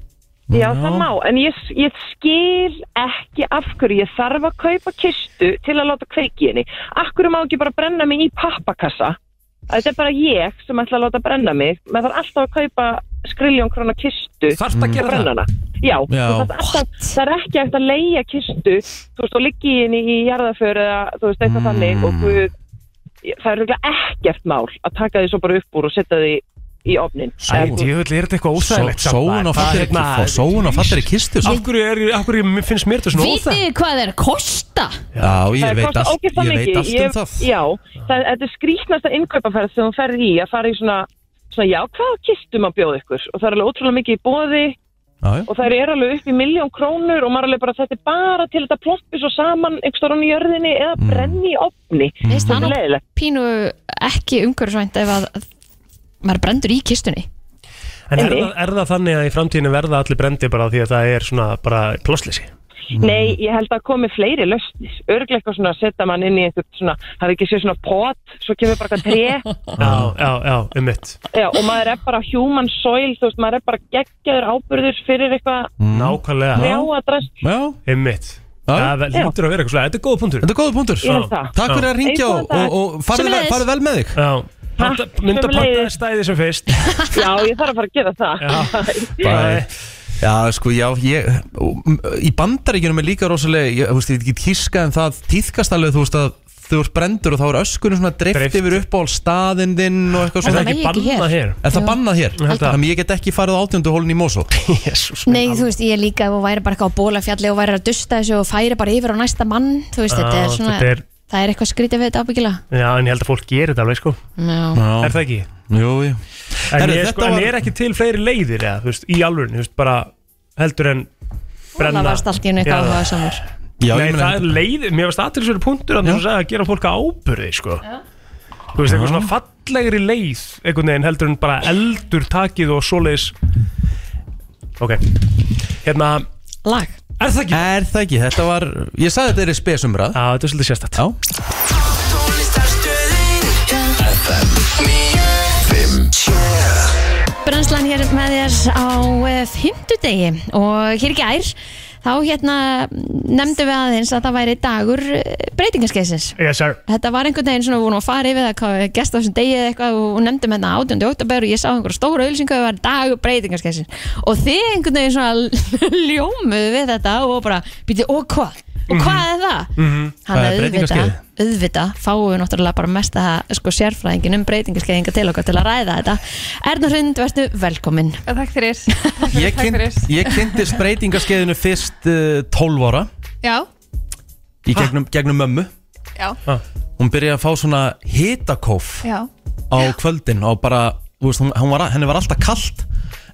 Speaker 9: Já, það má, en ég, ég skil ekki af hverju ég þarf að kaupa kistu til að láta kveiki í henni. Af hverju má ekki bara brenna mig í pappakassa? Þetta er bara ég sem ætla að láta brenna mig. Maður þarf alltaf að kaupa skriljón krona kistu
Speaker 3: Þarft að gera það?
Speaker 9: brennana. Já, þú
Speaker 1: Já.
Speaker 9: þarft alltaf, það er ekki eftir að leia kistu, þú veist, og liggi í henni í jarðaför eða þú veist, eitthvað þannig
Speaker 3: Mm.
Speaker 9: og guð, það er röglega ekkert mál að taka því svo bara upp úr og setja því í ofnin.
Speaker 3: Ætjöfull, er þetta eitthvað óþægilegt samt,
Speaker 1: Sóun á
Speaker 3: maður?
Speaker 1: fallir,
Speaker 3: Hvað, hérna,
Speaker 1: sóun á fallir kistu, sko.
Speaker 3: Af hverju, er, af hverju finnst mér þetta svona
Speaker 2: Vitið
Speaker 3: óþægt?
Speaker 2: þið hvað þeir kosta?
Speaker 1: Já, ég
Speaker 9: Það
Speaker 1: veit
Speaker 9: kostar
Speaker 1: allt,
Speaker 9: ógeðslega
Speaker 1: ég veit
Speaker 9: mikið.
Speaker 1: allt um
Speaker 9: Ég-
Speaker 1: það.
Speaker 9: Já, það, þetta er skrítnasta innkaupaferð sem þú ferð í að fara í svona, svona já, hvaða kistum að bjóða ykkur og það er alveg ótrúlega mikið í bóði
Speaker 1: Já, já.
Speaker 9: og það er alveg upp í miljón krónur og maður er alveg bara þetta er bara til þetta ploppi svo saman einhver stóran í jörðinni eða brenni í opni
Speaker 2: Veist það
Speaker 9: þetta er
Speaker 2: nú
Speaker 9: leiðilegt
Speaker 2: pínu ekki umhverfisvænt ef að maður brendur í kistunni
Speaker 3: En er, það- er það þannig að í framtíðinu verða allir brendi bara af því að það er svona bara plossleysi?
Speaker 9: Nei, ég held að komi fleiri löstis örglega eitthvað svona að setja mann inn í einhvern svona, hafi ekki séð svona pot svo kemur
Speaker 2: [laughs]
Speaker 9: bara eitthvað tre
Speaker 3: Já, já, já, um mitt
Speaker 9: já, og maður er bara human soil þú veist, maður er bara geggjaður ábyrður fyrir eitthvað
Speaker 3: Nákvæmlega,
Speaker 9: trjáadrast
Speaker 1: Mm. Já,
Speaker 3: um mitt
Speaker 1: Já.
Speaker 3: Það vel- hlýtur að vera eitthvað svona, þetta er góða punktur
Speaker 1: þetta er góða punktur.
Speaker 9: Ég held það.
Speaker 1: Takk fyrir að ringja
Speaker 9: Eins
Speaker 1: og,
Speaker 9: og það.
Speaker 1: og, og farðu vel,
Speaker 2: Sömuleiðis.
Speaker 1: farðu vel með þig.
Speaker 3: Já, Panta- mynda að
Speaker 9: sömuleiðis.
Speaker 3: panta stæði sem fyrst
Speaker 9: Já, ég þarf að fara að gera það. [laughs]
Speaker 1: Bæ.
Speaker 3: eh.
Speaker 1: Já, sko, já, ég, í bandaríkjunum er líka rosalega, ég, þú veist, ég get kíska en það tíðkast alveg, þú veist, að þú ert brendur og þá er öskunum svona dreift
Speaker 3: Dreift.
Speaker 1: yfir uppáhald staðinn þinn og eitthvað
Speaker 3: Er
Speaker 2: það
Speaker 3: það
Speaker 1: svona.
Speaker 3: ekki
Speaker 2: megi ekki
Speaker 3: bannað hér?
Speaker 2: hér.
Speaker 1: Er það bannað hér?
Speaker 3: Ég held það.
Speaker 1: Þannig ég get ekki farið á átjöndu hólinn í Mosó.
Speaker 3: [laughs] Jesús minn
Speaker 2: Nei, þú veist, ég líka ef hún væri bara eitthvað á bólafjalli og væri að dusta þessu og færi bara yfir á næsta mann þú veist,
Speaker 3: Já,
Speaker 2: þetta er svona,
Speaker 3: þetta er-
Speaker 2: það er eitthvað skrítið við þetta ábyggilega
Speaker 3: Já, en ég held að fólk gerir þetta alveg, sko
Speaker 2: Já,
Speaker 1: Já.
Speaker 3: Er það ekki?
Speaker 1: Jú, jú.
Speaker 3: En,
Speaker 1: Herru,
Speaker 3: er,
Speaker 1: þetta
Speaker 3: sko, en
Speaker 1: var-
Speaker 3: er ekki til fleiri leiðir, eða, þú veist, í alvörun, þú veist, bara heldur en brenna
Speaker 2: það varst allt í hennu eitthvað
Speaker 3: Já.
Speaker 2: áhuga samur
Speaker 1: Já,
Speaker 3: Nei,
Speaker 1: ég meina,
Speaker 3: það er leið, mér varst aðtilsverið punktur að þú sagði að gera fólk ábyrði, sko Þú veist, eitthvað svona fallegri leið einhvern veginn heldur en bara eldur takið og svoleiðis Ok, hérna
Speaker 2: Lag,
Speaker 3: Er það ekki?
Speaker 1: er það ekki, þetta var, ég sagði þetta er í spesumrað.
Speaker 3: Já, þetta er svolítið sérstætt
Speaker 1: Já.
Speaker 11: [laughs]
Speaker 2: brennslan hér með þér á fymtudegi og hér í gær þá hérna nefndum við aðeins að það væri dagur eh, breytingarskeisins
Speaker 3: Yes, sir
Speaker 2: þetta var einhvern veginn svona vorum að fara yfir það hvað við gest á þessum degi eða eitthvað og og nefndum hérna 18. oktober og ég sá einhverja stóra auðlýsingu að það var dagur breytingarskessin og þið einhvern veginn svona [laughs] ljómuðu við þetta og bara býtið og hvað? Og hvað er það? Mm
Speaker 3: Mhm.
Speaker 2: -hmm. Hann
Speaker 1: Mhm. Hvað er
Speaker 2: auðvitað,
Speaker 1: breytingaskeiðið?
Speaker 2: auðvitað fáum við náttúrulega bara mest að sko, sérfræðingin um breytingarskeiðinga til okkar til að ræða þetta. Erna Hrund, verðstu velkomin.
Speaker 11: Takk fyrir
Speaker 1: Ég,
Speaker 11: Takk
Speaker 1: kynnt,
Speaker 11: fyrir.
Speaker 1: ég kynntist breytingaskeiðinu fyrst uh, 12 ára
Speaker 11: Já,
Speaker 1: í gegnum, gegnum mömmu.
Speaker 11: já,
Speaker 1: Hún byrjaði að fá svona hitakóf
Speaker 11: já
Speaker 1: á kvöldin og bara, þú veist, hún, hún var, henni var alltaf kallt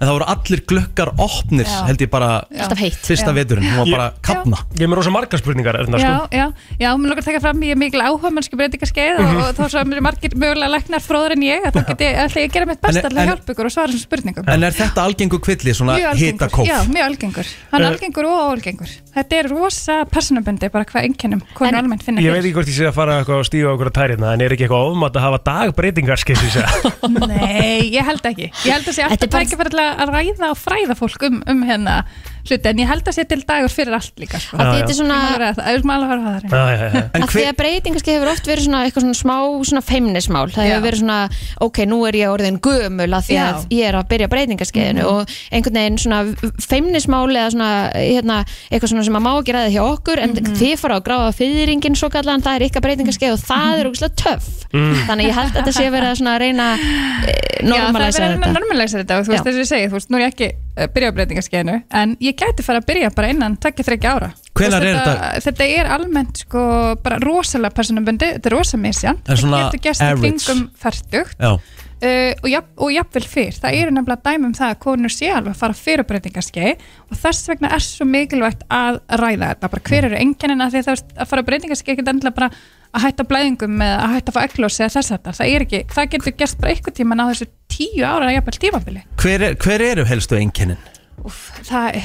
Speaker 1: en það voru allir glöggar opnir
Speaker 11: Já.
Speaker 1: held ég bara
Speaker 11: Já. Alltaf heitt.
Speaker 1: fyrsta
Speaker 11: Já.
Speaker 1: veturinn, hún var
Speaker 11: Ég-
Speaker 1: bara kapna
Speaker 3: Ég er með rosa margar spurningar erna, sko.
Speaker 11: já, já, já, mér langar að taka fram ég er mikil áhuga mannski breytingaskeið og, og þó sem eru margir mögulega læknar fróður en ég að þá get ég ætla ég að gera mitt
Speaker 1: En-
Speaker 11: besta alltaf
Speaker 1: en-
Speaker 11: að hjálpa ykkur og svara þessum spurningum
Speaker 1: en er þetta algengur kvilli, svona
Speaker 11: Mjög algengur,
Speaker 1: hitakóf
Speaker 11: já, mjög algengur hann
Speaker 3: Eh,
Speaker 11: er algengur og óalgengur þetta er rosa personabundi bara hvað einkennum konur almennt finna
Speaker 3: Ég veit ekki hvort ég sé að fara eitthvað og stífa okkur að tærina en er ekki eitthvað ofmátt að hafa dagbreytingarskeitt í
Speaker 2: [laughs]
Speaker 3: sig
Speaker 11: Nei, ég held ekki Ég held að sé alltaf tækifærlega að ræða og fræða fólk um, um hérna hluti en ég held að sé til dagur fyrir allt líka sko.
Speaker 1: Af því Já, þetta er já.
Speaker 2: svona-
Speaker 11: Ég er að- Það er maður að fara að það
Speaker 3: Já, já, já.
Speaker 1: En
Speaker 2: Af því að breytingarski hefur oft verið svona eitthvað svona smá svona feimnismál, það hefur verið svona ok, nú er ég orðin gömul af því að ég er að byrja breytingarskeiðinu og einhvern veginn svona feimnismál eða svona hérna, eitthvað svona sem að má ekki ræða hjá okkur en þið fara að gráða fyrringin svo kallan, það er ykkar breytingarskeið og það er ógustlega töff
Speaker 11: Mm.
Speaker 2: þannig að ég held að þetta sé verið að svona reyna e, normalæsa
Speaker 11: Já, það er verið að
Speaker 2: þetta
Speaker 11: normalæsa þetta og þú veist
Speaker 2: Já.
Speaker 11: þess að ég segi, þú veist, nú er ég ekki að byrja á breytingaskeiðinu, en ég gæti fara að byrja bara innan 23 ára. Þú
Speaker 1: Hvenær
Speaker 11: veist,
Speaker 1: er
Speaker 11: þetta? Þetta er almennt sko bara rosalega personabundi, þetta er rosa misjan.
Speaker 1: En svona
Speaker 11: Þetta getur gerst í
Speaker 1: average.
Speaker 11: kringum færtugt
Speaker 1: Já.
Speaker 11: uh, og, jafn, og jafnvel fyrr það eru nefnilega dæmi um það að konur sé alveg að fara fyrir breytingarskeið og þess vegna er svo mikilvægt að ræða þetta bara hver eru enginin að því að þú veist, að fara breytingarskeið getur endilega bara að hætta blæðingum eða að hætta að fá eglósi eða þess að það er ekki, það getur gerst bara eitthvað tíma á þessu tíu ára jafnvel tímabili
Speaker 1: hver, er, hver eru helstu einkennin?
Speaker 11: það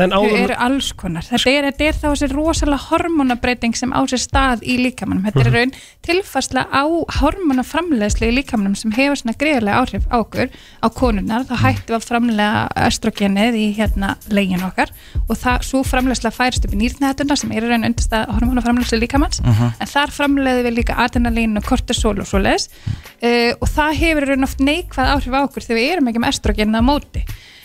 Speaker 3: En
Speaker 11: þau
Speaker 3: áður-
Speaker 11: eru alls konar þetta er, þetta er þá þessi rosalega hormonabreiting sem á sér stað í líkamannum þetta er
Speaker 3: Mhm.
Speaker 11: raun tilfærsla á hormonaframleiðslu í líkamannum sem hefur svona greiðlega áhrif á okkur á konunnar,
Speaker 3: Mhm.
Speaker 11: þá hættum við að framleiða estrogenið í hérna legin okkar og það, svo framleiðsla færist upp í nýrnættuna sem er í raun undirstað hormonaframleiðslu líkamanns
Speaker 12: Mhm.
Speaker 11: en þar framleiðum við líka adrenalín og kortisol og svoleiðis uh, og það hefur í raun oft neikvæð áhrif á okkur þegar við erum ekki með estrogenið á móti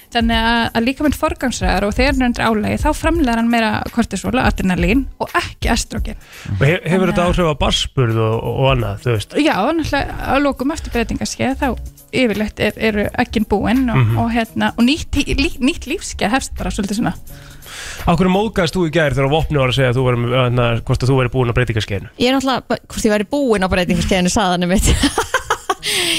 Speaker 11: þannig að, að líka minn forgangsræðar og þegar hann er undir álegi þá framlegar hann meira kortisol og adrenalín og ekki estrogen
Speaker 3: Og he- Hefur þetta áhrif á barspurð og, og annað, þú veist
Speaker 11: já, og náttúrulega að lókum eftir breytingarskeið þá yfirleitt er, eru ekkin búinn og,
Speaker 3: Mhm.
Speaker 11: og, hérna, og nýtt, lí, nýtt lífskeið hefst bara svolítið svona
Speaker 3: Akkur móðgæðist þú í gær þegar vopni var að segja að þú var, na, hvort að þú væri búin á breytingarskeiðinu
Speaker 2: Ég er náttúrulega, bara- hvort ég væri búin á breytingarskeiðinu saðanum mitt [laughs]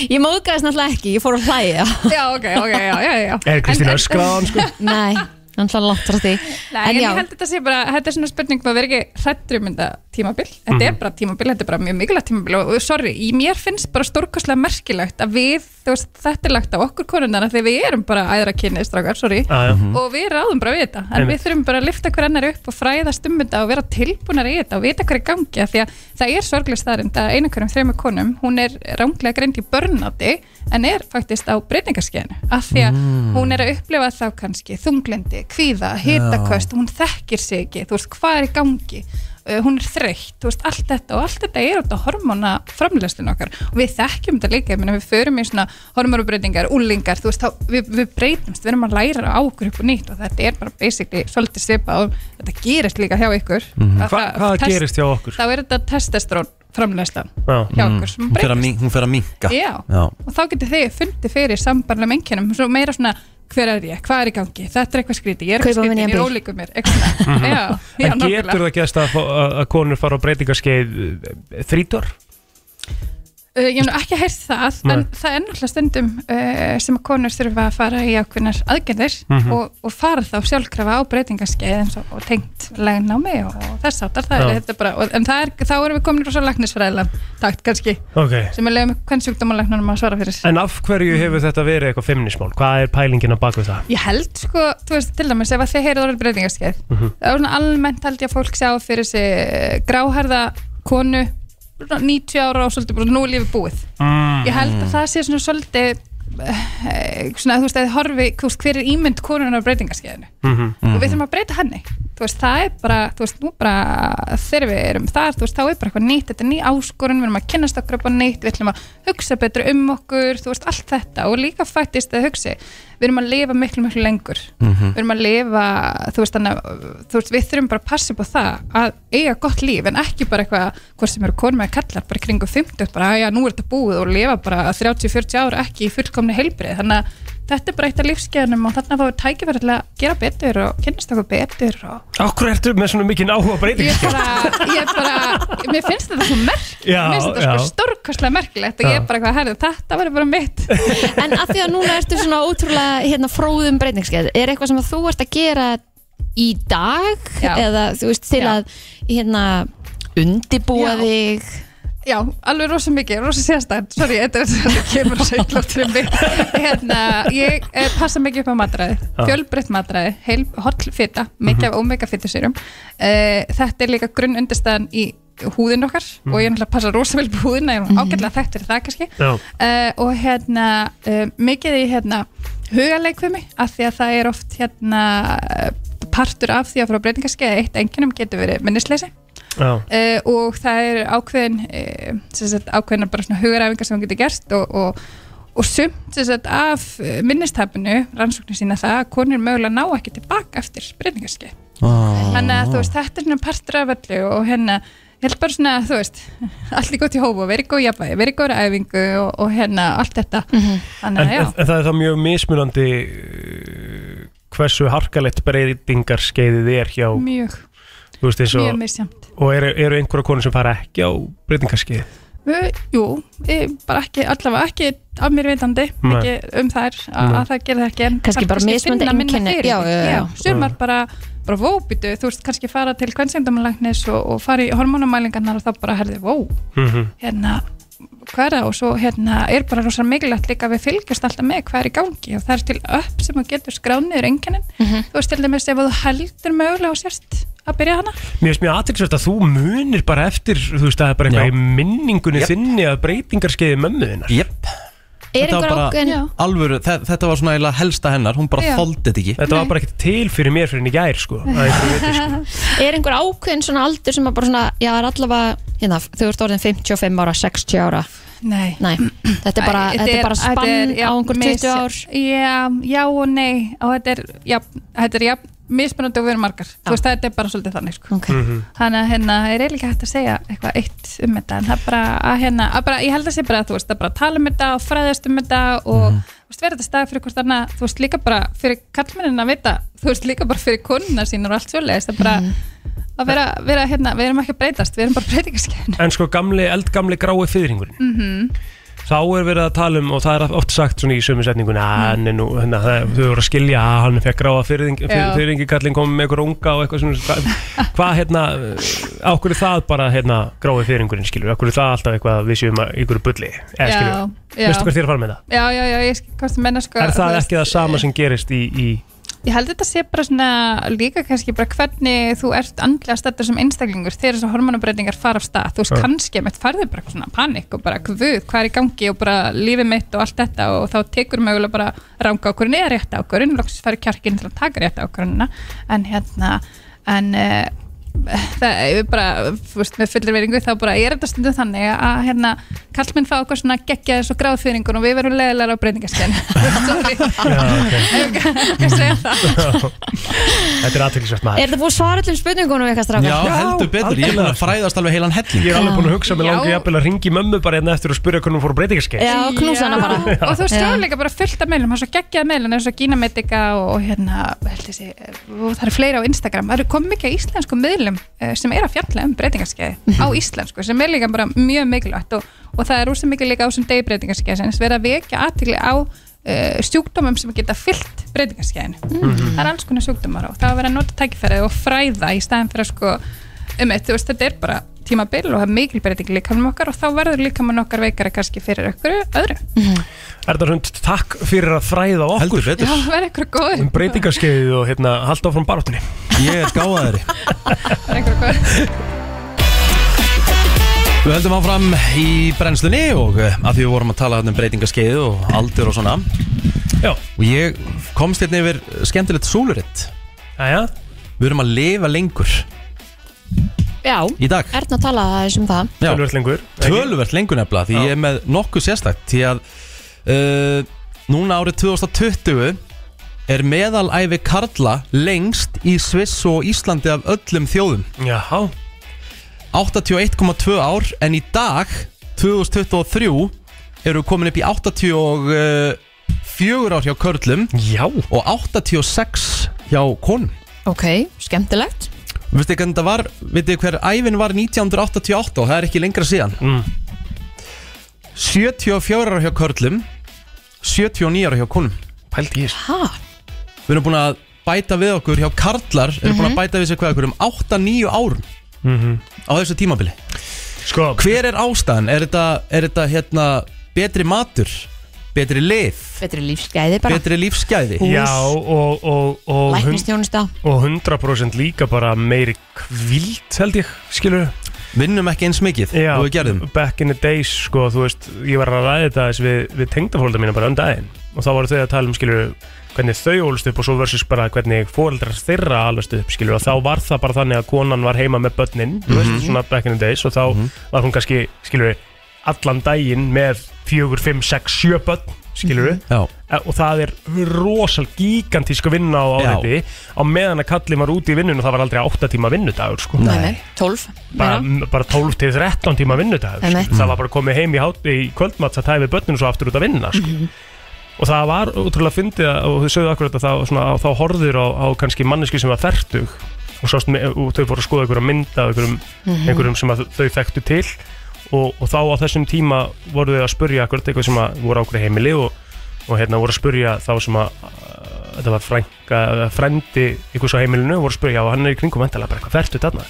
Speaker 2: Ég móðgæðist náttúrulega ekki, ég fór að hlæja
Speaker 11: Já, ok, ok, já, já, já.
Speaker 3: Er Kristín öskraðan
Speaker 11: [laughs]
Speaker 3: sko?
Speaker 2: Nei, náttúrulega langt frá því
Speaker 11: Nei, en, ég held að þetta sé bara, þetta er svona spurning maður verið ekki hrættur um þetta tímabil þetta
Speaker 3: Mhm.
Speaker 11: er bara tímabil, þetta er bara mjög mikilvægt tímabil og og sorry, í mér finnst bara stórkoslega merkilegt að við, þú veist, þetta er lagt á okkur konunnar þegar við erum bara æðra kynni strákar, sorry,
Speaker 3: Já, já. Mhm.
Speaker 11: og við ráðum bara við þetta, en
Speaker 3: Einmitt.
Speaker 11: við þurfum bara að lifta hver annar upp og fræðast um þetta og vera tilbúnar í þetta og vita hver er í gangi, af því að það er sorglega staðrind að einu hverjum þrejum konum, hún er ránglega greind í börnáti en er faktist á breytingarskeinu, af því
Speaker 3: Mhm.
Speaker 11: að
Speaker 12: Mm.
Speaker 11: hún er að upplifa þá kannski þunglindi, kvíða, hitaköst hún þekkir sig ekki, þú veist, hvað er í gangi uh, hún er þreytt, þú veist, allt þetta og allt þetta er út á hormona framlöslinu okkar og við þekkjum þetta líka, ég meina við förum í svona hormonabreitingar, úlingar, þú veist þá, við, við breytumst, við erum að læra á okkur upp og nýtt og þetta er bara basically svolítið svipa og þetta gerist líka hjá ykkur
Speaker 3: Mhm.
Speaker 11: Að
Speaker 3: Hva-
Speaker 11: það-
Speaker 3: hvað
Speaker 11: test-
Speaker 3: gerist hjá okkur?
Speaker 11: þá er þetta testosterón framlöslan hjá
Speaker 1: Mm.
Speaker 11: okkur sem
Speaker 1: hún fer að
Speaker 11: breytist
Speaker 1: mink- hún fer að minka
Speaker 11: Já. og þá getur þið fundið fyrir sambarlega mennkjönum svo meira svona hver er ég, hvað er í gangi þetta er eitthvað skrítið, ég er
Speaker 2: Kaupa
Speaker 11: eitthvað
Speaker 2: mér
Speaker 11: skrítið,
Speaker 2: nýjan
Speaker 11: ég er
Speaker 2: bíl.
Speaker 11: ólíkur mér eitthvað svona.
Speaker 3: [laughs]
Speaker 11: já, já,
Speaker 3: Mhm. En getur
Speaker 11: nákvæmlega
Speaker 3: það gæst að, fá- að að konur fara á eh, breytingarskeið þrítor?
Speaker 11: Uh, ég hef nú ekki heyrt það, en
Speaker 3: Nei.
Speaker 11: það er náttúrulega stundum uh, sem að konur þurfa að fara í ákveðnar aðgerðir
Speaker 3: Mhm.
Speaker 11: og, og fara þá sjálfkrafa á breytingarskeið eins og, og tengt legnámi og, og þess áttar, það er
Speaker 3: Já.
Speaker 11: þetta bara, og, en það er, þá erum við komin í rosa læknisfræðilega takt kannski,
Speaker 3: Ok.
Speaker 11: sem við leiðum hvern sjúkdómalæknunum að svara fyrir.
Speaker 3: En af hverju hefur þetta verið eitthvað femnismál? Hvað er pælingin að baka það?
Speaker 11: Ég held sko, þú veist, til dæmis ef að þið heyrið orðið breytingarskeið
Speaker 3: Mhm.
Speaker 11: það var svona almennt held ég að fólk sjá fyrir sig gráharða konu svona 90 ára og svolítið bara nú er lífið búið
Speaker 3: Mm.
Speaker 11: ég held að það sé svona svolítið eh, svona þú veist, að þið horfi þú veist, hver er ímynd konunar á breytingarskeiðinu og
Speaker 13: Mhm.
Speaker 11: við þurfum að breyta henni þú veist, það er bara, þú veist, nú bara þegar við erum þar, þú veist, þá er bara eitthvað nýtt þetta er ný áskorun, við erum að kynnast okkur upp á nýtt við ætlum að hugsa betur um okkur þú veist, allt þetta og líka fættist að hugsi við erum að lifa miklu, miklu lengur
Speaker 12: Mhm.
Speaker 11: við erum að lifa, þú veist, þannig að þú veist, við þurfum bara að passa upp á það að eiga gott líf, en ekki bara eitthvað hvort sem eru konum eða kallar, bara í kringum 50 bara, "Æ, já, nú er þetta búið og lifa bara 30-40 ára ekki í fullkomni heilbrið, þannig að þetta er bara eitt af lífskeiðunum og þarna fáum við tækifæri til að gera betur og kynnast okkur betur og
Speaker 3: Akkur ertu með svona mikinn áhuga breyting
Speaker 11: ég bara, ég bara, mér finnst þetta svo merkilegt
Speaker 3: Já,
Speaker 11: mér finnst þetta
Speaker 3: já.
Speaker 11: sko stórkostlega merkilegt og ég
Speaker 3: Já.
Speaker 11: er bara hvað, herðu, þetta verður bara mitt
Speaker 2: En að því að núna ertu svona ótrúlega hérna, fróðum breytingskeið, er eitthvað sem að þú ert að gera í dag
Speaker 11: Já.
Speaker 2: eða þú veist til
Speaker 11: Já.
Speaker 2: að hérna, undibúa
Speaker 11: Já.
Speaker 2: þig
Speaker 11: Já, alveg rosa mikið, rosa sérstæðan Sorry, þetta er þetta kemur svo illa út fyrir mig hérna, Ég eh, passa mikið upp á matræði
Speaker 2: Já.
Speaker 11: Fjölbreytt matræði, heil, holl fita Mikið af omega fitusýrum eh, Þetta er líka grunn undirstæðan í húðin okkar og ég náttúrulega passa rosa vel på húðina, ég er ágætlega þekkt fyrir það kannski
Speaker 3: Já.
Speaker 11: uh, og hérna uh, mikið í hérna hugarleikfumi af því að það er oft hérna eh, partur af því að frá breytingarskeið eitt enginum getur verið minnisleysi
Speaker 3: Já.
Speaker 11: uh, og það er ákveðin uh, sagt, ákveðina bara svona hugaræfingar sem hún getur gert og, og, og sumt sem sagt, af eh, minnistapinu rannsóknir sína það að konur mögulega ná ekki tilbaka eftir breytingarskeið þannig að
Speaker 3: Ah.
Speaker 9: Ah.
Speaker 11: þú veist þetta er svona partur af öllu og hérna ég held bara svona þú veist [laughs] allt er gott í hófu, verið góð jafnvægi, verið góð æfingu og, og hérna allt þetta þannig
Speaker 3: en,
Speaker 11: að já,
Speaker 3: en, en það er þá mjög mismunandi uh, hversu harkalegt breytingarskeiðið er hjá
Speaker 11: mjög,
Speaker 3: þú veist, eins
Speaker 11: mjög
Speaker 3: og,
Speaker 11: misjæmt
Speaker 3: og eru, eru einhverja konur sem fara ekki á breytingarskeiðið
Speaker 11: Ö, Jú, ég, bara ekki, allavega ekki af mér vitandi,
Speaker 3: Nei.
Speaker 11: ekki um þær að,
Speaker 3: Nei.
Speaker 11: að það gerir það ekki en
Speaker 2: Kannski
Speaker 11: þarf
Speaker 2: bara mismunandi
Speaker 11: finna minna
Speaker 2: einkenni.
Speaker 11: fyrir
Speaker 2: Já,
Speaker 11: því.
Speaker 2: já, já.
Speaker 11: sumar bara, bara vóbitu, þú veist, kannski fara til kvensendamalagnis og, og fara í hormónumælingarnar og þá bara herði, vó,
Speaker 3: Mhm.
Speaker 11: hérna hvað er það og svo hérna er bara rosa mikilvægt líka að við fylgjast alltaf með hvað er í gangi og það er til upp sem þú getur skránniður enginin,
Speaker 2: Mhm.
Speaker 11: þú veist til dæmis ef þú heldur mögulega og sérst að byrja hana
Speaker 3: Mér finnst mjög aðtilsvært að þú munir bara eftir þú veist, það er bara eitthvað í minningunni þinni að breytingarskeiði mömmu þinnar
Speaker 12: Jep
Speaker 2: Er
Speaker 12: Þetta var
Speaker 2: einhver
Speaker 12: bara-
Speaker 2: ákveðin
Speaker 12: Alvöru, þe- þetta var svona eiginlega helsta hennar Hún bara
Speaker 2: Já.
Speaker 12: þoldi þetta ekki
Speaker 3: Þetta var bara ekkert til fyrir mér fyrir henni gær sko að einhverju
Speaker 11: [laughs]
Speaker 3: viti, sko.
Speaker 2: [laughs] Er einhver ákveðin svona aldur sem að bara svona já, er allavega, hérna, þú ert orðin 55 ára 60 ára
Speaker 11: Nei,
Speaker 2: Nei. Þetta er bara,
Speaker 11: Æ,
Speaker 2: þetta er bara
Speaker 11: þetta
Speaker 2: spann
Speaker 11: er, já,
Speaker 2: á einhver
Speaker 11: mis-
Speaker 2: 20 ár
Speaker 11: já, já og nei og þetta er, já, þetta er já, mismunandi og verið margar, þú veist þetta er bara svolítið þannig sko.
Speaker 2: okay.
Speaker 3: Mhm.
Speaker 11: þannig að hérna, er eiginlega ekki hægt að segja eitthvað eitt um þetta, en það er bara að hérna, að bara, ég held að sé bara að þú veist að bara tala um þetta og fræðast um þetta og
Speaker 2: Mhm.
Speaker 11: þú veist, vera þetta stað fyrir hvort annað, þú veist líka bara fyrir kallmennin að vita, þú veist líka bara fyrir konuna sín og allt svoleiðis, það er
Speaker 2: Mhm.
Speaker 11: bara að vera, vera, hérna, við erum ekki að breytast við erum bara breytingarskjæðin
Speaker 3: En sko gamli, eldgamli grái fyrringurinn
Speaker 11: mm
Speaker 2: Mhm.
Speaker 11: -hmm.
Speaker 3: Þá er verið að tala um og það er oft sagt svona í sömu setningun að
Speaker 11: Mm.
Speaker 3: hann er nú, hérna, það- þau voru að skilja að hann fekk gráa fyrring,
Speaker 11: Já.
Speaker 3: fyrringi kallin komið með einhver unga og eitthvað svona hvað, hvað hérna, ákveður það bara hérna grái fyrringurinn skilur, ákveður það alltaf eitthvað að við séum að ykkur bulli eða
Speaker 11: Já,
Speaker 3: skilur,
Speaker 11: já.
Speaker 3: veistu hvert þér að fara með það?
Speaker 11: Já, já, já, ég skil hvað sem menna sko
Speaker 3: Er
Speaker 11: þú
Speaker 3: það
Speaker 11: veist,
Speaker 3: ekki það sama sem gerist í, í
Speaker 11: Ég held þetta sé bara svona líka kannski bara hvernig þú ert andlega stættur sem einstaklingur þegar þessar hormonabreitingar fara af stað þú veist
Speaker 3: Já.
Speaker 11: kannski að mitt farði bara eitthvað svona panik og bara hvud, hvað er í gangi og bara lífið mitt og allt þetta og þá tekur mögulega bara ranga okkur neða rétt ákvörun loksins færi kjarkinn til að taka rétt ákvörunina en hérna en uh, það er bara, þú veist, með fullir veringu þá bara er þetta stundum þannig að hérna, kallmenn fá okkur svona geggja þessu gráðfyrringun og við verum leðilega á breytingarskjæðin [laughs] Sorry, segja það [laughs]
Speaker 1: [laughs]
Speaker 3: Þetta er aðtöklisvært maður
Speaker 2: Er þetta búið að svara öllum spurningunum
Speaker 12: Já,
Speaker 2: eitthvað strákar?
Speaker 12: heldur betur, ég er búin að fræðast alveg heilan helling
Speaker 3: Ég er alveg búin að hugsa mig
Speaker 11: Já.
Speaker 3: langi jafnvel að ringi mömmu bara hérna eftir og spyrja hvernig hún fór á breytingarskeið
Speaker 2: Já, knúsa hana bara.
Speaker 11: Já. og þú veist,
Speaker 2: Já.
Speaker 11: það er líka bara fullt af meilum það er svo geggjað meilum, eins og Gína Medica og, og hérna, held ég sé og það eru fleiri á Instagram, það eru komið mikið af íslensku meilum sem er að fjalla um breytingarskeiði á
Speaker 2: Mhm.
Speaker 11: íslensku, sem er líka bara mjög mikilvægt og, og það er úr sem mikið líka á sem degi breytingarskeiði, sem verið að vekja aðtigli á uh, sjúkdómum sem geta fyllt breytingarskeiðinu,
Speaker 3: Mhm.
Speaker 11: það er alls konar sjúkdómar og það er að vera að nota tækifærið og fræða í staðin fyrir að sko um eitt, þú veist, þetta er bara tímabil og það er mikil breyting líka um okkar og þá verður líka mann okkar veikara kannski fyrir okkur öðru
Speaker 3: Erna Hund, takk fyrir að fræða okkur
Speaker 11: Já, það verður eitthvað góður
Speaker 3: um breytingarskeiðið og hérna halda áfram baráttunni
Speaker 12: Ég er gáðaðri Við höldum áfram í brennslunni og eh, að því við vorum að tala þarna um breytingarskeið og aldur og svona
Speaker 3: Já.
Speaker 12: Og ég komst hérna yfir skemmtilegt súluritt
Speaker 3: Jæja
Speaker 12: Við erum að lifa lengur
Speaker 2: Já,
Speaker 12: í dag
Speaker 2: Erna að tala aðeins um það
Speaker 3: Tölvert lengur
Speaker 12: Tölvert lengur nefnilega Því ég er með nokkuð sérstakt Því að uh, núna árið 2020 er meðalæfi karla lengst í Sviss og Íslandi af öllum þjóðum
Speaker 3: Jaha
Speaker 12: 81,2 ár en í dag 2023 eru komin upp í 80 og, uh,
Speaker 1: fjögur ár hjá körlum
Speaker 3: Já.
Speaker 1: og 86 hjá konum
Speaker 2: Ok, skemmtilegt
Speaker 1: Veistu hvernig þetta var, veitu hver æfin var 1988 og það er ekki lengra síðan
Speaker 3: mm.
Speaker 1: 74 ára hjá körlum 79 ára hjá konum
Speaker 3: Pældi ég
Speaker 2: Ha?
Speaker 1: Við erum búin að bæta við okkur hjá karlar erum búin
Speaker 2: Mhm.
Speaker 1: að bæta við sér hvað okkur um 8-9 árum
Speaker 3: Mhm.
Speaker 1: á þessu tímabili
Speaker 3: sko,
Speaker 1: Hver er ástæðan? Er þetta, er þetta hérna, betri matur? Betri lif?
Speaker 2: Betri lífsgæði bara
Speaker 1: Betri lífsgæði?
Speaker 3: Já, og, og, og,
Speaker 2: Læknistjónusta
Speaker 3: og 100% líka bara meiri kvild held ég, skilur
Speaker 1: Vinnum ekki eins mikið
Speaker 3: Já,
Speaker 1: og við gerðum.
Speaker 3: Back in the days, sko, þú veist ég var að ræða þetta þess við, við tengdafólda mína bara um daginn og þá voru þau að tala um, skilur hvernig þau ólst upp og svo versus bara hvernig fóreldrar þeirra alvegst upp, skilur og þá var það bara þannig að konan var heima með börnin þú veist,
Speaker 1: Mhm.
Speaker 3: svona back in the days og þá var hún kannski, skilur allan daginn með 4, 5, 6, 7 börn, skilur
Speaker 1: Já
Speaker 3: Eh, og það er rosal gigantísku vinna á
Speaker 1: Já.
Speaker 3: áriði á meðan að kallin var úti í vinnun og það var aldrei 8 tíma vinnudagur sko.
Speaker 2: Nei, nei, 12
Speaker 3: bara, bara 12 til 13 tíma vinnudagur
Speaker 2: Nei, nei.
Speaker 3: skilur. það var bara komið heim í, hát, í kvöldmats að tæfi börninu svo aftur út að vinna sko.
Speaker 2: Mhm.
Speaker 3: og það var útrúlega fyndið að- og þau sögðu akkurat að það, svona, að þá horfður á, á kannski manneski sem var fertug og, sást, me- og þau voru að skoða einhverja mynda af einhverjum,
Speaker 1: Mhm.
Speaker 3: einhverjum sem að þau þekktu til og, og þá á þessum tíma voru þau að spurja akkurat eitthvað sem að voru á okkur heimili og, og hérna voru að spurja þá sem að uh, þetta var frænka, frendi einhvers á heimilinu voru að spurja og hann er í kringum endala bara eitthvað fertu þarna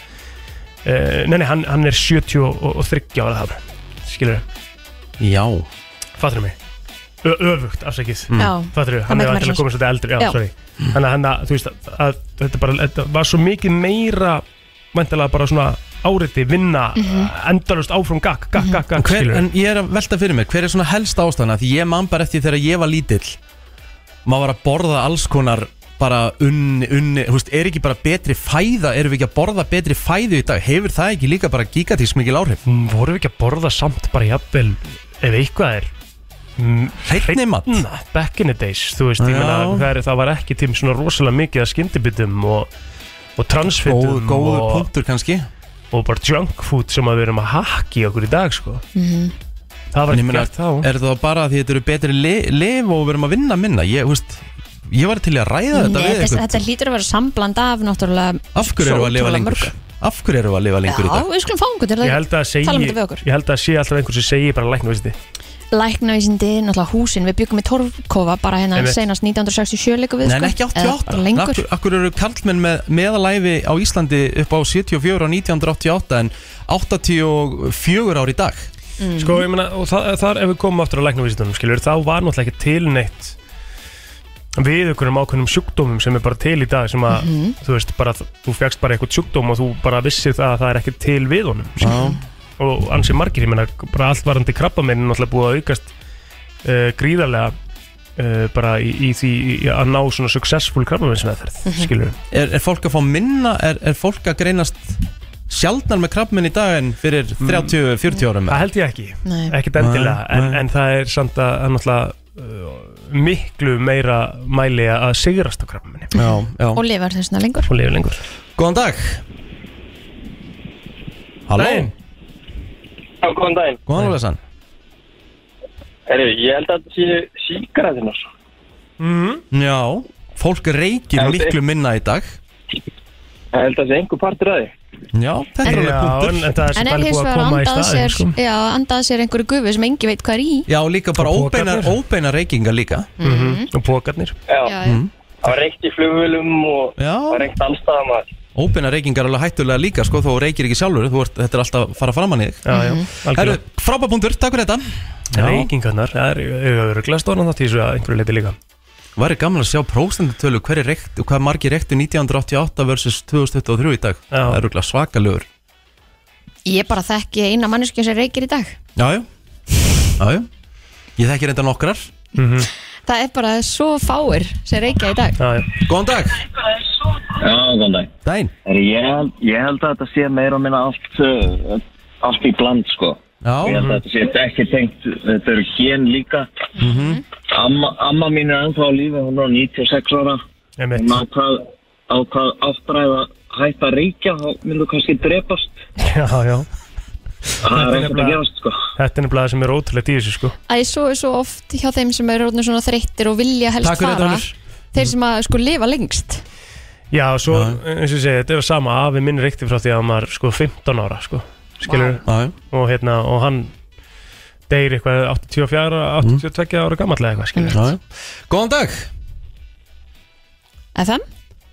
Speaker 3: uh, nei nei hann, hann er 73 ára það skilur
Speaker 1: Já
Speaker 3: fattur mig Ö öfugt afsakið
Speaker 1: Mm.
Speaker 2: Já.
Speaker 3: fattur mig
Speaker 2: Það meikar
Speaker 3: hann er
Speaker 2: meira
Speaker 3: alltaf
Speaker 2: sens.
Speaker 3: komið svolítið eldri já,
Speaker 2: Já.
Speaker 3: sorry þannig að, hann að þú veist að, að þetta bara þetta var svo mikið meira mæntalega bara svona áriti vinna mm
Speaker 1: Mhm.
Speaker 3: endalust áfram gakk
Speaker 2: Mhm.
Speaker 3: gakk gakk gakk
Speaker 1: hver,
Speaker 3: skilur
Speaker 1: En ég er að velta fyrir mér, hver er svona helst ástæðana Því ég man bara eftir þegar ég var lítill Maður var að borða alls konar Bara unni, unni Þú veist, er ekki bara betri fæða Erum við ekki að borða betri fæðu í dag Hefur það ekki líka bara gigatís mikil áhrif
Speaker 3: Mm, Vorum við ekki að borða samt bara jafnvel Ef eitthvað er Mm,
Speaker 1: Hreinni mat
Speaker 3: Back in the days, þú veist,
Speaker 1: Já.
Speaker 3: ég meina það, er, það var ekki tím svona rosalega mikið að skyndibitum og, og
Speaker 1: Góð-
Speaker 3: transfitum
Speaker 1: góður
Speaker 3: og,
Speaker 1: punktur kannski
Speaker 3: og bara junk food sem að við erum að hakka í okkur í dag sko. Það var
Speaker 1: En ég
Speaker 3: ekki
Speaker 1: meina,
Speaker 3: gert þá.
Speaker 1: Er það bara því þetta eru betri li, lif og við erum að vinna minna Ég, þú veist, ég var til í að ræða þetta
Speaker 2: Nei,
Speaker 1: við
Speaker 2: þess,
Speaker 1: einhvern.
Speaker 2: þetta hlýtur að vera sambland af náttúrulega
Speaker 1: Af hverju erum við að lifa lengur? Af hverju erum við að lifa
Speaker 2: Já,
Speaker 1: lengur í dag?
Speaker 2: við skulum fá einhvern til
Speaker 3: Ég held að segi,
Speaker 2: tala um þetta við okkur
Speaker 3: ég held að sé alltaf einhver sem segi bara lækna, veist þið
Speaker 2: Læknavísindi, náttúrulega húsin, við byggum í Torfkofa bara hérna
Speaker 1: Einmitt.
Speaker 2: senast 1967 leikum við
Speaker 1: Nei, en
Speaker 2: sko.
Speaker 1: ekki
Speaker 2: Eða bara
Speaker 1: 88
Speaker 2: lengur
Speaker 1: Akkur, akkur eru karlmenn með meðalæfi á Íslandi upp á 74 á 1988 en 84 ár í dag
Speaker 2: Mhm.
Speaker 3: Sko, ég meina, og það, þar ef við komum aftur á læknavísindunum, skiljur, þá var náttúrulega ekki til neitt við einhverjum ákveðnum sjúkdómum sem er bara til í dag sem að,
Speaker 1: Mhm.
Speaker 3: þú veist, bara þú fegst bara eitthvað sjúkdóm og þú bara vissir það að það er ekki til við honum
Speaker 1: skilurðu.
Speaker 3: og ansið margir, ég meina, bara allt varandi krabbamein er náttúrulega búið að aukast uh, gríðarlega uh, bara í, í því í að ná svona successful krabbameinsmeðferð, mm
Speaker 1: Mhm.
Speaker 3: skiljur
Speaker 1: er, er fólk að fá minna, er, er fólk að greinast sjaldnar með krabbmenn í dag en fyrir 30-40 árum?
Speaker 3: Mm. Það held ég ekki,
Speaker 2: Nei.
Speaker 3: ekkert endilega
Speaker 1: Nei,
Speaker 3: en, en það er samt að, að náttúrulega uh, miklu meira mæli að sigrast á krafminni
Speaker 1: Já, já
Speaker 2: og lifa þessna lengur
Speaker 3: Og lifa lengur
Speaker 1: Góðan dag Halló
Speaker 3: Daginn.
Speaker 10: Já, góðan daginn.
Speaker 1: Góðan Úlesan
Speaker 10: Herru, ég held að þetta sé sko. síkaræðinar.
Speaker 3: mm.
Speaker 1: Já, fólk reykir
Speaker 10: Já,
Speaker 1: miklu minna í dag
Speaker 10: Ég held að þetta sé einhver partur að því.
Speaker 1: Já, þetta er
Speaker 10: En-
Speaker 1: alveg
Speaker 10: Já,
Speaker 1: punktur
Speaker 10: en- en það
Speaker 2: En er hins vegar andað sér,
Speaker 3: sko.
Speaker 2: já, andað sér einhverju gufu sem engi veit hvað er í
Speaker 1: Já, og líka bara
Speaker 3: Og
Speaker 1: óbeinar,
Speaker 3: pokarnir.
Speaker 1: óbeinar reykingar líka
Speaker 3: Mhm. Og pókarnir
Speaker 10: Já,
Speaker 2: Já,
Speaker 3: Mm.
Speaker 10: það var reykt í flugvölum og það var reykt allstaðan að
Speaker 1: Óbeinar reykingar er alveg hættulega líka sko, þú reykir ekki sjálfur, þú ert, þetta er alltaf að fara framann í þig Mhm.
Speaker 3: Já, já,
Speaker 1: Herru,
Speaker 3: algjörlega
Speaker 1: frábapunktur, takk fyrir þetta
Speaker 3: Reykingarnar, það er auðvitað stóran þátt í þessu að einhverju leiti líka
Speaker 1: Væri gaman að sjá prósendutölu hver er reykt, hvað margir reyktu 1988 versus 2023 í dag já. Það er rúglega svakalögur
Speaker 2: Ég bara þekki eina manneskja sem reykir í dag
Speaker 1: Já, já, já, já Ég þekki reynda nokkrar
Speaker 3: mm -hmm.
Speaker 2: Það er bara svo fáir sem reykja í dag
Speaker 3: já, já.
Speaker 1: Góðan dag
Speaker 13: Já, góðan dag.
Speaker 1: Dæn.
Speaker 13: Ég, held- ég held að þetta sé meira og minna allt, uh, allt í bland, sko.
Speaker 1: Já.
Speaker 13: Ég held að þetta sé ekki tengt, þetta eru hén líka.
Speaker 1: mm -hmm.
Speaker 13: Amma, amma mín er ennþá á lífi, hún er á 96 ára. Hún ákvað, ákvað áttræða hætt að reykja, þá myndu kannski drepast.
Speaker 3: Já, já
Speaker 13: Það er ekkert að gefast,
Speaker 3: sko. þetta er nefnilega það sem er ótrúlegt í þessu sko.
Speaker 2: Æ, svo er svo oft hjá þeim sem eru orðnir svona þreyttir og vilja helst
Speaker 3: Takk fyrir þetta,
Speaker 2: fara
Speaker 3: Unnur.
Speaker 2: Þeir sem að sko lifa lengst
Speaker 3: já, svo, eins og ég segi, þetta er sama afi minn reykti frá því að hann var sko 15 ára sko, skilur og hérna, og hann deyr eitthvað 84, 82 ára gamall eða eitthvað, skilur
Speaker 1: Mhm. Góðan dag
Speaker 2: FM?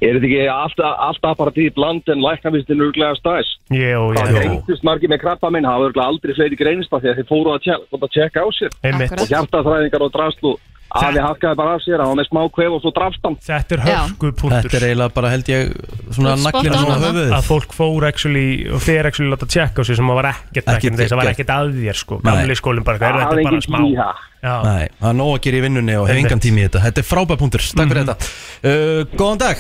Speaker 10: Er þetta ekki alltaf, alltaf bara því bland en læknavistin örglega stæs?
Speaker 3: Jó,
Speaker 10: Það greintist margir með krabba minn, hafa örglega aldrei fleiri greinst af því að þið fóru að tjekka, að tjekka á sér.
Speaker 3: Einmitt.
Speaker 10: Og hjartaþræðingar og draslu, afi hakaði bara af sér, hann var með smá kvef og svo drafst hann.
Speaker 3: Þetta er hörku púntur
Speaker 1: Þetta er eiginlega bara held ég svona naglina svona á höfuðið
Speaker 3: að fólk fór actually og þeir actually láta tjekka á sig sem að var ekkert
Speaker 1: Ekkert
Speaker 3: ekkert þess að var
Speaker 1: gert.
Speaker 3: ekkert að þér sko
Speaker 1: Nei.
Speaker 3: gamli skólinn bara, er þetta er bara smá Já.
Speaker 1: Nei, það er nóg að gera í vinnunni og hef
Speaker 3: Einmitt. Mhm.
Speaker 1: engan tími í þetta Þetta er frábær punktur, takk fyrir þetta uh, Góðan dag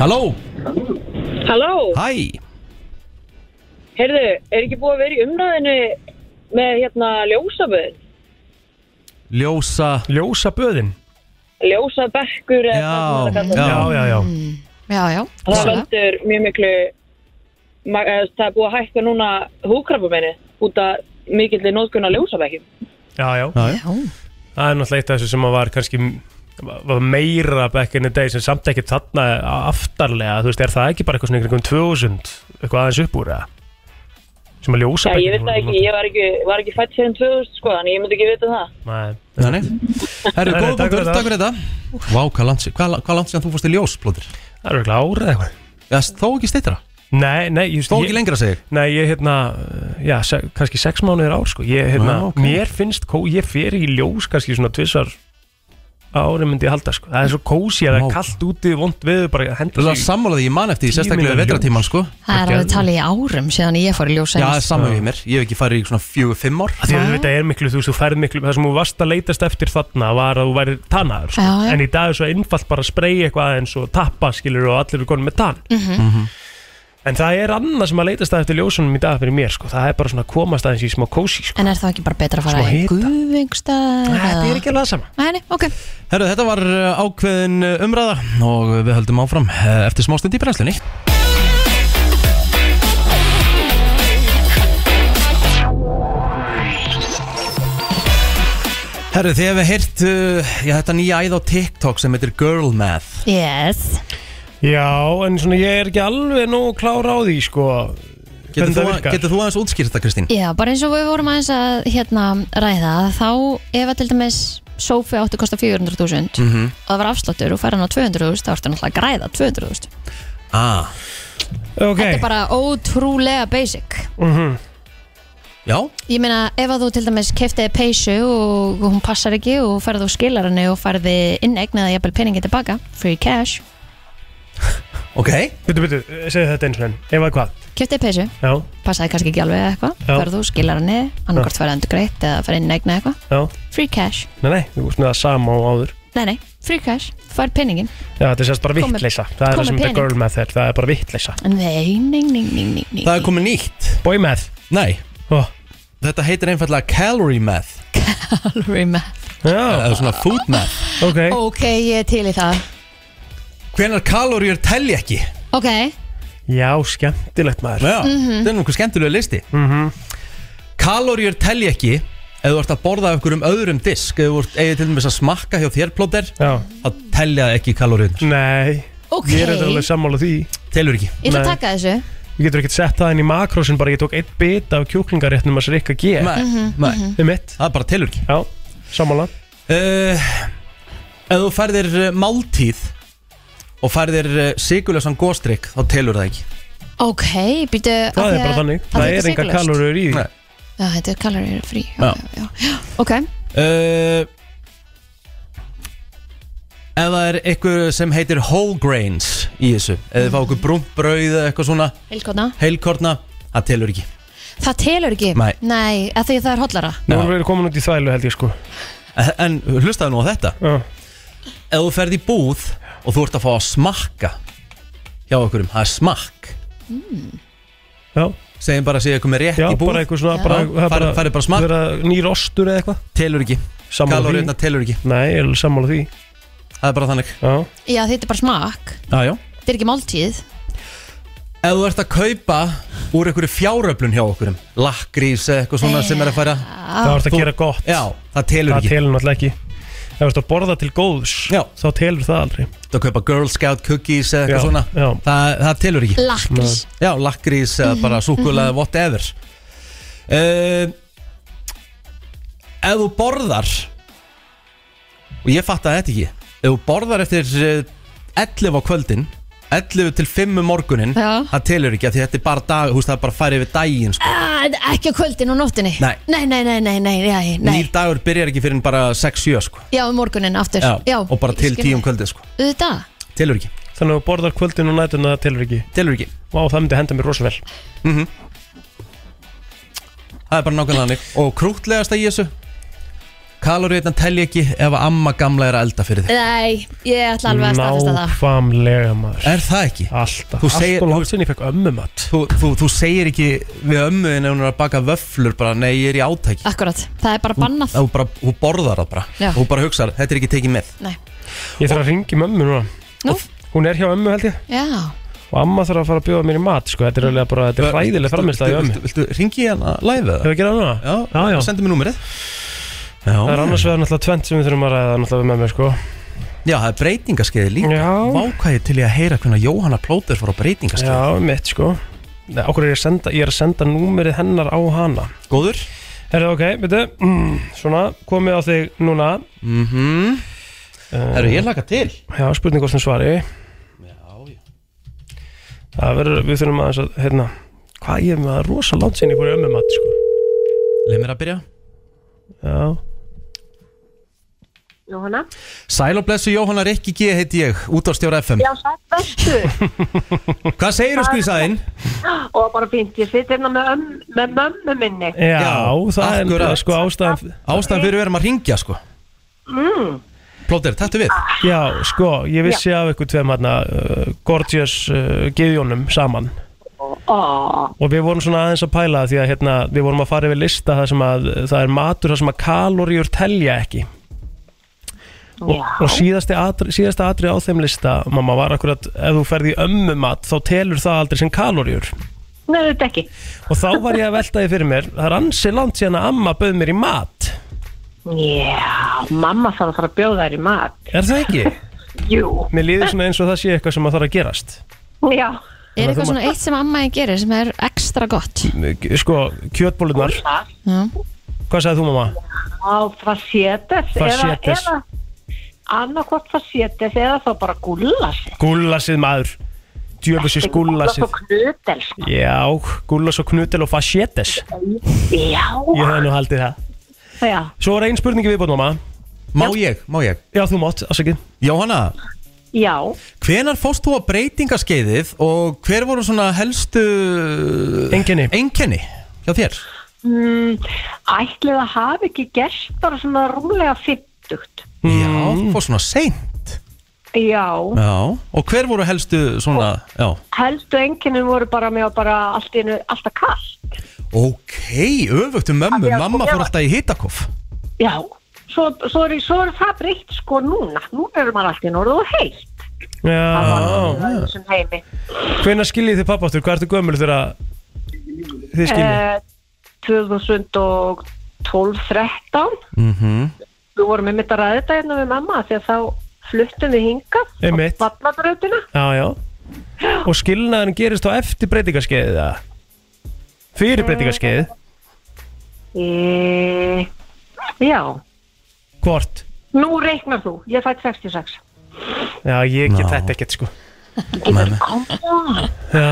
Speaker 1: Halló,
Speaker 9: Halló,
Speaker 1: hæ
Speaker 9: heyrðu, er ekki búið að vera í umræðinu með hérna ljósaböðin?
Speaker 1: Ljósa
Speaker 3: Ljósa böðin
Speaker 9: Ljósabekkur eða hvað sem það kallar.
Speaker 3: já, já, já.
Speaker 2: Já, já,
Speaker 9: Það veldur mjög miklu, ma- eða, það er búið að hækka núna húkrafumenni út af mikillir nótkunna ljósabekkjum.
Speaker 3: Já, já. Það er náttúrulega eitt af þessu sem að var kannski var meira back in the day sem samt ekki þarna aftarlega þú veist, er það ekki bara eitthvað svona í kringum 2000 eitthvað aðeins upp úr eða sem að ljósa
Speaker 9: Já, ég veit það ekki, ég var ekki, var ekki fætt fyrir 2000 sko, þannig ég myndi ekki vita það.
Speaker 3: Nei,
Speaker 1: Nei. Herru,
Speaker 3: Nei,
Speaker 1: góðan
Speaker 3: takk
Speaker 1: punktur,
Speaker 3: fyrir
Speaker 1: takk fyrir þetta Vá, hvað langt sé- hvað- hvað langt séðan þú fórst í ljós, Plóter?
Speaker 3: Það er ekki árið eitthvað
Speaker 1: Já, þó ekki stittra
Speaker 3: Nei, nei, ég
Speaker 1: Þó ekki lengra segir
Speaker 3: Nei, ég hérna, já, se, kannski sex mánuðir ár sko, ég hérna,
Speaker 1: Já, ok.
Speaker 3: mér finnst kó, ég fer í ljós kannski svona tvisvar ári myndi ég halda sko, það er svo kósi að það er kallt úti, vond við bara að henda
Speaker 1: Það er sammála því, ég man eftir því, sérstaklega vetratímann, sko
Speaker 2: Það er alveg talið í árum síðan ég fór í ljós
Speaker 1: Já, það er
Speaker 2: seinast.
Speaker 1: saman við mér, ég hef ekki farið í svona fjögur, fimm ár
Speaker 3: Því að þú veit að er miklu, þú veist, þú færð miklu Það sem þú varst að leitast eftir þarna var að þú væri tannaður sko.
Speaker 1: Já, já.
Speaker 3: En í dag er svo einfalt bara að spreja eitthvað aðeins og tappa skilur og allir eru konum með tann
Speaker 1: Mhm. Mhm.
Speaker 3: En það er annað sem að leitast að eftir ljósunum í dag fyrir mér sko. Það er bara svona að komast aðeins í smá kósi sko.
Speaker 2: En er það ekki bara betra að
Speaker 3: Smá
Speaker 2: fara í
Speaker 3: hita.
Speaker 2: guðvingstað?
Speaker 3: Þetta er ekki alveg það sama
Speaker 2: Nei, nei, ok
Speaker 1: Herru, þetta var uh, ákveðin uh, umræða og við höldum áfram uh, eftir smástund í brennslunni Herru, þið hefur heyrt uh, já, þetta nýja æð á TikTok sem heitir Girl Math
Speaker 2: Yes
Speaker 3: Já, en svona ég er ekki alveg nóg klára á því sko,
Speaker 1: Getur
Speaker 3: hvernig
Speaker 1: þú,
Speaker 3: það virkar.
Speaker 1: getur þú aðeins útskýrt þetta, Kristín?
Speaker 2: Já, bara eins og við vorum aðeins að hérna, ræða þá ef að til dæmis sófi átti að kosta 400.000
Speaker 1: Mhm.
Speaker 2: og það var afsláttur og fær hann á 200.000 þá ertu náttúrulega að græða 200.000
Speaker 1: Ah.
Speaker 2: Þetta er bara ótrúlega basic
Speaker 3: mm -hmm.
Speaker 1: Já
Speaker 2: Ég meina, ef að þú til dæmis keftiði peysu og hún passar ekki og færði á skilarinni og færði innegn eða jafnvel peningi tilbaka, free cash
Speaker 1: Ok
Speaker 3: Byttu, byttu, segðu þetta eins og enn Ef að hvað?
Speaker 2: keftiði peysu,
Speaker 3: Já,
Speaker 2: passaði kannski ekki alveg eða eitthvað,
Speaker 3: Já.
Speaker 2: færði þú skilarinni annarkort færði endur greitt eða færði innegn eða eitthvað
Speaker 3: já,
Speaker 2: free cash,
Speaker 3: nei, nei, þú veist með það sama og áður
Speaker 2: nei nei, free cash fær peningin
Speaker 3: Já, þetta er sérst bara
Speaker 2: Kom með-
Speaker 3: vittleysa Það er
Speaker 2: kom
Speaker 3: það sem
Speaker 2: með pening.
Speaker 3: þetta girl method, það er bara vittleysa
Speaker 2: Nei, nei, nei, nei, nei, nei.
Speaker 1: Það er komið nýtt
Speaker 3: Boy Math
Speaker 1: Nei
Speaker 3: oh.
Speaker 1: Þetta heitir einfallega Calorie Math
Speaker 2: Calorie Math
Speaker 3: Já
Speaker 1: Eða svona Food Math
Speaker 3: Ok
Speaker 2: Ok, ég er til í það
Speaker 1: Hvenar kaloríur telli ekki?
Speaker 2: Ok,
Speaker 3: Já, skemmtilegt maður Mhm.
Speaker 1: Já,
Speaker 2: Mhm.
Speaker 1: þetta er nokkuð skemmtilega listi mm Kaloríur telli ekki Ef þú ert að borða af einhverjum öðrum disk Ef þú ert eigið til dæmis að smakka hjá þér plóter Þá tellja það ekki kaloríunar
Speaker 3: Nei
Speaker 2: Ok.
Speaker 3: Ég er þetta alveg sammála því
Speaker 1: Telur ekki
Speaker 2: ég ætla að taka þessu
Speaker 3: Við getur ekkert sett það inn í makrósin bara ég tók eitt bit af kjúklingaréttnum að srikka G
Speaker 1: Nei,
Speaker 2: Mhm,
Speaker 1: nei.
Speaker 2: mhm.
Speaker 3: Það er mitt
Speaker 1: Það bara telur ekki
Speaker 3: Já, sammála
Speaker 1: uh, Ef þú færðir uh, máltíð Og færðir uh, sigurlösan góstrykk Þá telur það ekki
Speaker 2: Ok, býtu
Speaker 1: Það er bara þannig.
Speaker 3: Það er enga kaloríur í því.
Speaker 1: Nei.
Speaker 2: Já, þetta er kaloríur frí
Speaker 1: Já.
Speaker 2: Ok,
Speaker 1: Uh, ef það er eitthvað sem heitir whole grains í þessu eða fá okkur brúnt brauð eða eitthvað svona
Speaker 2: heilkotna
Speaker 1: heilkorna, það telur ekki
Speaker 2: Það telur ekki
Speaker 1: Nei.
Speaker 2: Nei, að því það er hóllara
Speaker 3: Nú erum við komin út í þvælu held ég sko
Speaker 1: En- Eh, en hlustaðu nú á þetta
Speaker 3: Já.
Speaker 1: ef þú ferð í búð og þú ert að fá að smakka hjá okkurum, það er smakk
Speaker 3: Já
Speaker 1: segjum bara að segja eitthvað með rétt
Speaker 3: Já,
Speaker 1: í búð
Speaker 3: bara eitthvað svona bara, það er
Speaker 1: farið bara, bara smakk
Speaker 3: vera Nýr ostur eða eitthvað
Speaker 1: telur ekki,
Speaker 3: Sammála því.
Speaker 1: kaloríðna telur ekki
Speaker 3: Nei, ég er alveg sammála því
Speaker 1: það er bara þannig
Speaker 3: Já,
Speaker 2: Já, þetta er bara smakk
Speaker 1: já, já
Speaker 2: Þetta er ekki máltíð
Speaker 1: ef þú ert að kaupa úr einhverju fjáröflun hjá okkurum lakrís eða eitthvað svona sem er að fara
Speaker 3: Það vart að gera gott
Speaker 1: Já, það telur
Speaker 3: Það
Speaker 1: ekki
Speaker 3: telur náttúrulega ekki Það vart að borða til góðs Já Þá telur það aldrei
Speaker 1: Það kaupa Girl Scout cookies eða eitthvað
Speaker 3: Já,
Speaker 1: svona
Speaker 3: já.
Speaker 1: Það, það telur ekki
Speaker 2: Lakrís.
Speaker 1: Já, lakrís eða bara
Speaker 2: Mhm,
Speaker 1: súkulega whatever uh, Ef þú borðar og ég fatt að þetta ekki ef þú borðar eftir eh, 11 á kvöldin 11 til 5 um morgunin
Speaker 2: Já.
Speaker 1: það telur ekki af því þetta er bara dag húst, það er bara að fara yfir daginn sko.
Speaker 2: Ah, Ekki á kvöldin og nóttinni
Speaker 1: Nei.
Speaker 2: Nei, nei, nei, nei, nei, nei, nei.
Speaker 1: nýr dagur byrjar ekki fyrir en bara 6-7 sko.
Speaker 2: Já, um morgunin aftur
Speaker 1: Já, og bara
Speaker 2: ég
Speaker 1: til
Speaker 2: skil
Speaker 1: 10 um
Speaker 2: það.
Speaker 1: kvöldið sko.
Speaker 2: Auðvitað
Speaker 1: telur ekki
Speaker 3: Þannig að þú borðar kvöldin og nætuna það telur ekki
Speaker 1: Telur ekki
Speaker 3: Vá, það myndi henda mér rosa vel
Speaker 1: mm það er bara nákvæmlega hannig og krútlegast að í þessu kaloríðna telja ekki ef að amma gamla er að elda fyrir þig
Speaker 2: Nei, ég ætla alveg að staðfesta það
Speaker 3: Nákvæmlega maður
Speaker 1: Er það ekki?
Speaker 3: Alltaf
Speaker 1: Þú segir-
Speaker 3: Alltaf langt sinni ég fekk ömmumat
Speaker 1: þú, þú, þú segir ekki við ömmuðin ef hún er að baka vöflur bara nei ég er í átæki
Speaker 2: Akkurat, það er bara bannað
Speaker 1: þú, bara, þú borðar það bara
Speaker 2: Ah. Já.
Speaker 1: þú bara hugsar þetta er ekki tekið með
Speaker 2: Nei.
Speaker 3: Ég þarf að ringi mömmu núna
Speaker 2: Nú?
Speaker 3: Hún er hjá ömmu held ég
Speaker 2: Já,
Speaker 3: Og amma þarf að fara að bjóða mér í mat sko. Þetta er alveg bara, þetta er ræðileg framistæði ömmu
Speaker 1: viltu, viltu, viltu ringi hérna live
Speaker 3: Hefur
Speaker 1: eða?
Speaker 3: við gerað núna?
Speaker 1: Já,
Speaker 3: já,
Speaker 1: sendu mér númerið Já.
Speaker 3: Það er annars vegar náttúrulega tvent sem við þurfum að ræða náttúrulega með mér sko
Speaker 1: Já, það er breytingaskeiði líka
Speaker 3: Já.
Speaker 1: Vákvæði til ég að heyra hvernig Jóhanna Plóter fór á breytingaskeiði
Speaker 3: Já, mitt sko Nei, Okkur er ég að senda, ég er að senda númerið hennar á hana
Speaker 1: Góður
Speaker 3: Herðu, ok, veitu mm, Svona, komið á þig núna
Speaker 1: mm -hmm. Herðu, ég laka til
Speaker 3: Já, spurning hvort sem svari Það verður, við þurfum aðeins að, hérna Hvað ég er með að rosa langt sinni fór í ömmu mat, sko
Speaker 1: Leif mér að byrja
Speaker 3: Já
Speaker 14: Jóhanna
Speaker 1: Sæl og blessu Jóhanna Rikki G heiti ég út á stjóra FM
Speaker 14: Já, sætt bestu [gasps]
Speaker 1: Hvað sko, segir þú skrýsaðinn?
Speaker 14: Og bara fínt, ég sitt hérna með, ömm, með mömmu minni
Speaker 1: það er
Speaker 3: nefnilega, sko ástæðan
Speaker 1: Ástæðan fyrir við erum að ringja sko
Speaker 14: mm,
Speaker 1: Plóter, tættu við
Speaker 3: Já, sko, ég vissi af ykkur tveim hérna uh, Gorgeous uh, Gifjónum saman
Speaker 14: ó,
Speaker 3: og við vorum svona aðeins að pæla því að hérna, við vorum að fara yfir lista það sem að það er matur það sem að kaloríur telja ekki og,
Speaker 14: Já.
Speaker 3: og síðasti atri, síðasta atri á þeim lista mamma var akkurat, ef þú ferð í ömmumat þá telur það aldrei sem kaloríur
Speaker 14: Nei, þetta ekki
Speaker 3: og þá var ég að velta því fyrir mér það er ansi langt síðan að amma bauð mér í mat
Speaker 14: Já, mamma þarf að fara að bjóða þær í mat
Speaker 3: er það ekki?
Speaker 14: Jú
Speaker 3: Mér líður svona eins og það sé eitthvað sem að þarf að gerast
Speaker 14: Já
Speaker 2: er eitthvað
Speaker 3: þú
Speaker 2: svona eitt sem amma ég gerir sem er ekstra gott
Speaker 3: sko, kjötbólunar
Speaker 2: Já.
Speaker 3: hvað sagði þú mamma?
Speaker 14: Á facetes
Speaker 3: Facetes.
Speaker 14: Eða, eða annarkvort facetes eða þá bara gullas
Speaker 3: Gullasið maður djöfusins gullasið
Speaker 14: og knudels
Speaker 3: Já, gullas og knutel og facetes
Speaker 14: Já,
Speaker 3: Ég hefði nú haldið það
Speaker 14: já
Speaker 3: Svo er ein spurningi viðbúin, mamma
Speaker 1: Má ég, má ég
Speaker 3: Já, þú mátt, afsakið
Speaker 1: Jóhanna,
Speaker 14: Já,
Speaker 1: hvenar fórst þú á breytingaskeiðið og hver voru svona helstu
Speaker 3: Einkenni
Speaker 1: Einkenni hjá þér?
Speaker 14: mm, ætlið að hafa ekki gerst bara svona rúmlega fyrtugt
Speaker 1: Já, þú
Speaker 3: Mm.
Speaker 1: fórst svona sein
Speaker 14: Já,
Speaker 1: Já, og hver voru helstu svona, já
Speaker 14: helstu enginnum voru bara með að bara allt í einu, alltaf kall
Speaker 1: Ok, öfugt um mömmu, mamma fór alltaf í hitakoff
Speaker 14: Já, svo, svo, er, svo er það breytt sko núna, núna er maður alltaf í norðu og heitt
Speaker 3: Já,
Speaker 14: í þessum heimi
Speaker 3: hvenær skiljið þið pappáttur? Hvað ertu gömul þegar að þið skiljið?
Speaker 14: Eh, 2012-13
Speaker 3: Mm -hmm.
Speaker 14: við vorum einmitt að ræða þetta hérna við mamma því að þá fluttum við hingað
Speaker 3: Einmitt.
Speaker 14: á vallabrautina
Speaker 3: Já, já Og skilnaðan gerist þá eftir breytingaskeiðið það? Fyrir breytingaskeiðið?
Speaker 14: e... Já,
Speaker 3: Hvort?
Speaker 14: nú reiknar þú, ég fætt 66
Speaker 3: Já, ég get þetta ekkert sko Já,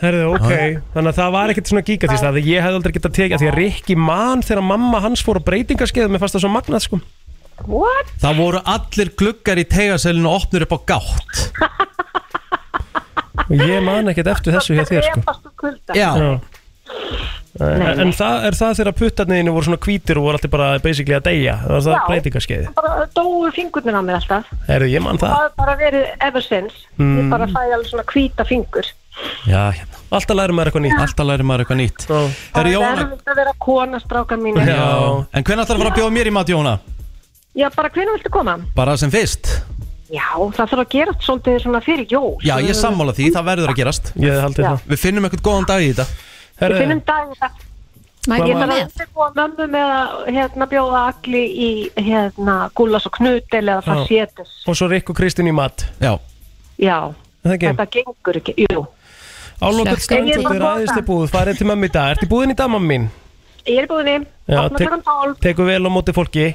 Speaker 3: herðu, ok Þannig að það var ekkert svona gigatist að ég hefði aldrei getað tekið af Því að Rikki man þegar mamma hans fór á breytingarskeið Mér fannst það svo magnað sko
Speaker 14: What?
Speaker 1: Það voru allir gluggar í tegaselinu og opnur upp á gátt
Speaker 3: Og [laughs] ég man ekkert eftir þessu hjá þér sko
Speaker 1: Já.
Speaker 3: En, en það er það þegar puttarniðinu voru svona hvítir og voru alltaf bara basically að deyja Það var það
Speaker 14: Já.
Speaker 3: breytingarskeiði
Speaker 14: bara dóu fingurnir á mig alltaf
Speaker 3: Herðu, ég man það
Speaker 14: það er bara verið ever since
Speaker 3: Mm.
Speaker 14: ég bara fæði alveg svona hvíta fingur
Speaker 1: Já, hérna.
Speaker 3: Alltaf lærir maður eitthvað nýtt
Speaker 1: Alltaf lærir maður eitthvað nýtt
Speaker 14: það
Speaker 1: Herri
Speaker 14: er
Speaker 1: Jóhanna
Speaker 14: erfitt að vera kona stráka mín
Speaker 1: Já. En hvernig ætlar að fara að bjóða mér í mat Jóhanna?
Speaker 14: já bara hvernig viltu koma?
Speaker 1: Bara sem fyrst
Speaker 14: Já, það þarf að gera svolítið svona fyrir jól.
Speaker 12: Já, ég er sammála því, það verður að gerast Ég
Speaker 3: haldið
Speaker 12: það Við finnum eitthvað góðan dag í þetta
Speaker 14: Við finnum um daginn það.
Speaker 12: Hvað
Speaker 14: Ég
Speaker 12: var-
Speaker 14: þarf að undirbúa mömmu með að hérna, bjóða allir í hérna, gúlas og knutil eða það
Speaker 3: Já.
Speaker 14: sétur.
Speaker 3: Og svo Rikk og Kristín í mat
Speaker 12: Já
Speaker 14: Já,
Speaker 3: Það ekki?
Speaker 14: þetta gengur ekki, jú.
Speaker 3: Álokar Skrænsdóttir er aðeins til búð Farið til mammi í dag Ertu í búðin í dag mamma mín?
Speaker 14: Ég er búinni, opna
Speaker 3: tek-
Speaker 14: klokkan 12.
Speaker 3: tekur vel á móti fólki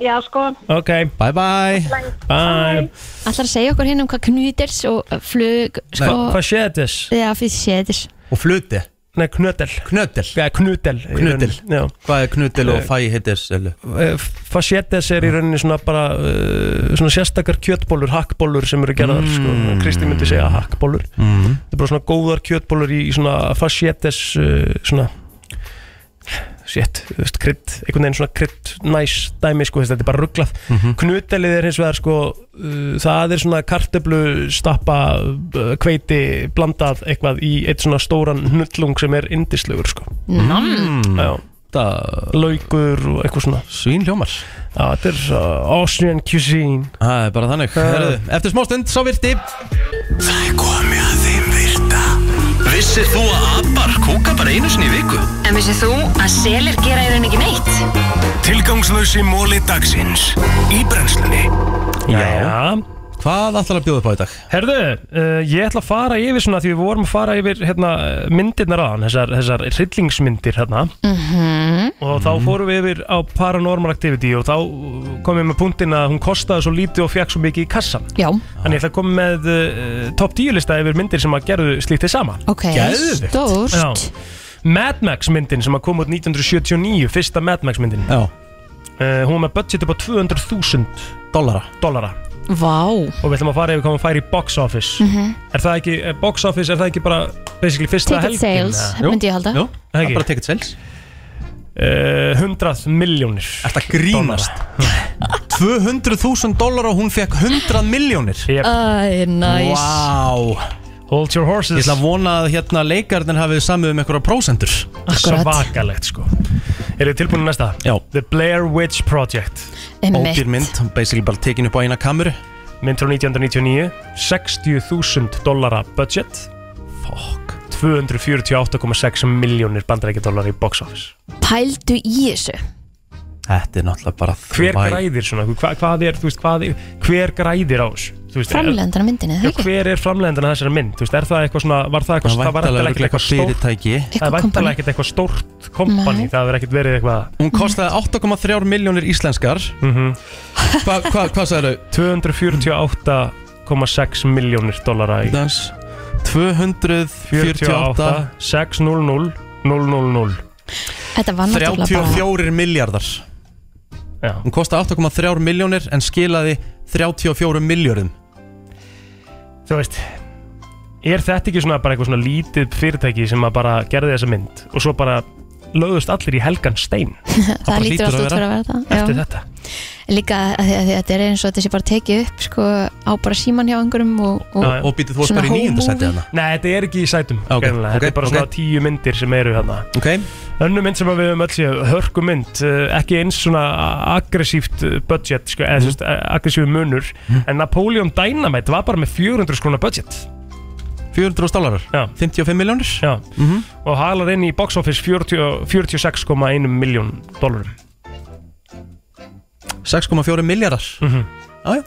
Speaker 14: Já, sko.
Speaker 3: Ok
Speaker 12: Bye bye
Speaker 3: Bye
Speaker 2: Allar að segja okkur hinn um hvað knutils og uh, flug sko,
Speaker 3: Hva- Hvað sé þetta?
Speaker 2: Já, fyrir séðis
Speaker 12: Og fluti
Speaker 3: Nei, knödel
Speaker 12: Knödel
Speaker 3: Já, knödel
Speaker 12: Knödel Hvað er knödel og
Speaker 3: Eh,
Speaker 12: fæ heitir selu?
Speaker 3: Facetes er í rauninni svona bara uh, svona sérstakar kjötbólur, hakkbólur sem eru gerðar sko. Kristi myndi segja hakkbólur
Speaker 12: Mm.
Speaker 3: þetta er bara svona góðar kjötbólur í svona facetes uh, svona shit, þú veist, krydd einhvern veginn svona krydd næs dæmi sko, þetta er bara rugglað
Speaker 12: Mhm.
Speaker 3: knutelið er hins vegar sko uh, það er svona kartöflu stappa uh, hveiti blandað eitthvað í eitt svona stóran hnullung sem er indislegur sko
Speaker 12: Mm.
Speaker 3: Já. laukur og eitthvað svona
Speaker 12: Svín hljómar
Speaker 3: Já, þetta er uh, Austrian cuisine
Speaker 12: Það er bara þannig Herðu, Eftir smá stund, sá virti
Speaker 6: Það er komið að þeim virta Vissir þú að abar kúka bara einu sinni í viku?
Speaker 5: En vissið þú að selir gera í rauninni ekki neitt?
Speaker 6: Tilgangslösi móli dagsins Í brennslunni
Speaker 3: Já
Speaker 12: Hvað ætlar að bjóða upp á í dag?
Speaker 3: Herðu, uh, ég ætla að fara yfir svona því við vorum að fara yfir hérna, myndirnar aðan þessar, þessar hryllingsmyndir hérna
Speaker 1: Mhm.
Speaker 3: og þá fórum við yfir á Paranormal Activity og þá komum við með punktinn að hún kostaði svo lítið og fekk svo mikið í kassan
Speaker 2: Já
Speaker 3: Þannig ég ætla að koma með uh, top 10 lista yfir myndir sem að gerðu slíktið sama
Speaker 2: Ok, Geðveikt. stórt.
Speaker 3: Já. Mad Max myndin sem að kom út 1979 fyrsta Mad Max myndin Eh,
Speaker 12: uh,
Speaker 3: Hún var með budget upp á 200.000
Speaker 12: dollara.
Speaker 3: dollara
Speaker 2: Vá
Speaker 3: og við ætlum að fara yfir hvað hún fær í box office
Speaker 2: Mhm.
Speaker 3: Er það ekki, er box office er það ekki bara basically
Speaker 2: Ticket
Speaker 3: fyrsta helgin?
Speaker 2: sales,
Speaker 3: eða?
Speaker 2: myndi ég halda. Jú,
Speaker 3: það er
Speaker 12: bara
Speaker 3: ticket sales uh, 100 miljónir
Speaker 12: Þetta grínast 200.000 dólar og hún fekk 100 miljónir
Speaker 3: yep.
Speaker 2: Æ, næs
Speaker 12: wow.
Speaker 3: Hold your horses
Speaker 12: Ég ætla að vona að hérna leikarnir hafið samið um einhverja prósendur
Speaker 3: Svakalegt sko Er þið tilbúinu næsta?
Speaker 12: Já
Speaker 3: The Blair Witch Project
Speaker 2: Einmitt.
Speaker 12: Ódýr mynd, basically bara tekin upp á eina kamuru
Speaker 3: Mynd frá 1999 60.000 dollara budget Fuck 248,6 miljónir bandarækja dollara í box office
Speaker 2: Pældu í þessu
Speaker 12: Þetta er náttúrulega bara
Speaker 3: Hver
Speaker 12: þvæ-
Speaker 3: græðir svona? Hva, hvað er, þú veist, hvað er Hver græðir á þessu? Þú veist, er-
Speaker 2: Framlegandana myndinni,
Speaker 3: Já,
Speaker 2: það ekki?
Speaker 3: hver er framlegandana þessari mynd? Þú veist, er það eitthvað svona, var það eitthvað
Speaker 12: Það
Speaker 3: var
Speaker 12: væntanlega
Speaker 3: væntanlega ekkert
Speaker 12: örugglega eitthvað fyrirtæki.
Speaker 3: stórt- Það
Speaker 12: Eitthvað
Speaker 3: var
Speaker 12: company.
Speaker 3: væntanlega ekkert eitthvað stórt kompani, það verður ekkert verið eitthvað
Speaker 12: Hún kostaði 8,3 miljónir íslenskar
Speaker 3: Mhm.
Speaker 12: Hva- Hvað hva, hva sagði þau?
Speaker 3: 248,6 miljónir dollara í
Speaker 12: Dans 248
Speaker 3: 600 000
Speaker 2: Þetta var náttúrulega bara
Speaker 12: 34 miljardar
Speaker 3: Já.
Speaker 12: Hún kostaði 8,3 miljónir en skilaði 34 miljórum
Speaker 3: Þú veist Er þetta ekki svona bara eitthvað svona lítið fyrirtæki sem að bara gerði þessa mynd og svo bara lögðust allir í helgan stein
Speaker 2: [laughs] Það lítur alltaf út fyrir að vera það já.
Speaker 3: Eftir þetta
Speaker 2: Líka að því að því að þetta er eins og þetta sé bara tekið upp sko, á bara síman hjá einhverjum og,
Speaker 3: Já, já.
Speaker 2: svona home movie.
Speaker 3: Nei, þetta er ekki í sætum okay, Þetta
Speaker 12: ok,
Speaker 3: er bara
Speaker 12: ok.
Speaker 3: svona tíu myndir sem eru hérna
Speaker 12: okay.
Speaker 3: Önnu mynd sem að við höfum öll séð Hörku mynd, ekki eins svona aggressíft eh, budget sko,
Speaker 12: Mhm.
Speaker 3: eða, mm. aggressífu munur En Napoleon Dynamite var bara með 400 skrona budget
Speaker 12: 400 stólarar, 55 miljónir
Speaker 3: Já,
Speaker 12: Mhm.
Speaker 3: og halar inn í box office 40 46,1 miljón dólarum
Speaker 12: 6,4 miljardar mm
Speaker 3: -hmm.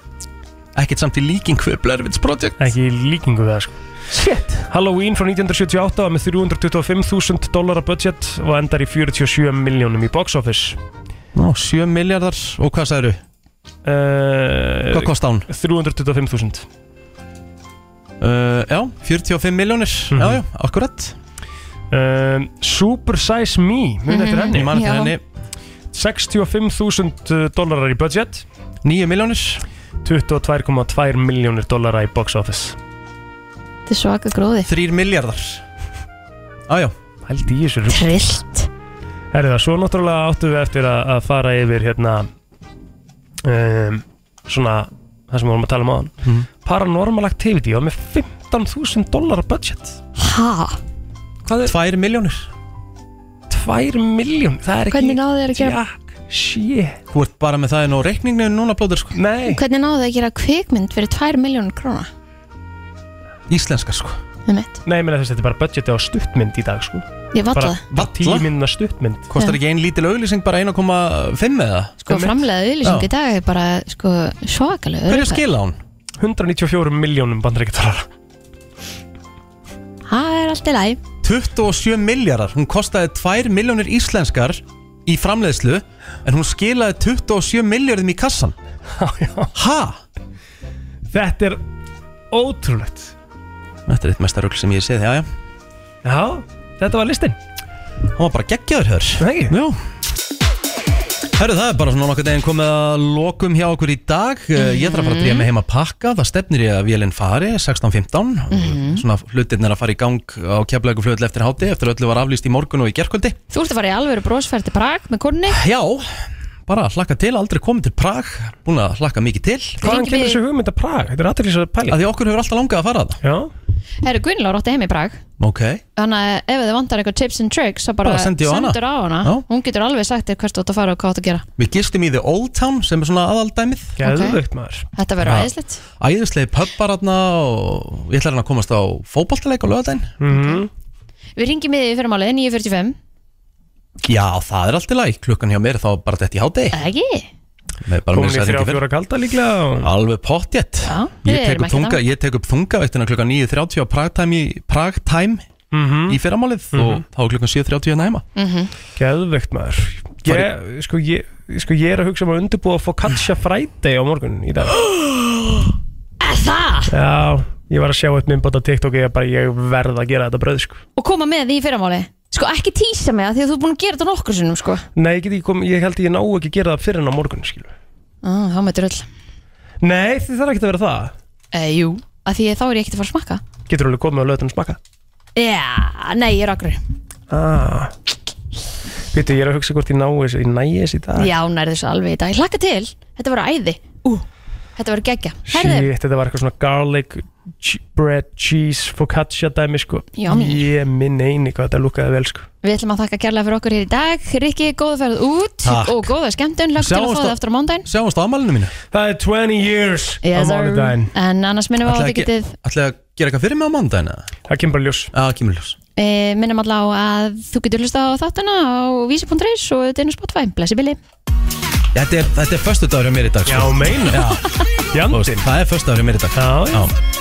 Speaker 12: Ekkert samt í líkingu við Blair Witch Project
Speaker 3: Ekki í líkingu við það sko Shit Halloween frá 1978 var með 325.000 dólarar budget og endar í 47 miljónum í box office
Speaker 12: Ná, 7 miljardar og hvað sagði þau?
Speaker 3: uh,
Speaker 12: Hvað kosti hún?
Speaker 3: 325.000
Speaker 12: Uh, já, 45 miljónir Já, já, akkurat
Speaker 3: uh, Mhm. Super Size Me Muna eftir
Speaker 12: Mhm,
Speaker 3: henni
Speaker 12: Ég man eftir já. henni.
Speaker 3: 65.000 dólarar eh, í budget
Speaker 12: 9 miljónir
Speaker 3: 22,2 miljónir dólarar í box office
Speaker 2: Þetta er svaka gróði
Speaker 12: 3 miljardar Ájá
Speaker 3: Hældi í þessu rugl.
Speaker 2: Trillt
Speaker 3: Herðu það, svo náttúrulega áttum við eftir að, að fara yfir hérna um, svona það sem við vorum að tala um áðan
Speaker 12: Mhm.
Speaker 3: Paranormal Activity var með 15.000 dólar budget
Speaker 2: Ha?
Speaker 3: Hvað
Speaker 12: 2
Speaker 3: er?
Speaker 12: miljónir
Speaker 3: 2 miljón, það er
Speaker 2: Hvernig
Speaker 3: ekki
Speaker 2: náðu þér að gera
Speaker 3: Jack. Shit
Speaker 1: Þú ert bara með það inn á reikninginu núna blóður sko
Speaker 3: Nei
Speaker 2: Hvernig náðu það að gera kvikmynd fyrir 2 miljónur króna?
Speaker 1: Íslenska sko
Speaker 2: Nei,
Speaker 3: ég meina þess að þetta er bara budgeti á stuttmynd í dag sko
Speaker 2: Ég valla það.
Speaker 3: Bara tíu minna stuttmynd
Speaker 1: Kostar ekki ein lítil auglýsing bara 1,5 eða?
Speaker 2: Sko framlega auðlýsing í dag er bara sko, svakalega
Speaker 1: Hverju skila hún?
Speaker 3: 194 miljónum bandaríkjadalara
Speaker 2: Það er allt í lagi
Speaker 1: 27 miljardar, hún kostaði 2 miljónir íslenskar í framleiðslu en hún skilaði 27 miljardum í kassan Hæ?
Speaker 3: Þetta er ótrúlegt
Speaker 1: Þetta er eitt mesta rugl sem ég séð, já já
Speaker 3: Já, þetta var listin
Speaker 1: Hún var bara geggjaður hör
Speaker 3: Nei
Speaker 1: Já Herru, það er bara svona nokkuð deginn komið að lokum hjá okkur í dag
Speaker 3: Mhm.
Speaker 1: mm. Ég þarf að fara að dríja mig heim að pakka Það stefnir ég að vélinn fari 16.15
Speaker 2: Mhm.
Speaker 1: Mm-hmm. Svona hlutirn er að fara í gang á keflæku flöðl eftir háti Eftir öllu var aflýst í morgun og í gerkvöldi
Speaker 2: Þú ert að fara í alvöru brosferð til Prag með konni
Speaker 1: Já, bara hlakka til, aldrei komið til Prag Búin að hlakka mikið til
Speaker 2: Hvaðan Hringi kemur við- þessi
Speaker 3: hugmynd að Prag? Þetta er aðtæklis að pæli
Speaker 1: Því okkur hefur alltaf langað að fara það
Speaker 3: Já
Speaker 2: Herru, Gunnlá rótti heim í Prag
Speaker 1: Ok
Speaker 2: Þannig að ef þið vantar eitthvað tips and tricks þá bara,
Speaker 1: Bara sendi á hana.
Speaker 2: sendur á hana
Speaker 1: Já.
Speaker 2: Hún getur alveg sagt þér hvert þú átt að fara og hvað þú átt að gera
Speaker 1: Við gistum í The Old Town sem er svona aðaldæmið
Speaker 2: Geðveikt,
Speaker 3: maður
Speaker 2: Þetta verður æðislegt.
Speaker 1: Æðislegi pöppar hérna og ég ætla hérna að komast á fótboltaleik á lögadaginn
Speaker 3: -hmm.
Speaker 2: Við ringjum í því fyrir málið 9.45
Speaker 1: Já, það er allt í lagi, klukkan hjá mér er þá bara þetta í hádegi
Speaker 2: Eða ekki?
Speaker 1: Með bara
Speaker 3: Komin
Speaker 1: meira
Speaker 3: í
Speaker 1: sæti
Speaker 3: þrjá,
Speaker 1: ekki fyrr.
Speaker 3: fjóra kalda líklega og...
Speaker 1: Alveg pottjett
Speaker 2: við
Speaker 1: ég, tek
Speaker 2: erum
Speaker 1: upp
Speaker 2: ekki
Speaker 1: þunga-
Speaker 2: það.
Speaker 1: ég tek upp þungavættina klukkan 9.30 á pragtime í, pragtime
Speaker 3: Mhm.
Speaker 1: í fyrramálið og þá er klukkan 7.30 hérna heima
Speaker 2: Mhm.
Speaker 3: Geðvegt maður ég, sko, ég, sko, ég er að hugsa um að undirbúa að fá Katja Friday á morgun í dag
Speaker 2: Það?
Speaker 3: Já, ég var að sjá upp minn bóta TikTok og ég, bara, ég verð að gera þetta bröð sko.
Speaker 2: Og koma með því fyrir málið Sko ekki tísa mig það því að þú er búin að gera þetta nokkur sinnum sko
Speaker 3: Nei, ég, get ekki kom, ég held ég ná ekki að gera það fyrir en á morgun skilu.
Speaker 2: ah, Þá mættur öll
Speaker 3: Nei, þið þarf ekki að vera það
Speaker 2: e, Jú, að því að þá er ég ekkert að fara að smakka
Speaker 3: Getur alveg komið á löðan smaka
Speaker 2: Já, nei, ég er okkur
Speaker 3: ah. Býtu, ég er að hugsa hvort ég nái þessu Ég næi þessu í dag
Speaker 2: Já, nærðu þessu alveg í dag Ég Hlakka til, þetta verður æði Ú, Þetta verður geggja Herðu,
Speaker 3: Shit, þetta var eitthvað svona garlic che- bread cheese focaccia dæmi sko
Speaker 2: Yummy.
Speaker 3: Ég minn eini hvað þetta lúkaði vel sko
Speaker 2: við ætlum að þakka kærlega fyrir okkur hér í dag Rikki, góða ferð út
Speaker 3: Takk.
Speaker 2: og góða skemmtun Lagt til að
Speaker 3: Sjáumst
Speaker 2: fá
Speaker 3: á-
Speaker 2: það eftir á mándaginn
Speaker 1: Sjáumst á ammælinu mínu
Speaker 3: Það er 20 years
Speaker 2: Yes,
Speaker 1: á
Speaker 2: sir.
Speaker 1: mánudaginn
Speaker 2: En annars minnum við á að
Speaker 1: Ætlaði
Speaker 2: þið getið
Speaker 1: Ætlaði að gera eitthvað fyrir mig á mandaginn eða?
Speaker 3: Það kemur bara ljós
Speaker 1: Já, kemur ljós
Speaker 2: e, minnum alla á að þú getur hlusta á þáttuna á vísi.is og þetta er nú Spotify, blessi Billy
Speaker 1: Þetta er, þetta er föstudagur hjá mér í dag sko.
Speaker 3: Já, meina.
Speaker 1: Já. Þú veist, Það er föstudagur hjá mér í dag Já, já